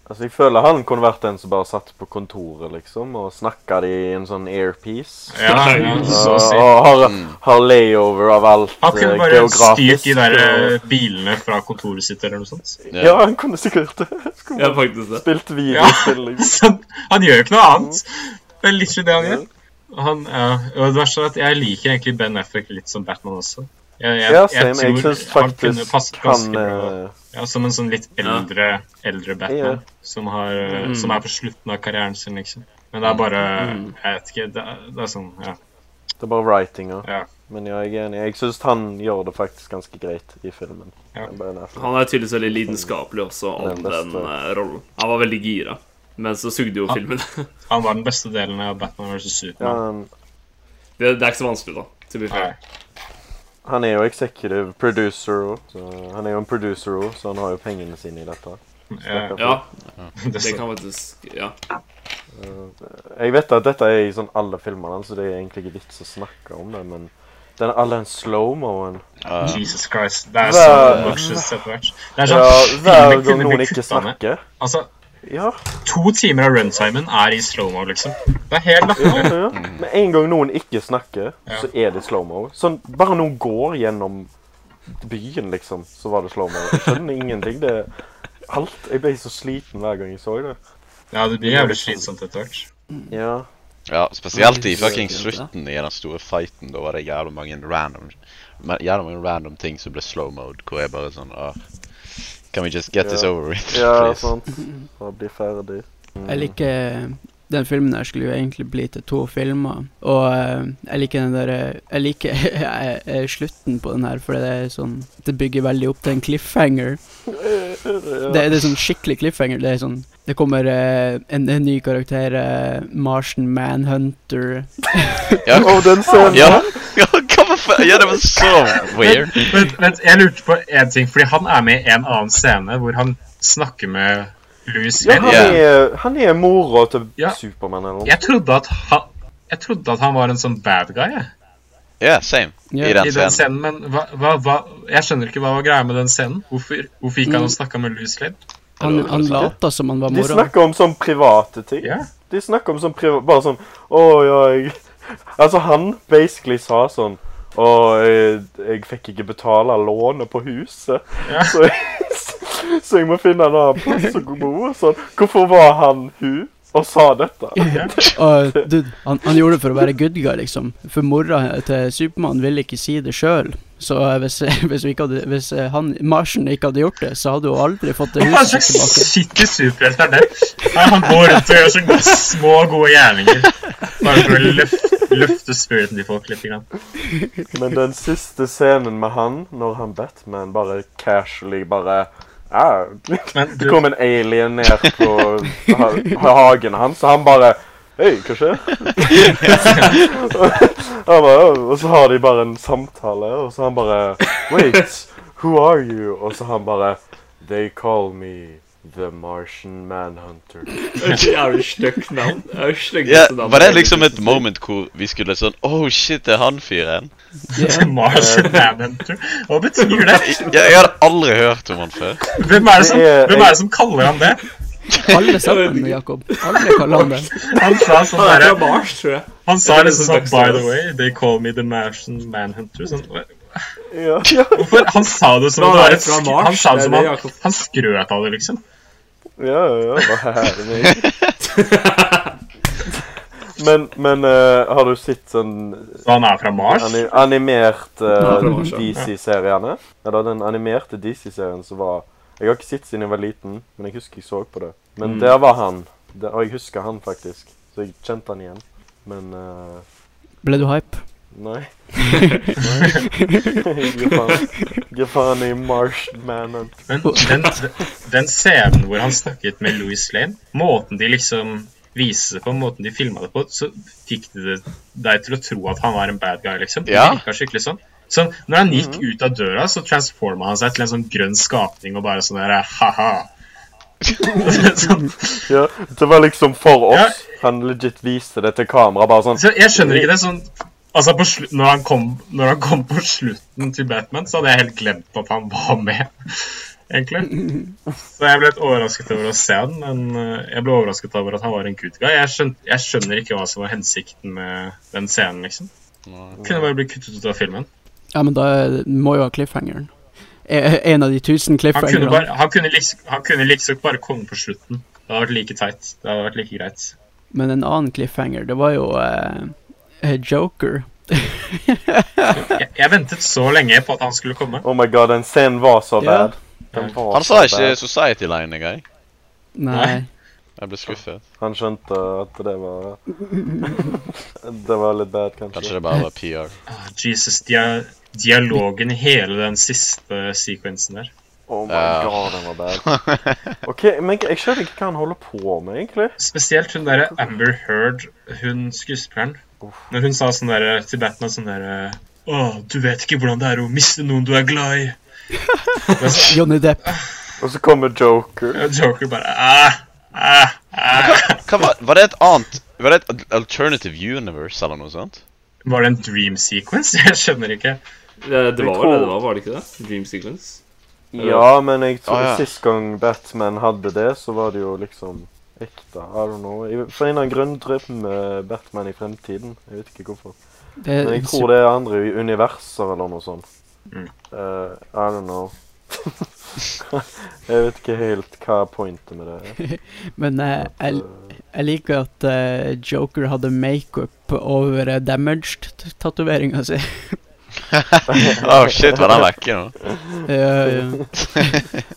S1: Altså, jeg føler han kunne vært den som bare satt på kontoret, liksom, og snakka det i en sånn earpiece.
S4: Ja, ja, så å si.
S1: og har, har layover av alt
S4: Han kunne
S1: eh,
S4: bare styrt
S1: geografisk,
S4: de der
S1: og-
S4: eh, bilene fra kontoret sitt eller noe sånt.
S1: Ja, han kunne sikkert [laughs] det.
S5: Ja, faktisk det.
S1: Spilt videospill, liksom.
S4: [laughs] Så han- han gjør jo
S1: Mm.
S4: ikke noe annet. Det er literally det han gjør. Han, ja. Og det verste er at jeg liker egentlig Ben Affleck litt som Batman også. Jeg, jeg,
S1: Ja, same. Jeg syns
S4: han kunne
S1: faktisk
S4: passet ganske
S1: han
S4: bra.
S1: eh,
S4: Ja, som en sånn litt eldre, eldre
S1: Ja.
S4: Batman. Som, har, eh, som er på slutten av karrieren sin, liksom. Men det er bare Jeg vet ikke. Det er, det er sånn Ja.
S1: Det er bare writinga.
S4: Ja.
S1: Men ja, jeg er enig. Jeg syns han gjør det faktisk ganske greit i filmen.
S4: Ja.
S1: Ben Affleck.
S5: Han er tydeligvis veldig lidenskapelig også om
S1: Den beste.
S5: den eh, rollen. Han var veldig gira, men så sugde jo filmen. [laughs]
S4: Han var den beste delen av Batman versus
S1: Ja,
S4: Superman.
S1: han,
S5: det, det er ikke så vanskelig, da. To be fair.
S4: Nei.
S1: han er jo executive producer òg. Han er jo en producer òg, så han har jo pengene sine i dette.
S4: Ja,
S5: Ja,
S4: det
S5: det
S4: er sant.
S5: kan faktisk Ja.
S6: [laughs]
S1: Jeg vet at dette er i sånn alle filmene, så det er egentlig ikke vits å snakke om det, men den, all den slow-moen
S6: Uh,
S4: Jesus Christ. Det er så
S1: Hver-
S4: obnoxious etter hvert. Det er
S1: ja,
S4: sånn
S1: Hver
S4: filmen
S1: gang
S4: kunne
S1: noen
S4: blitt
S1: ikke
S4: kutta ned.
S1: snakker.
S4: Altså,
S1: Ja,
S4: to timer av runtimen er i slow-mo, liksom. Det er helt
S1: ja,
S4: latterlig.
S1: ja. Med en gang noen ikke snakker, så er det slow-mo. Sånn, bare noen går gjennom byen, liksom, så var det slow-mo. Jeg skjønner ingenting. Det er alt. Jeg ble så sliten hver gang jeg så det.
S4: Ja, det blir jævlig slitsomt etter hvert.
S1: Ja.
S6: ja, spesielt i
S5: Oi,
S6: fucking
S5: det er fint,
S6: slutten i den store fighten. Da var det jævlig mange random men jævlig mange random ting som ble slow mode, hvor jeg bare sånn ah, Can we just get this
S1: Ja.
S6: over with, [laughs]
S1: Ja,
S6: please?
S1: sant. Bare bli ferdig. Mm.
S3: Jeg liker Den filmen der skulle jo egentlig bli til to filmer, og eh, jeg liker den der eh, Jeg liker [laughs] eh, eh, slutten på den her, for det er sånn Det bygger veldig opp til en cliffhanger. Det, det er sånn skikkelig cliffhanger. Det er sånn Det kommer eh, en, en ny karakter, eh, Martian Manhunter.
S6: Ja.
S1: Å, den scenen!
S6: Ja. ja, hva for faen? Ja, det var så weird.
S4: Vent, vent, jeg lurte på én ting, fordi han er med i en annen scene hvor han snakker med Louis
S1: Ja,
S4: Lane.
S1: han er, han er mora til
S4: Ja.
S1: Supermann eller noe.
S4: Jeg trodde at han jeg trodde at han var en sånn bad guy jeg,
S6: Ja, same.
S3: Ja.
S6: I den
S4: i
S6: scenen.
S4: den scenen, men hva, hva, hva, jeg skjønner ikke hva var greia med den scenen. Hvorfor, hvorfor gikk han og snakka med Louis Lane?
S3: Han, han later som han var
S1: De
S3: mora.
S1: snakker om sånn private ting.
S4: Ja.
S1: De snakker om sånn priva... Bare sånn Å, ja, jeg [laughs] Altså, han basically sa sånn Å, jeg, jeg fikk ikke betale lånet på huset,
S4: Ja.
S1: [laughs] så, jeg, så jeg må finne en annen plass å bo. og Sånn. Hvorfor var han hun og sa dette?
S3: Og,
S4: [laughs]
S3: dude, han, han gjorde det for å være good guy, liksom. For mora til Supermann ville ikke si det sjøl. Så eh, hvis, [laughs] hvis, vi ikke hadde, hvis eh, han, Martian ikke hadde gjort det, så hadde hun aldri fått det
S4: Hva
S3: huset
S4: slags
S3: tilbake.
S4: skittig superhelt er det? Nei, han går rundt og gjør sånne små, gode gjerninger. Bare for å løfte, løfte spiriten til folk litt. Grann.
S1: Men den siste scenen med han, når han Batman bare casually bare «Au».
S4: Men
S1: Det
S4: du,
S1: kom en alien ned på ha hagen hans, og han bare Hei, hva skjer? [laughs] han bare, «Åh», og så har de bare en samtale, og så han bare Wait, who are you? Og så han bare They call me The Martian Manhunter.
S5: Et jævlig stygt navn. Det er jo
S6: Ja,
S5: styggeste navn.
S6: var det liksom et moment hvor vi skulle sånn Oh shit, det er han fyren.
S5: Eh,
S4: Martian Manhunter. Hva betyr det?
S6: Jeg, jeg hadde aldri hørt om han før.
S4: Hvem er det som,
S1: Det er-
S4: hvem er det som kaller han det? [laughs]
S3: Alle sammen, Jakob. Alle kaller han det.
S4: Han sa sånn
S5: Han er
S4: derre
S5: fra Mars, tror jeg.
S4: Han sa
S5: Jeg tror
S4: liksom sånn
S5: det er
S4: By
S5: Dexter,
S4: the
S5: ass.
S4: way, they call me the Martian Manhunter. Sånn.
S1: Ja, ja,
S4: Hvorfor? Han sa det som
S5: Men
S4: om
S5: han
S4: det var
S5: er
S4: et
S5: fra
S4: sk-
S5: Mars,
S4: Han sa det
S5: det er
S4: som
S5: det,
S4: han,
S5: Jakob.
S4: han skrøt av det, liksom.
S1: ja, ja, hva er det? Men, men eh, har du sett sånn
S4: Så han er fra Mars.
S1: Ani animert eh,
S5: det var sånn.
S1: DC-seriene. Eller den animerte DC-serien som var Jeg har ikke sett siden jeg var liten, men jeg husker jeg så på det.
S5: Mm.
S1: Men der var han. Der, og jeg husker han, faktisk. Så jeg kjente han igjen. Men eh,
S3: Ble du hype?
S5: [laughs]
S1: nei. nei. Gi faen. Gi faen i Marshmanen.
S4: Men den, den scenen hvor han snakket med Louis Lane, måten de liksom viste det på, måten de filma det på, så fikk de det deg til å tro at han var en bad guy, liksom. Det
S6: Ja.
S4: virka skikkelig sånn. Så når han gikk ut av døra, så transforma han seg til en sånn grønn skapning og bare sånn der ha-ha. sånn,
S1: Ja, det var liksom for
S4: Ja.
S1: oss. Han legit viste det til kamera, bare sånn.
S4: Så jeg skjønner ikke det sånn Altså, på slu når, han kom, når han kom på slutten til Batman, så hadde jeg helt glemt at han var med. egentlig. Så jeg ble litt overrasket over å se han, men eh, jeg ble overrasket over at han var en good guy. Jeg, skjøn, jeg skjønner ikke hva som var hensikten med den scenen, liksom. Kunne bare bli kuttet ut av filmen.
S3: Ja, men da er- må jo ha cliffhangeren. E- En av de tusen
S4: Han kunne,
S3: cliffhangerne.
S4: bare, han kunne, liksom, han kunne liksom bare komme på slutten. Det hadde vært like teit. Det hadde vært like greit.
S3: Men en annen cliffhanger, det var jo eh, eh, Joker.
S4: Jeg, jeg ventet så lenge på at han skulle komme.
S1: Oh my god, den scenen var så
S3: Ja.
S1: bad. Den
S4: Mm.
S1: var
S6: Han
S1: så
S6: sa
S1: bad.
S6: ikke Society Line engang.
S3: Nei.
S6: Jeg ble skuffet.
S1: Han skjønte at det var [laughs] Det var litt bad,
S6: Kanskje
S1: kanskje.
S6: det bare var [laughs] PR.
S4: Ah, Jesus, dia dialogen i hele den siste sekvensen der.
S1: Oh my
S6: Ja.
S1: god, den var bad.
S6: [laughs]
S1: Ok, men jeg skjønner ikke hva han holder på med, egentlig.
S4: Spesielt hun derre Amber Heard, hun skuespilleren. Når hun sa sånn derre til Batman sånn derre Å, du vet ikke hvordan det er å miste noen du er glad i. Det er så-
S3: Johnny Depp.
S1: Og så kommer Joker.
S4: Og Joker bare «Ah, Æh, æh, æh.
S6: Hva var, var det et annet Var det et alternative universe eller noe sånt?
S4: Var det en dream sequence? [laughs] Jeg skjønner ikke.
S5: Det, det
S1: Vi
S5: var vel
S1: tror-
S5: det det var, var det ikke det? Dream Sequence?
S1: Ja, men jeg tror
S6: Ah, ja.
S1: sist gang Batman hadde det, så var det jo liksom ekte. I don't know. I- For en av grunnene med Batman i fremtiden. Jeg vet ikke hvorfor.
S3: Det,
S1: Men jeg tror det er andre universer eller noe sånt.
S4: Mm.
S1: Eh, I don't know. [laughs] jeg vet ikke helt hva pointet med det er.
S3: Men eh, jeg, jeg liker at eh, Joker hadde makeup over eh, damaged-tatoveringa si.
S6: Oh shit, var den vekke nå?
S3: [laughs] Ja, ja.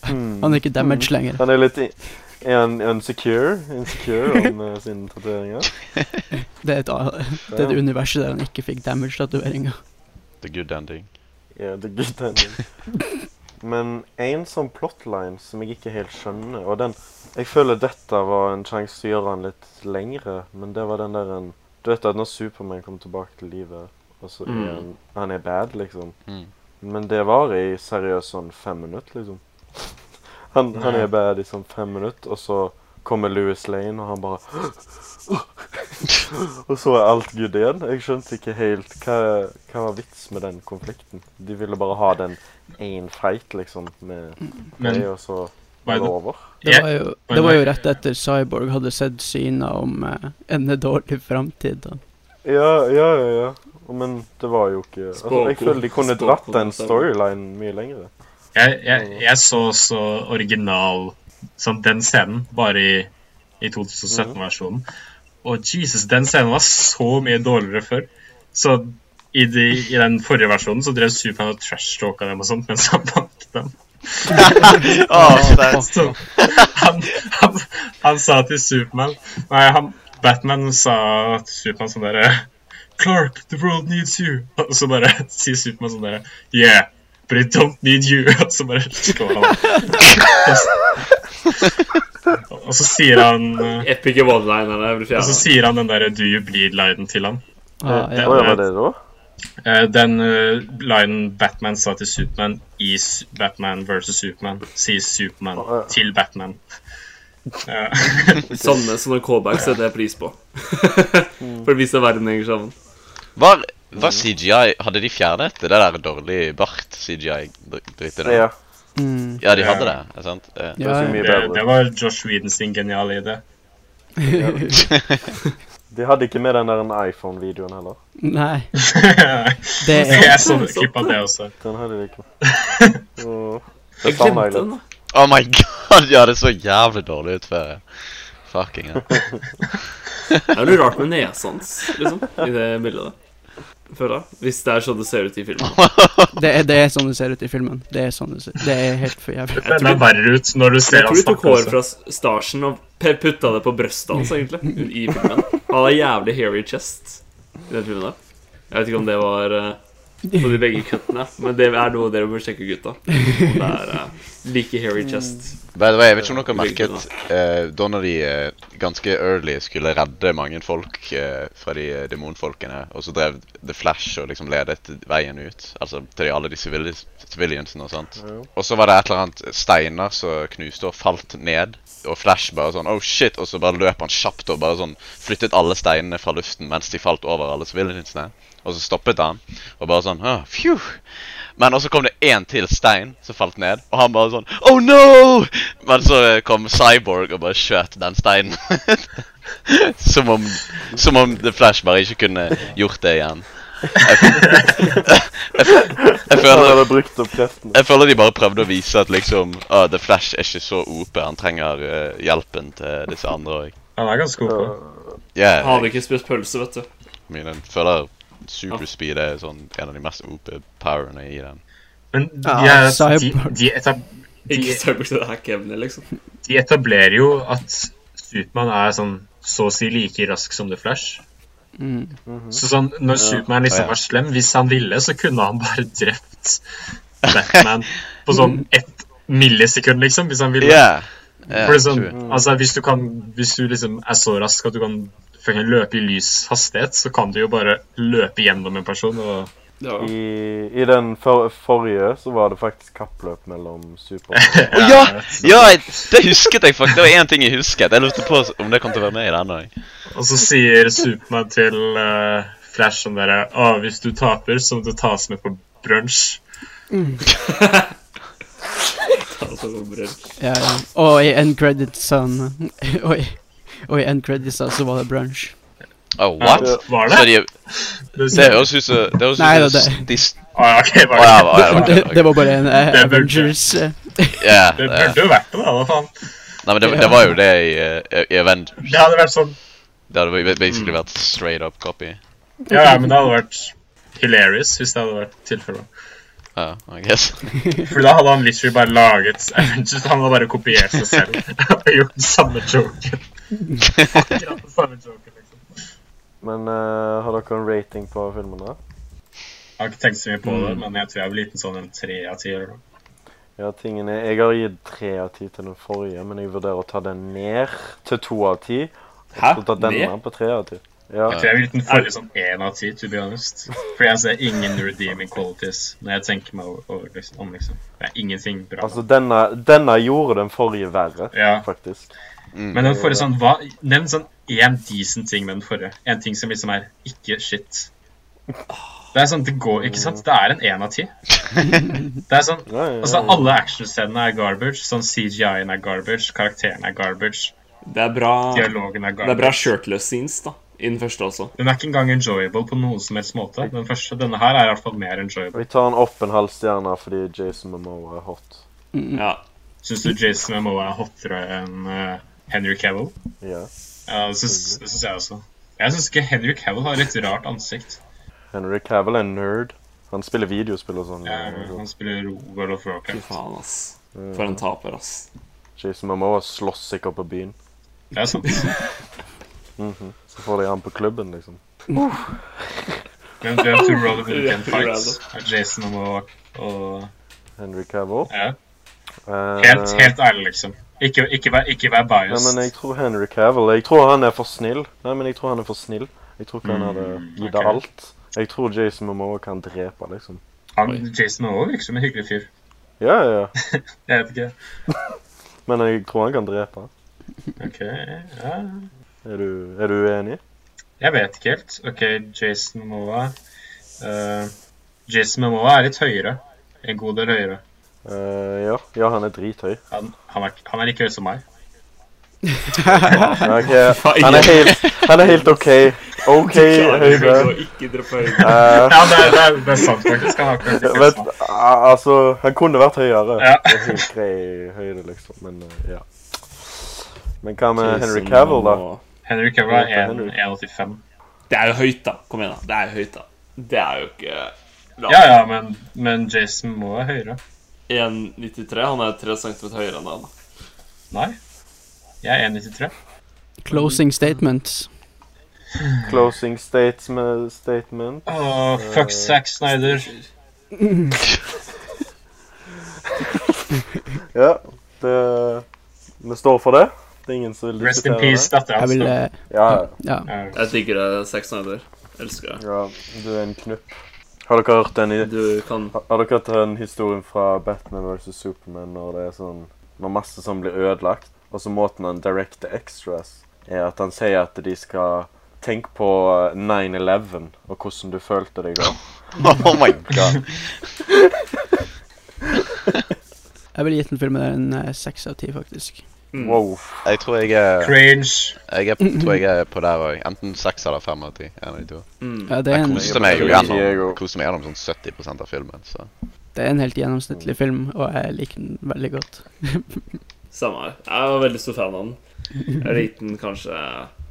S3: Han er ikke damaged lenger.
S1: Hmm. Han er litt i- er han unsecure, insecure om eh, sine tatoveringer.
S3: Det er, et, annet- [laughs] det er det universet der han ikke fikk damaged-tatoveringa.
S6: The good ending.
S1: Ja, det er good ending. Men en sånn plotline som jeg ikke helt skjønner, og den Jeg føler dette var en sjanse til å gjøre den litt lengre, men det var den der en Du vet at når Supermann kom tilbake til livet, og så
S5: Mm.
S1: er han Han er bad, liksom.
S6: Mm.
S1: Men det varer i seriøst sånn fem minutter, liksom. [laughs] Han, han er bad i sånn fem minutter, og så kommer Louis Lane, og han bare [gasps] Og så er alt good igjen. Jeg skjønte ikke helt hva, hva var vits med den konflikten. De ville bare ha den én fight, liksom, med
S4: Men
S1: det, og så var
S4: hva er
S1: det
S4: det?
S1: over.
S3: Det
S4: Jeg-
S3: var jo, det var jo rett etter Cyborg hadde sett syna om eh, en dårlig framtid. da.
S1: Ja, ja, ja. ja. Og- Men det var jo ikke altså, Jeg
S5: Spåkon.
S1: føler de kunne
S5: Spåkon,
S1: dratt den
S5: stemmer.
S1: storyline mye lengre.
S4: Jeg, jeg, jeg så også original sånn, den scenen, bare i, i 2017-versjonen. Og Jesus, den scenen var så mye dårligere før. Så i, de, i den forrige versjonen så drev Superman og trash-talka dem og sånt mens han banket dem.
S6: Oh, sterkt.
S4: [laughs] Så han, han, han sa til Superman Nei, han, Batman sa til Superman sånn derre Clark, the world needs you. Og så bare sier Superman sånn derre Yeah, but it don't need you. [laughs] Og så bare slår han. Og så- Og så sier han eh,
S5: Epic one-liner der.
S4: og så
S5: Altså,
S4: sier han den derre Do you bleed-linen til han.
S1: Å
S3: Ah, ja.
S1: ja, var det da?
S4: Eh, Den eh, linen Batman sa til Superman i Su- Batman versus Superman, sier Superman
S1: Å, ja.
S4: til Batman. Eh,
S5: sånne, sånne callbacks setter jeg pris på. [laughs] For det viser at verden henger sammen.
S6: Var, var CGI Hadde de fjernet det der dårlig bart-CGI-drittet?
S1: Ja.
S3: Mm.
S6: ja, de hadde det. Er sant? Eh,
S1: Det var
S3: Ja,
S1: så mye
S4: [laughs] Det, det
S1: bedre.
S4: var Josh Whedon sin geniale idé. [laughs]
S1: De hadde ikke med den der en iPhone-videoen heller.
S3: [laughs] Nei, det er
S4: jeg så et klipp av det også.
S1: Den hadde de ikke. Åh, Det
S5: Jeg
S1: savner
S5: glemte
S1: jeg litt.
S5: den. da.
S6: Oh my god, ja, det så jævlig dårlig ut før. ja. Fucking ja.
S5: Det er noe rart med nesa hans liksom, i det bildet. der. Føler jeg. Hvis det er sånn det ser ut i
S1: [laughs]
S5: filmen.
S3: Det er, det er sånn det ser ut i filmen. Det er sånn det ser Det er helt for jævlig.
S4: Den er verre ut når du ser
S5: Jeg tror
S4: han
S5: de tok
S1: altså.
S4: snakke.
S5: håret
S4: også.
S5: fra starsen og pe- putta det på brøstet hans, egentlig. I filmen. Han har jævlig hairy chest i den filmen der. Jeg vet ikke om det var eh, på de begge kuttene, men det er noe dere bør sjekke, gutta. Om det er eh, like hairy
S1: [laughs]
S5: chest.
S6: By the way, jeg vet ikke om dere
S5: Eh,
S6: merket eh, da når de eh, ganske early skulle redde mange folk eh, fra de eh, demonfolkene, og så drev The Flash og liksom ledet veien ut, altså til de, alle de sivili- civiliansene og sånt.
S1: Ja.
S6: Og så var det et eller annet steiner som knuste og falt ned, og Flash bare sånn oh shit, og så bare løp han kjapt og bare sånn flyttet alle steinene fra luften mens de falt over alle civiliansene, og så stoppet han, og bare sånn «Åh, phew, Men også kom det én til stein som falt ned, og han bare sånn Oh no! Men så eh, kom Cyborg og bare skjøt den steinen. [laughs] som, om, som om The Flash bare ikke kunne gjort det igjen. Jeg, jeg, jeg
S1: Han
S6: føler
S1: hadde brukt opp kreftene.
S6: jeg føler de bare prøvde å vise at liksom ah, The Flash er ikke så OP. Han trenger eh, hjelpen til disse andre òg.
S4: Han er ganske god på det.
S6: Yeah,
S5: Han hadde ikke spist pølse, vet du.
S6: jeg mener, jeg føler superspeed er sånn en av de mest OP-powerne i den.
S4: Men de,
S3: Ja,
S4: er, de,
S3: cyborg.
S4: de, etab de,
S5: Ikke Cyborg til det her Kevin, liksom.
S4: de etablerer jo at Supermann er sånn så å si like rask som The Flash.
S3: Mm.
S4: Så sånn, når Supermann liksom
S6: Ja.
S4: var slem, hvis han ville, så kunne han bare drept
S6: [laughs]
S4: Batman på sånn ett millisekund, liksom, hvis han ville.
S6: Yeah. Yeah,
S4: For det er sånn,
S6: true.
S4: altså hvis du, kan, hvis du liksom er så rask at du kan fucking løpe i lys hastighet, så kan du jo bare løpe gjennom en person. og...
S5: Ja.
S1: I, I den for, forrige så var det faktisk kappløp mellom Supermann
S6: Å, ja! ja, jeg- det husket jeg faktisk. Det var én ting jeg husket. Jeg lurte på om det kom til å være med i den òg.
S4: Og så sier Supermann til eh, Flash sånn derre Å, hvis du taper, så må du tas med på brunsj.
S5: Altså, hvor bra.
S3: Ja, ja. Og i end [laughs] credits-en og, i- og i end credits-en så var det brunch.
S6: Oh, what?
S1: Ja.
S4: Var
S6: Så
S4: det?
S6: [laughs] de, det høres ut som det høres ut
S3: Nei,
S6: som
S3: det- det-
S6: s- de s-
S4: Å, ja, ok,
S6: Å,
S4: var det.
S6: ja, var- ja, var-
S3: [laughs] det, det var bare en eh,
S4: Det er brunch, ja.
S3: Avengers eh,
S6: Ja,
S4: Det
S6: det-
S4: burde jo vært det, da. hva faen?
S6: Nei, men det, det var jo det i, eh, i Event.
S4: Det hadde vært sånn
S6: Det hadde basically vært straight up copy.
S4: Ja, ja, men det hadde vært hilarious hvis det hadde vært tilfellet.
S6: Ja, I guess.
S4: For da hadde han literally bare laget Avengers. Han hadde bare kopiert seg selv og gjort den samme joken. Akkurat den samme joken, liksom.
S1: Men eh, har dere en rating på filmen? da?
S4: Jeg har ikke tenkt så mye på det, men jeg tror jeg ville gitt den sånn en tre av ti. eller noe.
S1: Ja, tingene, Jeg har gitt tre av ti til den forrige, men jeg vurderer å ta den ned til to av ti.
S5: Hæ?
S1: Så ta denne
S5: Ned?
S1: på tre av ti. Ja.
S4: Jeg tror jeg ville gitt den forrige sånn én av ti, to be honest. For jeg ser ingen redeeming qualities når jeg tenker meg over, over liksom, om, liksom. Det er ingenting bra.
S1: Altså, denne, denne gjorde den forrige verre,
S4: Ja.
S1: faktisk.
S4: Men den forrige sånn, hva, nevn sånn én decent ting med den forrige. En ting som liksom er ikke shit. Det er sånn, det går, ikke sant? Det er en én av ti.
S5: [laughs]
S4: Det er sånn,
S1: Ja, ja, ja.
S4: altså Alle
S5: Eh.
S4: actionscenene er garbage. Sånn CGI-en er garbage, karakterene er garbage,
S5: Det er bra Ah. Det
S4: dialogen er
S5: er bra
S4: garbage.
S5: shirtless scenes, da. I den første også.
S4: Den er ikke engang enjoyable på noen som helst måte. Den første, Denne her er i hvert fall mer enjoyable.
S1: Vi tar den opp en halv stjerne fordi Jason Momoa er hot.
S5: Ja.
S4: Syns du Jason Momoa er hottere enn eh, Henry Cavill?
S1: Ja.
S4: Ja, det syns det syns jeg også. Jeg syns ikke Henry Cavill har et rart ansikt.
S1: Henry Cavill er en nerd. Han spiller videospill og sånn.
S4: Ja, Eh, han spiller World of
S5: Fy
S4: Warcraft.
S5: faen, ass. For en taper, ass.
S1: Jason Momoa slåss sikkert på byen.
S4: Det er sant.
S1: Så får de han på klubben, liksom.
S4: Men du har to Road
S1: [laughs]
S4: of Weekend
S5: Rett og
S4: Fights av Jason og Moak og
S1: Henry Cavill.
S4: ja.
S1: Eh,
S4: Helt, helt ærlig, liksom. Ikke, ikke, vær, ikke vær
S1: Nei,
S4: biased.
S1: men jeg tror Henry Cavill Jeg tror han er for snill. Nei, men jeg tror han er for snill. Jeg tror ikke han hadde gitt
S4: ok.
S1: alt. Jeg tror Jason Momoa kan drepe, liksom.
S4: Han, Jason Moak virker som en hyggelig fyr.
S1: Ja, ja, ja.
S4: Jeg vet ikke.
S1: Men jeg tror han kan drepe.
S4: Ok, ja.
S1: Er du, er du uenig?
S4: Jeg vet ikke helt. Ok, Jason Moa Jason Moa er litt høyere. En god del høyere.
S1: Eh, ja. ja, han er drithøy.
S4: Han, han, er, han er ikke høy som meg.
S1: Ja, ok. Han, er helt, han er helt OK. OK høyde.
S5: Ikke droppe høyde.
S1: Eh,
S4: Ja, det er, det er, det er sant, faktisk. Han er ikke ikke høy
S1: [laughs] vet,
S4: som meg.
S1: ah, altså, han kunne vært høyere.
S4: Ja.
S1: Det er helt grei høyde, liksom. Men eh, ja. Men hva med Henry Cavill, da?
S4: Henry Cover er en-
S1: Henry.
S4: 1,85.
S5: Det er jo høyt, da. Kom igjen, da. Det er jo høyt, da. Det er jo ikke lavt.
S4: Ja, ja, men, men Jason Moa er høyere.
S5: 1,93. Han er 3 cm høyere enn deg. da.
S4: Nei. Jeg er 1,93.
S3: closing statements.
S1: Closing states statement.
S4: Åh, fuck Zack Snyder.
S1: Ja, det Vi står for det. Det er ingen som vil
S4: Rest in
S1: diskutere
S4: peace,
S1: det.
S4: dattera
S3: Jeg
S4: hans.
S3: vil eh,
S1: Ja, ja.
S3: Ja.
S4: Ja.
S5: Jeg digger det. Sex Snyder. Elsker det.
S1: ja, du er en knupp. Har dere hørt den, i-
S5: Du kan
S1: har dere hørt den historien fra Batman vs. Superman når det er sånn Når masse sånn blir ødelagt, og så måten han directer extras er at han sier at de skal tenke på eh, 9-11 og hvordan du følte deg da.
S6: Oh my god.
S3: Jeg ville gitt den filmen en eh, seks av ti, faktisk.
S5: Mm.
S1: Wow.
S6: Jeg tror jeg eh, er,
S4: Cringe.
S6: jeg er, tror jeg er på der òg. Enten seks eller fem av ti. En av de to.
S5: Mm.
S3: Ja, det, er
S6: Jeg
S3: en,
S6: koste meg jo
S1: Jeg
S6: gjennom,
S1: òg.
S6: jeg koste meg gjennom sånn 70 av filmen. så...
S3: det er en helt gjennomsnittlig film, og jeg liker den veldig godt.
S5: Samme her. Jeg var veldig stor fan av den. Jeg likte den kanskje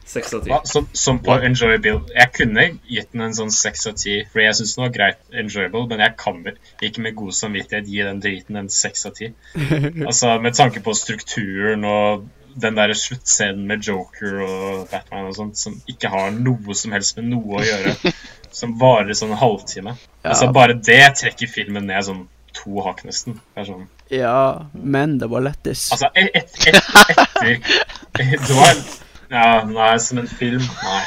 S5: seks av ti.
S4: Hva? Som, som på enjoyable Jeg kunne gitt den en sånn seks av ti, for jeg syns den var greit enjoyable, men jeg kan vel ikke med god samvittighet gi den driten en seks av ti. Altså, med tanke på strukturen og den der sluttscenen med Joker og Batman og sånt, som ikke har noe som helst med noe å gjøre, som varer sånn en halvtime. Altså, bare det trekker filmen ned sånn to hakk, nesten. Det er sånn
S3: Ja, men det var lættis.
S4: Altså, et, et, et, etter [laughs] Du har Ja, nei, som en film. Nei.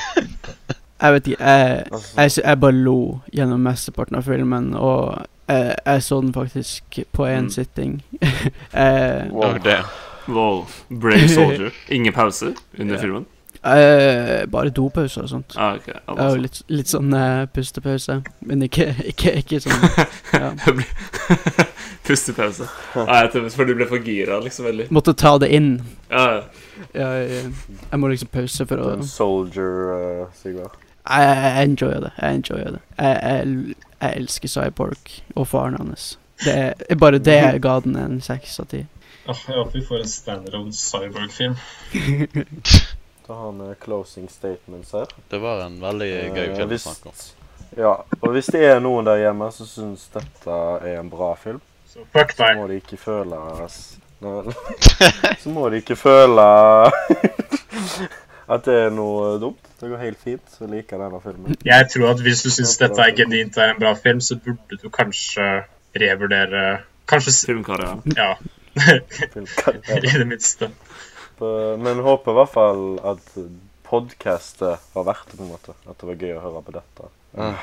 S3: Jeg vet ikke, jeg, jeg, sy- jeg bare lo gjennom mesteparten av filmen, og jeg, jeg så den faktisk på én
S5: Mm.
S3: sitting. [laughs] Eh, jeg,
S1: wow.
S5: Wow. Brave
S3: [laughs]
S5: soldier. Ingen pause under filmen?
S3: jeg, Eh, bare dopauser og sånt.
S5: Ah, ok.
S3: Jeg har jo litt, litt sånn eh, pustepause, men ikke, [laughs] ikke, ikke sånn
S5: [laughs]
S3: ja.
S5: Pustepause. Ah, jeg tenkte, for du ble for gira, liksom? Veldig.
S3: Måtte ta det inn.
S5: Ja, ja.
S3: Jeg, jeg må liksom pause for å
S1: En soldier, uh, Sigvard.
S3: Jeg, jeg enjoyer det. Jeg enjoyer det. Jeg, jeg, jeg elsker Cyborg og faren hans. Det er bare det jeg ga den en seks av ti.
S4: Åh, jeg håper vi får en standalone cyborg-film.
S1: Da har vi closing statements her.
S6: Det var en veldig gøy
S1: Eh,
S6: film å
S1: hvis-
S6: snakke om.
S1: Ja, og hvis det er noen der hjemme som syns dette er en bra film,
S4: Så fuck
S1: så
S4: deg.
S1: må de ikke føle Nei, [laughs] Så må de ikke føle [laughs] at det er noe dumt. Det går helt fint å like denne filmen.
S4: Jeg tror at hvis du syns dette er genuint er en bra film, så burde du kanskje revurdere Kanskje s-
S5: Filmkarrieren.
S4: Ja. I
S1: Filmkarriere.
S4: det minste.
S1: Så- eh, Men håper i hvert fall at podkastet var verdt det, på en måte. At det var gøy å høre på dette.
S4: Ah.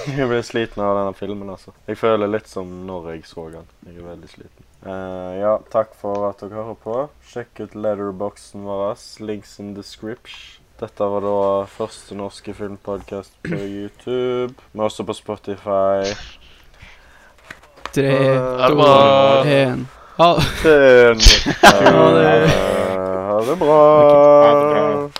S1: [laughs] Jeg ble sliten av denne filmen, altså. Jeg føler litt som når jeg så den. Jeg er veldig sliten. Eh, ja, takk for at dere hører på. Sjekk ut letterboxen vår. Links in description. Dette var da første norske filmpodkast på YouTube. Men også på Spotify.
S3: Tre,
S1: Eh,
S3: to,
S2: bra.
S3: én Ha
S1: Til nytt. Eh, Ha det bra.
S4: Ha det bra.